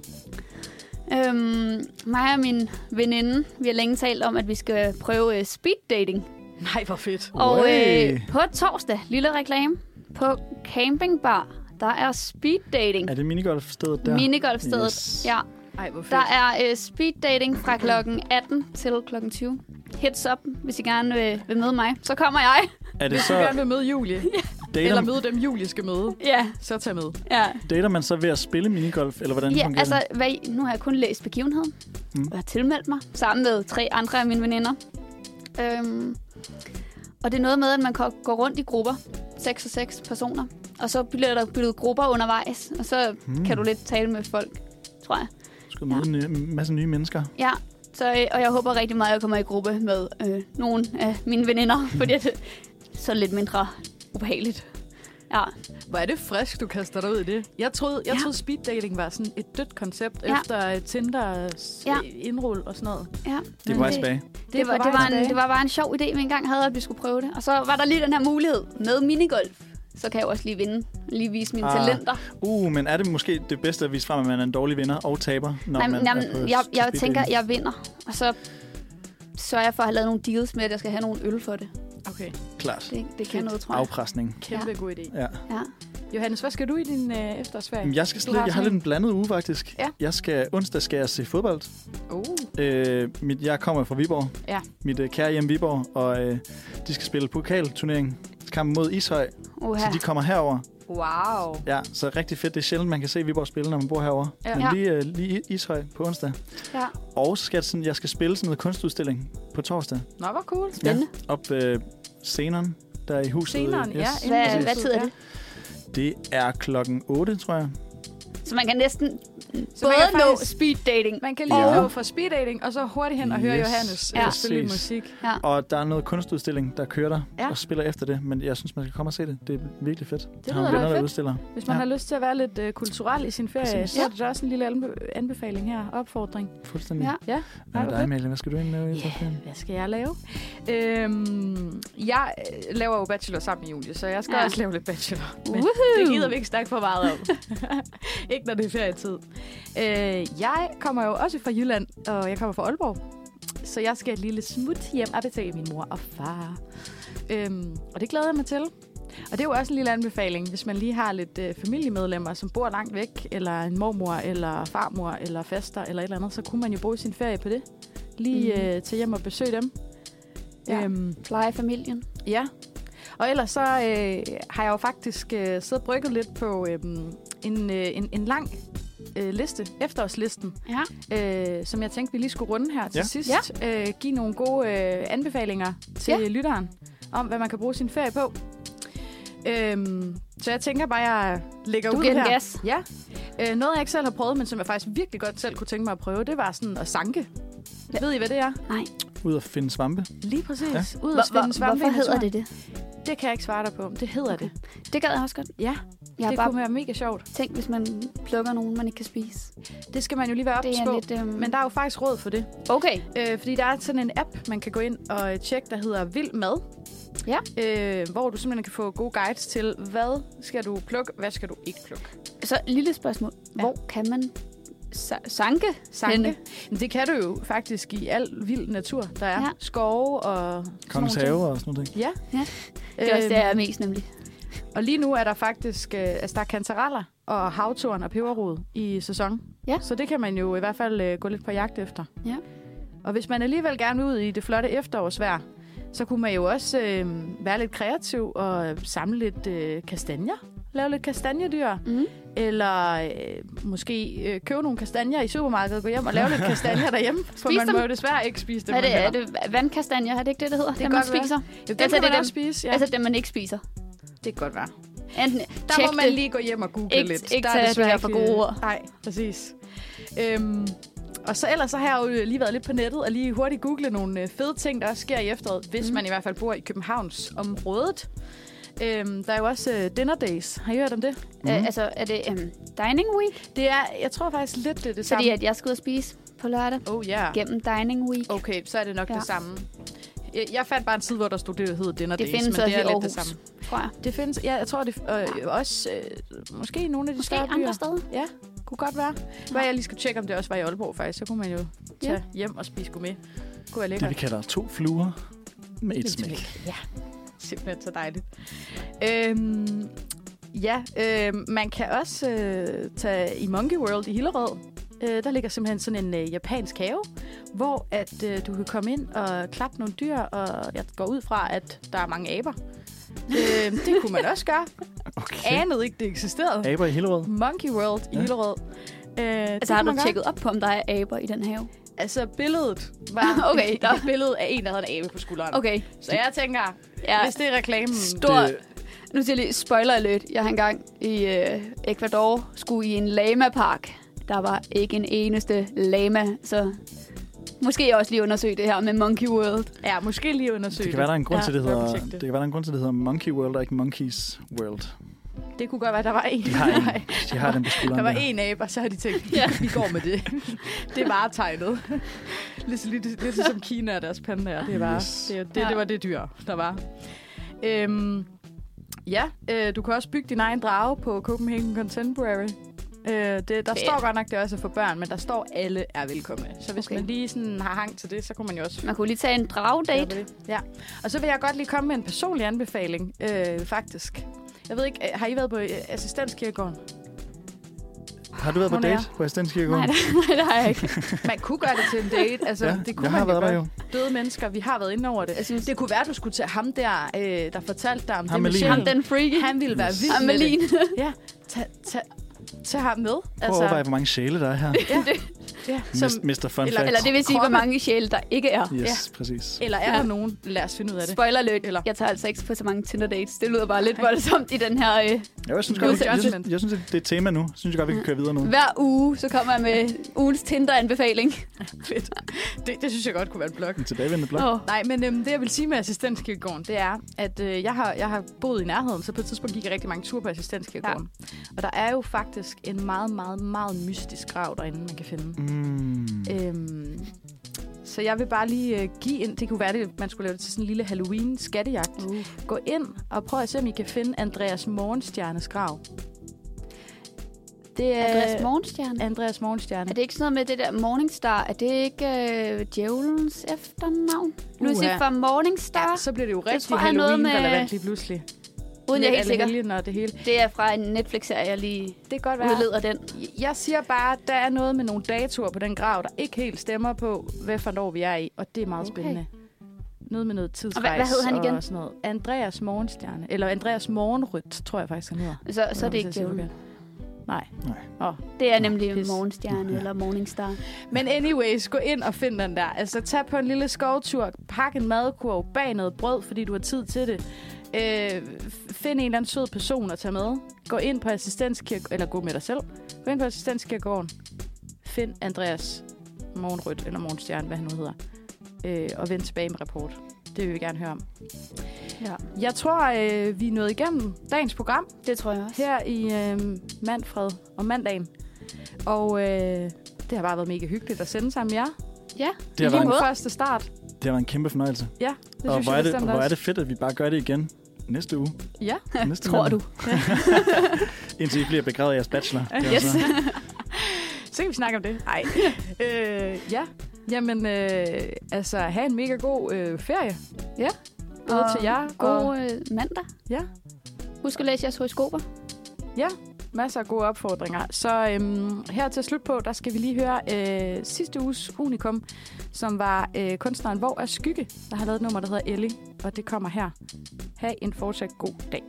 Speaker 4: Øhm, mig og min veninde, vi har længe talt om, at vi skal prøve øh, speed dating.
Speaker 3: Nej, hvor fedt.
Speaker 4: Og
Speaker 2: Way.
Speaker 4: øh, på torsdag, lille reklame, på campingbar, der er speed dating.
Speaker 2: Er det minigolfstedet der?
Speaker 4: Minigolfstedet.
Speaker 2: Yes.
Speaker 4: Ja,
Speaker 3: Ej, hvor fedt.
Speaker 4: der er øh, speed dating fra klokken 18 til klokken 20. Heads up, hvis I gerne øh, vil møde mig, så kommer jeg.
Speaker 2: Er det
Speaker 3: Hvis
Speaker 2: så
Speaker 3: du gerne vil møde Julie, eller
Speaker 2: dater,
Speaker 3: møde dem, Julie skal møde,
Speaker 4: Ja,
Speaker 3: så tag med.
Speaker 4: ja.
Speaker 2: dater man så ved at spille minigolf, eller hvordan
Speaker 4: Ja,
Speaker 2: fungerer
Speaker 4: altså, hvad, I- nu har jeg kun læst begivenheden,
Speaker 2: Mm.
Speaker 4: mm. og har tilmeldt mig sammen med tre andre af mine veninder. Øhm, og det er noget med, at man kan gå rundt i grupper, seks og seks personer, og så bliver der byttet grupper undervejs, og så
Speaker 2: Hmm.
Speaker 4: mm. kan du lidt tale med folk, tror jeg.
Speaker 2: det? Skal du møde en øh, masse nye mennesker?
Speaker 4: Ja, så, øh, og jeg håber rigtig meget, at jeg kommer i gruppe med øh, nogle af mine veninder, fordi det så er det lidt mindre ubehageligt. Ja,
Speaker 3: Hvor er det frisk, du kaster dig ud i det. Jeg troede, jeg
Speaker 4: Ja.
Speaker 3: troede speed dating var sådan et dødt koncept ja.
Speaker 4: Ja.
Speaker 3: efter øh, Tinders
Speaker 4: Ja.
Speaker 3: ja. indrul og sådan noget.
Speaker 4: ja.
Speaker 2: Det er på vej tilbage.
Speaker 4: Det, det, var, det, var en, det var bare en sjov idé, vi engang havde, at vi skulle prøve det. Og så var der lige den her mulighed med minigolf. Så kan jeg jo også lige vinde, lige vise mine
Speaker 2: Ah,
Speaker 4: ah, talenter.
Speaker 2: Uh, men er det måske det bedste at vise frem, at man er en dårlig vinder og taber? Når
Speaker 4: Nej,
Speaker 2: man
Speaker 4: men, jamen,
Speaker 2: er på
Speaker 4: jeg, jeg
Speaker 2: speed
Speaker 4: tænker,
Speaker 2: dating?
Speaker 4: jeg vinder. Og så sørger jeg for at have lavet nogle deals med, at jeg skal have nogle øl for det.
Speaker 3: Okay,
Speaker 2: Klart.
Speaker 4: Det, det kan
Speaker 3: Fedt.
Speaker 4: noget, tror jeg.
Speaker 2: Afpresning.
Speaker 3: kæmpe ja. god idé.
Speaker 2: Ja.
Speaker 4: Ja.
Speaker 3: Johannes, hvad skal du i din øh, efterårsferie?
Speaker 2: Jamen, Jeg, skal
Speaker 3: Du
Speaker 2: slet,
Speaker 3: har
Speaker 2: jeg har lidt
Speaker 3: sådan
Speaker 2: en blandet uge, faktisk.
Speaker 3: Ja.
Speaker 2: Jeg skal, onsdag skal jeg se fodbold.
Speaker 3: Oh.
Speaker 2: Øh, mit, jeg kommer fra Viborg.
Speaker 3: Ja.
Speaker 2: Mit øh, kære hjem Viborg. Og øh, de skal spille pokalturnering. Kamp mod Ishøj.
Speaker 4: Oha.
Speaker 2: Så de kommer herover.
Speaker 3: Wow.
Speaker 2: Ja, så rigtig fedt. Det er sjældent, man kan se Viborg spille, når man bor herover.
Speaker 3: Ja.
Speaker 2: Ja. Men
Speaker 4: Ja.
Speaker 2: lige, øh, lige i- Ishøj på onsdag.
Speaker 4: Ja.
Speaker 2: Og så skal jeg, sådan, jeg skal spille sådan noget kunstudstilling på torsdag.
Speaker 3: Nå, hvor cool.
Speaker 4: Spændende.
Speaker 2: Op ved sceneren, der er i huset.
Speaker 3: Sceneren, ja,
Speaker 4: Ja.
Speaker 2: yes.
Speaker 4: Hvad,
Speaker 3: Præcis.
Speaker 4: hvad tid er
Speaker 3: Ja.
Speaker 4: det?
Speaker 2: Det er klokken 8, tror jeg.
Speaker 4: Så man kan næsten
Speaker 3: Så man
Speaker 4: både
Speaker 3: kan
Speaker 4: nå
Speaker 3: faktisk-
Speaker 4: speed dating.
Speaker 3: Man kan lige
Speaker 2: Ja.
Speaker 3: ja. gå fra speed dating, og så hurtigt hen og høre
Speaker 2: Yes,
Speaker 3: Johannes
Speaker 2: ja.
Speaker 3: ja. spille lidt
Speaker 2: præcis.
Speaker 3: musik.
Speaker 2: Og der er noget kunstudstilling, der kører der
Speaker 3: Ja.
Speaker 2: ja. og spiller efter det. Men jeg synes, man skal komme og se det. Det er virkelig fedt.
Speaker 3: lyder
Speaker 2: Der er nogle
Speaker 3: da
Speaker 2: venner, der
Speaker 3: fedt.
Speaker 2: udstiller.
Speaker 3: Hvis man ja.
Speaker 2: Ja.
Speaker 3: har lyst til at være lidt øh, kulturel i sin ferie,
Speaker 2: Præcis.
Speaker 3: så er det da også en lille anbe- anbefaling her. Opfordring.
Speaker 2: Fuldstændig.
Speaker 4: Ja.
Speaker 3: Ja.
Speaker 2: Hvad med
Speaker 3: Ej, hvor
Speaker 2: dig,
Speaker 3: fedt.
Speaker 2: Amalie? Hvad skal du ind med? Yeah.
Speaker 3: Hvad skal jeg lave? Øhm, jeg øh, laver jo bachelor sammen med Julie, så jeg skal ja.
Speaker 4: Ja.
Speaker 3: også lave lidt bachelor. Men
Speaker 4: Woohoo!
Speaker 3: det gider vi ikke snakke for meget om. ikke når det er ferietid. Øh, jeg kommer jo også fra Jylland, og jeg kommer fra Aalborg. Så jeg skal et lille smut hjem og besøge min mor og far. Øhm, og det glæder jeg mig til. Og det er jo også en lille anbefaling, hvis man lige har lidt øh, familiemedlemmer, som bor langt væk, eller en mormor, eller farmor, eller faster, eller et eller andet, så kunne man jo bruge sin ferie på det. Lige
Speaker 4: Mhm.
Speaker 3: øh, tage hjem og besøge dem.
Speaker 4: Ja.
Speaker 3: Øhm,
Speaker 4: Pleje familien.
Speaker 3: Ja, og ellers så øh, har jeg jo faktisk øh, siddet og brygget lidt på øh, en, øh, en, en lang øh, liste, efterårslisten,
Speaker 4: Ja.
Speaker 3: øh, som jeg tænkte, vi lige skulle runde her til
Speaker 2: Ja.
Speaker 3: sidst. Ja. Øh, give nogle gode øh, anbefalinger til ja.
Speaker 4: Ja.
Speaker 3: lytteren om, hvad man kan bruge sin ferie på. Øhm, så jeg tænker bare, jeg lægger
Speaker 4: Du
Speaker 3: ud
Speaker 4: giver
Speaker 3: her.
Speaker 4: den gas.
Speaker 3: Ja. Øh, noget, jeg ikke selv har prøvet, men som jeg faktisk virkelig godt selv kunne tænke mig at prøve, det var sådan at sanke. Ja.
Speaker 4: Ja.
Speaker 3: Ved I, hvad det er?
Speaker 4: Nej.
Speaker 2: Ud at finde svampe.
Speaker 3: Lige præcis. Ja. Ud
Speaker 4: Hvor,
Speaker 3: og
Speaker 4: hvor,
Speaker 3: finde svampe i
Speaker 4: hvorfor hedder
Speaker 3: naturen.
Speaker 4: det det?
Speaker 3: Det kan jeg ikke svare dig på. Det hedder det.
Speaker 4: Det gad jeg også godt.
Speaker 3: Ja,
Speaker 4: Jeg har
Speaker 3: det
Speaker 4: bare
Speaker 3: kunne være mega sjovt.
Speaker 4: tænkt, hvis man plukker nogen, man ikke kan spise.
Speaker 3: Det skal man jo lige være
Speaker 4: Det
Speaker 3: ops
Speaker 4: er
Speaker 3: på.
Speaker 4: lidt... Øhm...
Speaker 3: Men der er jo faktisk råd for det.
Speaker 4: Okay.
Speaker 3: Øh, fordi der er sådan en app, man kan gå ind og øh, tjekke, der hedder Vild Mad.
Speaker 4: Ja.
Speaker 3: Øh, hvor du simpelthen kan få gode guides til, hvad skal du plukke, hvad skal du ikke plukke.
Speaker 4: Så et lille spørgsmål. Ja. Hvor kan man sa- sanke?
Speaker 3: Sanke.
Speaker 4: Henne.
Speaker 3: Men det kan du jo faktisk i al vild natur, der er.
Speaker 4: Ja.
Speaker 3: Ja. Skove og... øhm, sådan
Speaker 2: Kongens
Speaker 3: nogle ting.
Speaker 2: Have og sådan noget.
Speaker 3: Ja.
Speaker 4: Ja. Det er også det, jeg er mest nemlig.
Speaker 3: Og lige nu er der faktisk øh, altså der er kantareller og havtorn og peberrod i sæson.
Speaker 4: Ja.
Speaker 3: Så det kan man jo i hvert fald øh, gå lidt på jagt efter.
Speaker 4: Ja.
Speaker 3: Og hvis man alligevel gerne vil ud i det flotte efterårsvejr, så kunne man jo også øh, være lidt kreativ og øh, samle lidt øh, kastanjer. Lave lidt kastanjedyr.
Speaker 4: Mhm.
Speaker 3: Eller øh, måske øh, købe nogle kastanjer i supermarkedet og gå hjem og lave lidt kastanjer derhjemme. For
Speaker 4: Spis
Speaker 3: man
Speaker 4: dem.
Speaker 3: må jo desværre ikke spise dem.
Speaker 4: Hvad er det?
Speaker 3: man
Speaker 4: Er
Speaker 3: heller.
Speaker 4: det vandkastanjer? Er det ikke det, det hedder?
Speaker 3: kan
Speaker 4: dem, man
Speaker 3: godt være.
Speaker 4: spiser?
Speaker 3: Jo, dem
Speaker 4: Altså,
Speaker 3: kan man
Speaker 4: det er
Speaker 3: også
Speaker 4: dem-
Speaker 3: spise.
Speaker 4: Ja.
Speaker 3: Ja.
Speaker 4: Altså dem, man ikke spiser.
Speaker 3: det kan godt være.
Speaker 4: Enten
Speaker 3: Der
Speaker 4: tjek
Speaker 3: må man
Speaker 4: det.
Speaker 3: lige gå hjem og google
Speaker 4: Ikke-
Speaker 3: lidt.
Speaker 4: ikke
Speaker 3: der
Speaker 4: tage
Speaker 3: desværre
Speaker 4: det her for
Speaker 3: ikke- øh,
Speaker 4: gode ord.
Speaker 3: Nej, præcis. Øhm, og så ellers så har jeg jo øh, lige været lidt på nettet og lige hurtigt google nogle øh, fede ting, der også sker i efteråret, hvis
Speaker 4: Mm.
Speaker 3: mm. man i hvert fald bor i Københavns området. Øhm, der er jo også øh, dinner days. Har I hørt om det?
Speaker 4: Øh,
Speaker 2: Mhm.
Speaker 4: altså, er det øhm, dining week?
Speaker 3: Det er, jeg tror faktisk lidt det, er det
Speaker 4: Fordi
Speaker 3: samme.
Speaker 4: at jeg skal ud og spise på lørdag
Speaker 3: Oh yeah.
Speaker 4: gennem dining week.
Speaker 3: Okay, så er det nok
Speaker 4: Ja.
Speaker 3: ja. det samme. Jeg, jeg fandt bare en side, hvor der stod, det hed dinner
Speaker 4: Det
Speaker 3: days,
Speaker 4: findes
Speaker 3: men
Speaker 4: også
Speaker 3: det er
Speaker 4: i
Speaker 3: lidt det
Speaker 4: Aarhus,
Speaker 3: samme.
Speaker 4: tror jeg.
Speaker 3: Det findes, ja, jeg tror det øh, også, øh, måske i nogle af de
Speaker 4: Måske
Speaker 3: større byer.
Speaker 4: andre steder.
Speaker 3: Ja, kunne godt være. Hvad jeg lige skal tjekke, om det også var i Aalborg faktisk, så kunne man jo tage
Speaker 4: Ja.
Speaker 3: ja. hjem og spise gourmet. Kunne være
Speaker 2: Det vi
Speaker 3: lækkert.
Speaker 2: kalder to fluer med et smæk.
Speaker 3: Ja, simpelthen så dejligt. Øhm, ja, øh, man kan også øh, tage i Monkey World i Hillerød. Øh, der ligger simpelthen sådan en øh, japansk have, hvor at øh, du kan komme ind og klappe nogle dyr, og jeg går ud fra, at der er mange aber. øh, det kunne man også gøre.
Speaker 2: Okay.
Speaker 3: Anede ikke, det eksisterede.
Speaker 2: Aber i Hillerød.
Speaker 3: Monkey World i
Speaker 2: Ja.
Speaker 3: Hillerød. Øh, det
Speaker 4: Altså,
Speaker 3: kan
Speaker 4: har du
Speaker 3: man gøre.
Speaker 4: tjekket op på, om der er aber i den have?
Speaker 3: Altså, billedet var
Speaker 4: Okay,
Speaker 3: okay, der er et billede af en, der havde en abe på skulderen.
Speaker 4: Okay.
Speaker 3: Så jeg tænker,
Speaker 4: Ja.
Speaker 3: hvis det er reklamen...
Speaker 4: Stor... Nu siger jeg lige spoiler alert. Jeg har engang i øh, Ecuador skulle i en lama-park. Der var ikke en eneste lama, så måske også lige undersøge det her med Monkey World.
Speaker 3: Ja, måske lige undersøge
Speaker 2: Det
Speaker 3: det.
Speaker 2: kan være, der er en grund
Speaker 4: Ja,
Speaker 2: til, det hedder,
Speaker 3: dobbelttjek det.
Speaker 2: det kan være, der er en grund til, det hedder Monkey World og ikke Monkeys World.
Speaker 3: det. det kunne godt være, der var en.
Speaker 2: De har, en,
Speaker 3: Nej,
Speaker 2: de har den på
Speaker 3: der
Speaker 2: skulderen.
Speaker 3: var en abe, og så har de tænkt,
Speaker 4: Ja.
Speaker 3: ja. vi går med det. det er varetegnet. lidt, lidt, lidt ligesom Kina og deres pandaer. Det, var,
Speaker 2: Yes.
Speaker 3: yes. det, er det, det var det dyr, der var. Øhm, ja, øh, du kan også bygge din egen drage på Copenhagen Contemporary. Øh, det, der
Speaker 4: Fedt.
Speaker 3: står godt nok, det er også for børn, men der står, alle er velkomne. Så hvis
Speaker 4: Okay.
Speaker 3: okay. man lige sådan har hang til det, så kunne man jo også
Speaker 4: Man kunne lige tage en dragdate.
Speaker 3: Ja, det. Ja. Og så vil jeg godt lige komme med en personlig anbefaling, øh, faktisk. Jeg ved ikke, øh, har I været på øh, assistenskirkegården?
Speaker 2: Har du været på
Speaker 3: Hun er-
Speaker 2: date på
Speaker 4: Nej,
Speaker 2: Assistenskirkegården?
Speaker 4: det, nej, det har jeg ikke.
Speaker 3: Man kunne gøre det til en date. Altså,
Speaker 2: Ja,
Speaker 3: det kunne
Speaker 2: jeg
Speaker 3: man
Speaker 2: har været
Speaker 3: jo
Speaker 2: der jo.
Speaker 3: godt. Døde mennesker, vi har været inde over det. Altså,
Speaker 4: Jeg synes,
Speaker 3: Det kunne være, du skulle tage ham der, øh, der fortalte dig om
Speaker 2: Ham med
Speaker 3: det med
Speaker 2: limen.
Speaker 4: Ham, den freaky.
Speaker 3: Han ville være
Speaker 2: Yes.
Speaker 3: vild
Speaker 4: Ham
Speaker 3: med
Speaker 4: med
Speaker 3: det.
Speaker 4: lin.
Speaker 3: Ja, tag, tag, tag ham med. Altså,
Speaker 2: Prøv at overveje, hvor mange sjæle der er her.
Speaker 3: ja,
Speaker 2: Som, Mr. Fun
Speaker 3: eller-
Speaker 2: Fact.
Speaker 4: Eller det vil sige, hvor
Speaker 3: Kroppe.
Speaker 4: mange sjæle, der ikke er.
Speaker 2: Yes, præcis.
Speaker 3: eller er der
Speaker 4: Ja.
Speaker 3: nogen? Lad os finde ud af det.
Speaker 4: Spoiler alert.
Speaker 3: Eller-
Speaker 4: Jeg tager altså ikke på så mange Tinder-dates. Det lyder bare lidt voldsomt i den her... Øh,
Speaker 2: Jeg synes,
Speaker 3: No
Speaker 2: godt, jeg, jeg, synes,
Speaker 3: judgment.
Speaker 2: jeg synes, at det er et tema nu. Jeg synes godt, vi kan køre videre nu.
Speaker 4: hver uge, så kommer jeg med ugens Tinder-anbefaling.
Speaker 3: Fedt. Det, det synes jeg godt kunne være en blog.
Speaker 2: En tilbagevendende blok.
Speaker 4: Åh,
Speaker 3: Nej, men øhm, det jeg vil sige med assistenskirkegården, det er, at øh, jeg, har, jeg har boet i nærheden, så på et tidspunkt gik jeg rigtig mange ture på assistenskirkegården. Ja. Og der er jo faktisk en meget, meget, meget mystisk grav derinde, man kan finde.
Speaker 2: Mm.
Speaker 3: Øhm, så jeg vil bare lige øh, give en, det kunne være, det, man skulle lave det til sådan en lille Halloween-skattejagt.
Speaker 4: Uh.
Speaker 3: Gå ind og prøv at se, om I kan finde Andreas Morgenstjernes grav.
Speaker 4: Mm.
Speaker 3: Det er
Speaker 4: Andreas Morgenstjerne.
Speaker 3: Andreas Morgenstjerne.
Speaker 4: Er det ikke sådan noget med det der Morningstar? Er det ikke øh, djævelens efternavn?
Speaker 3: Uha.
Speaker 4: Lucifer Morningstar?
Speaker 3: Ja, så bliver det jo rigtig
Speaker 4: tror, jeg har noget med-
Speaker 3: Halloween-relevant lige pludselig.
Speaker 4: Uden jeg er
Speaker 3: Lidt
Speaker 4: helt sikker.
Speaker 3: Allehelgen og det hele.
Speaker 4: Det er fra en Netflix-serie, jeg lige
Speaker 3: Det kan godt være.
Speaker 4: udleder den.
Speaker 3: Jeg siger bare, at der er noget med nogle datoer på den grav, der ikke helt stemmer på, hvad for når vi er i, og det er meget
Speaker 4: Okay.
Speaker 3: okay. spændende. Noget med noget
Speaker 4: Og hvad-
Speaker 3: tidsrejse
Speaker 4: hvad hed han igen?
Speaker 3: og sådan noget. Andreas Morgenstjerne, eller Andreas Morgenrødt, tror jeg faktisk, han hedder.
Speaker 4: Så, så er det
Speaker 3: Hvis
Speaker 4: ikke
Speaker 3: jeg siger
Speaker 4: djævlen.
Speaker 3: forkert. Nej.
Speaker 2: Nej.
Speaker 3: Oh.
Speaker 4: Det er nemlig
Speaker 3: Pis.
Speaker 4: Morgenstjerne eller Morningstar.
Speaker 3: Men anyways, gå ind og find den der. Altså, tag på en lille skovtur, pak en madkurv, bag noget brød, fordi du har tid til det. Øh, f- find en eller anden sød person at tage med. Gå ind på assistenskirke... Eller gå med dig selv. Gå ind på assistenskirkegården. Find Andreas Morgenrødt, eller Morgenstjerne, hvad han nu hedder. Øh, og vend tilbage med rapport. Det vil vi gerne høre om.
Speaker 4: Ja.
Speaker 3: Jeg tror, øh, vi er nået igennem dagens program
Speaker 4: Det tror jeg også.
Speaker 3: her i øh, Manfred og mandagen. Og øh, det har bare været mega hyggeligt at sende sammen med jer.
Speaker 4: Ja,
Speaker 2: Det har
Speaker 4: lige
Speaker 2: været
Speaker 3: Min
Speaker 2: en
Speaker 4: måde.
Speaker 3: første start.
Speaker 2: Det har været en kæmpe fornøjelse. Det
Speaker 3: Ja, det
Speaker 2: og
Speaker 3: synes
Speaker 2: hvor,
Speaker 3: jeg
Speaker 2: er det,
Speaker 3: bestemt
Speaker 2: hvor er
Speaker 3: også.
Speaker 2: det fedt, at vi bare gør det igen næste uge.
Speaker 3: Ja,
Speaker 2: Næste
Speaker 4: Tror du?
Speaker 2: mandag. Indtil I bliver begravet i jeres bachelor. Det er
Speaker 4: Yes.
Speaker 2: altså-
Speaker 3: så kan vi snakke om det. Nej. øh, ja, jamen øh, altså, have en mega god øh, ferie. Ja, både til jer
Speaker 4: God
Speaker 3: og
Speaker 4: øh, mandag.
Speaker 3: ja,
Speaker 4: Husk at læse jeres horoskoper.
Speaker 3: masser af gode opfordringer. Så øhm, her til slut på, der skal vi lige høre øh, sidste uges Unikum, som var øh, kunstneren Hvor er Skygge, der har lavet et nummer, der hedder Ellie, og det kommer her. Ha' en fortsat god dag.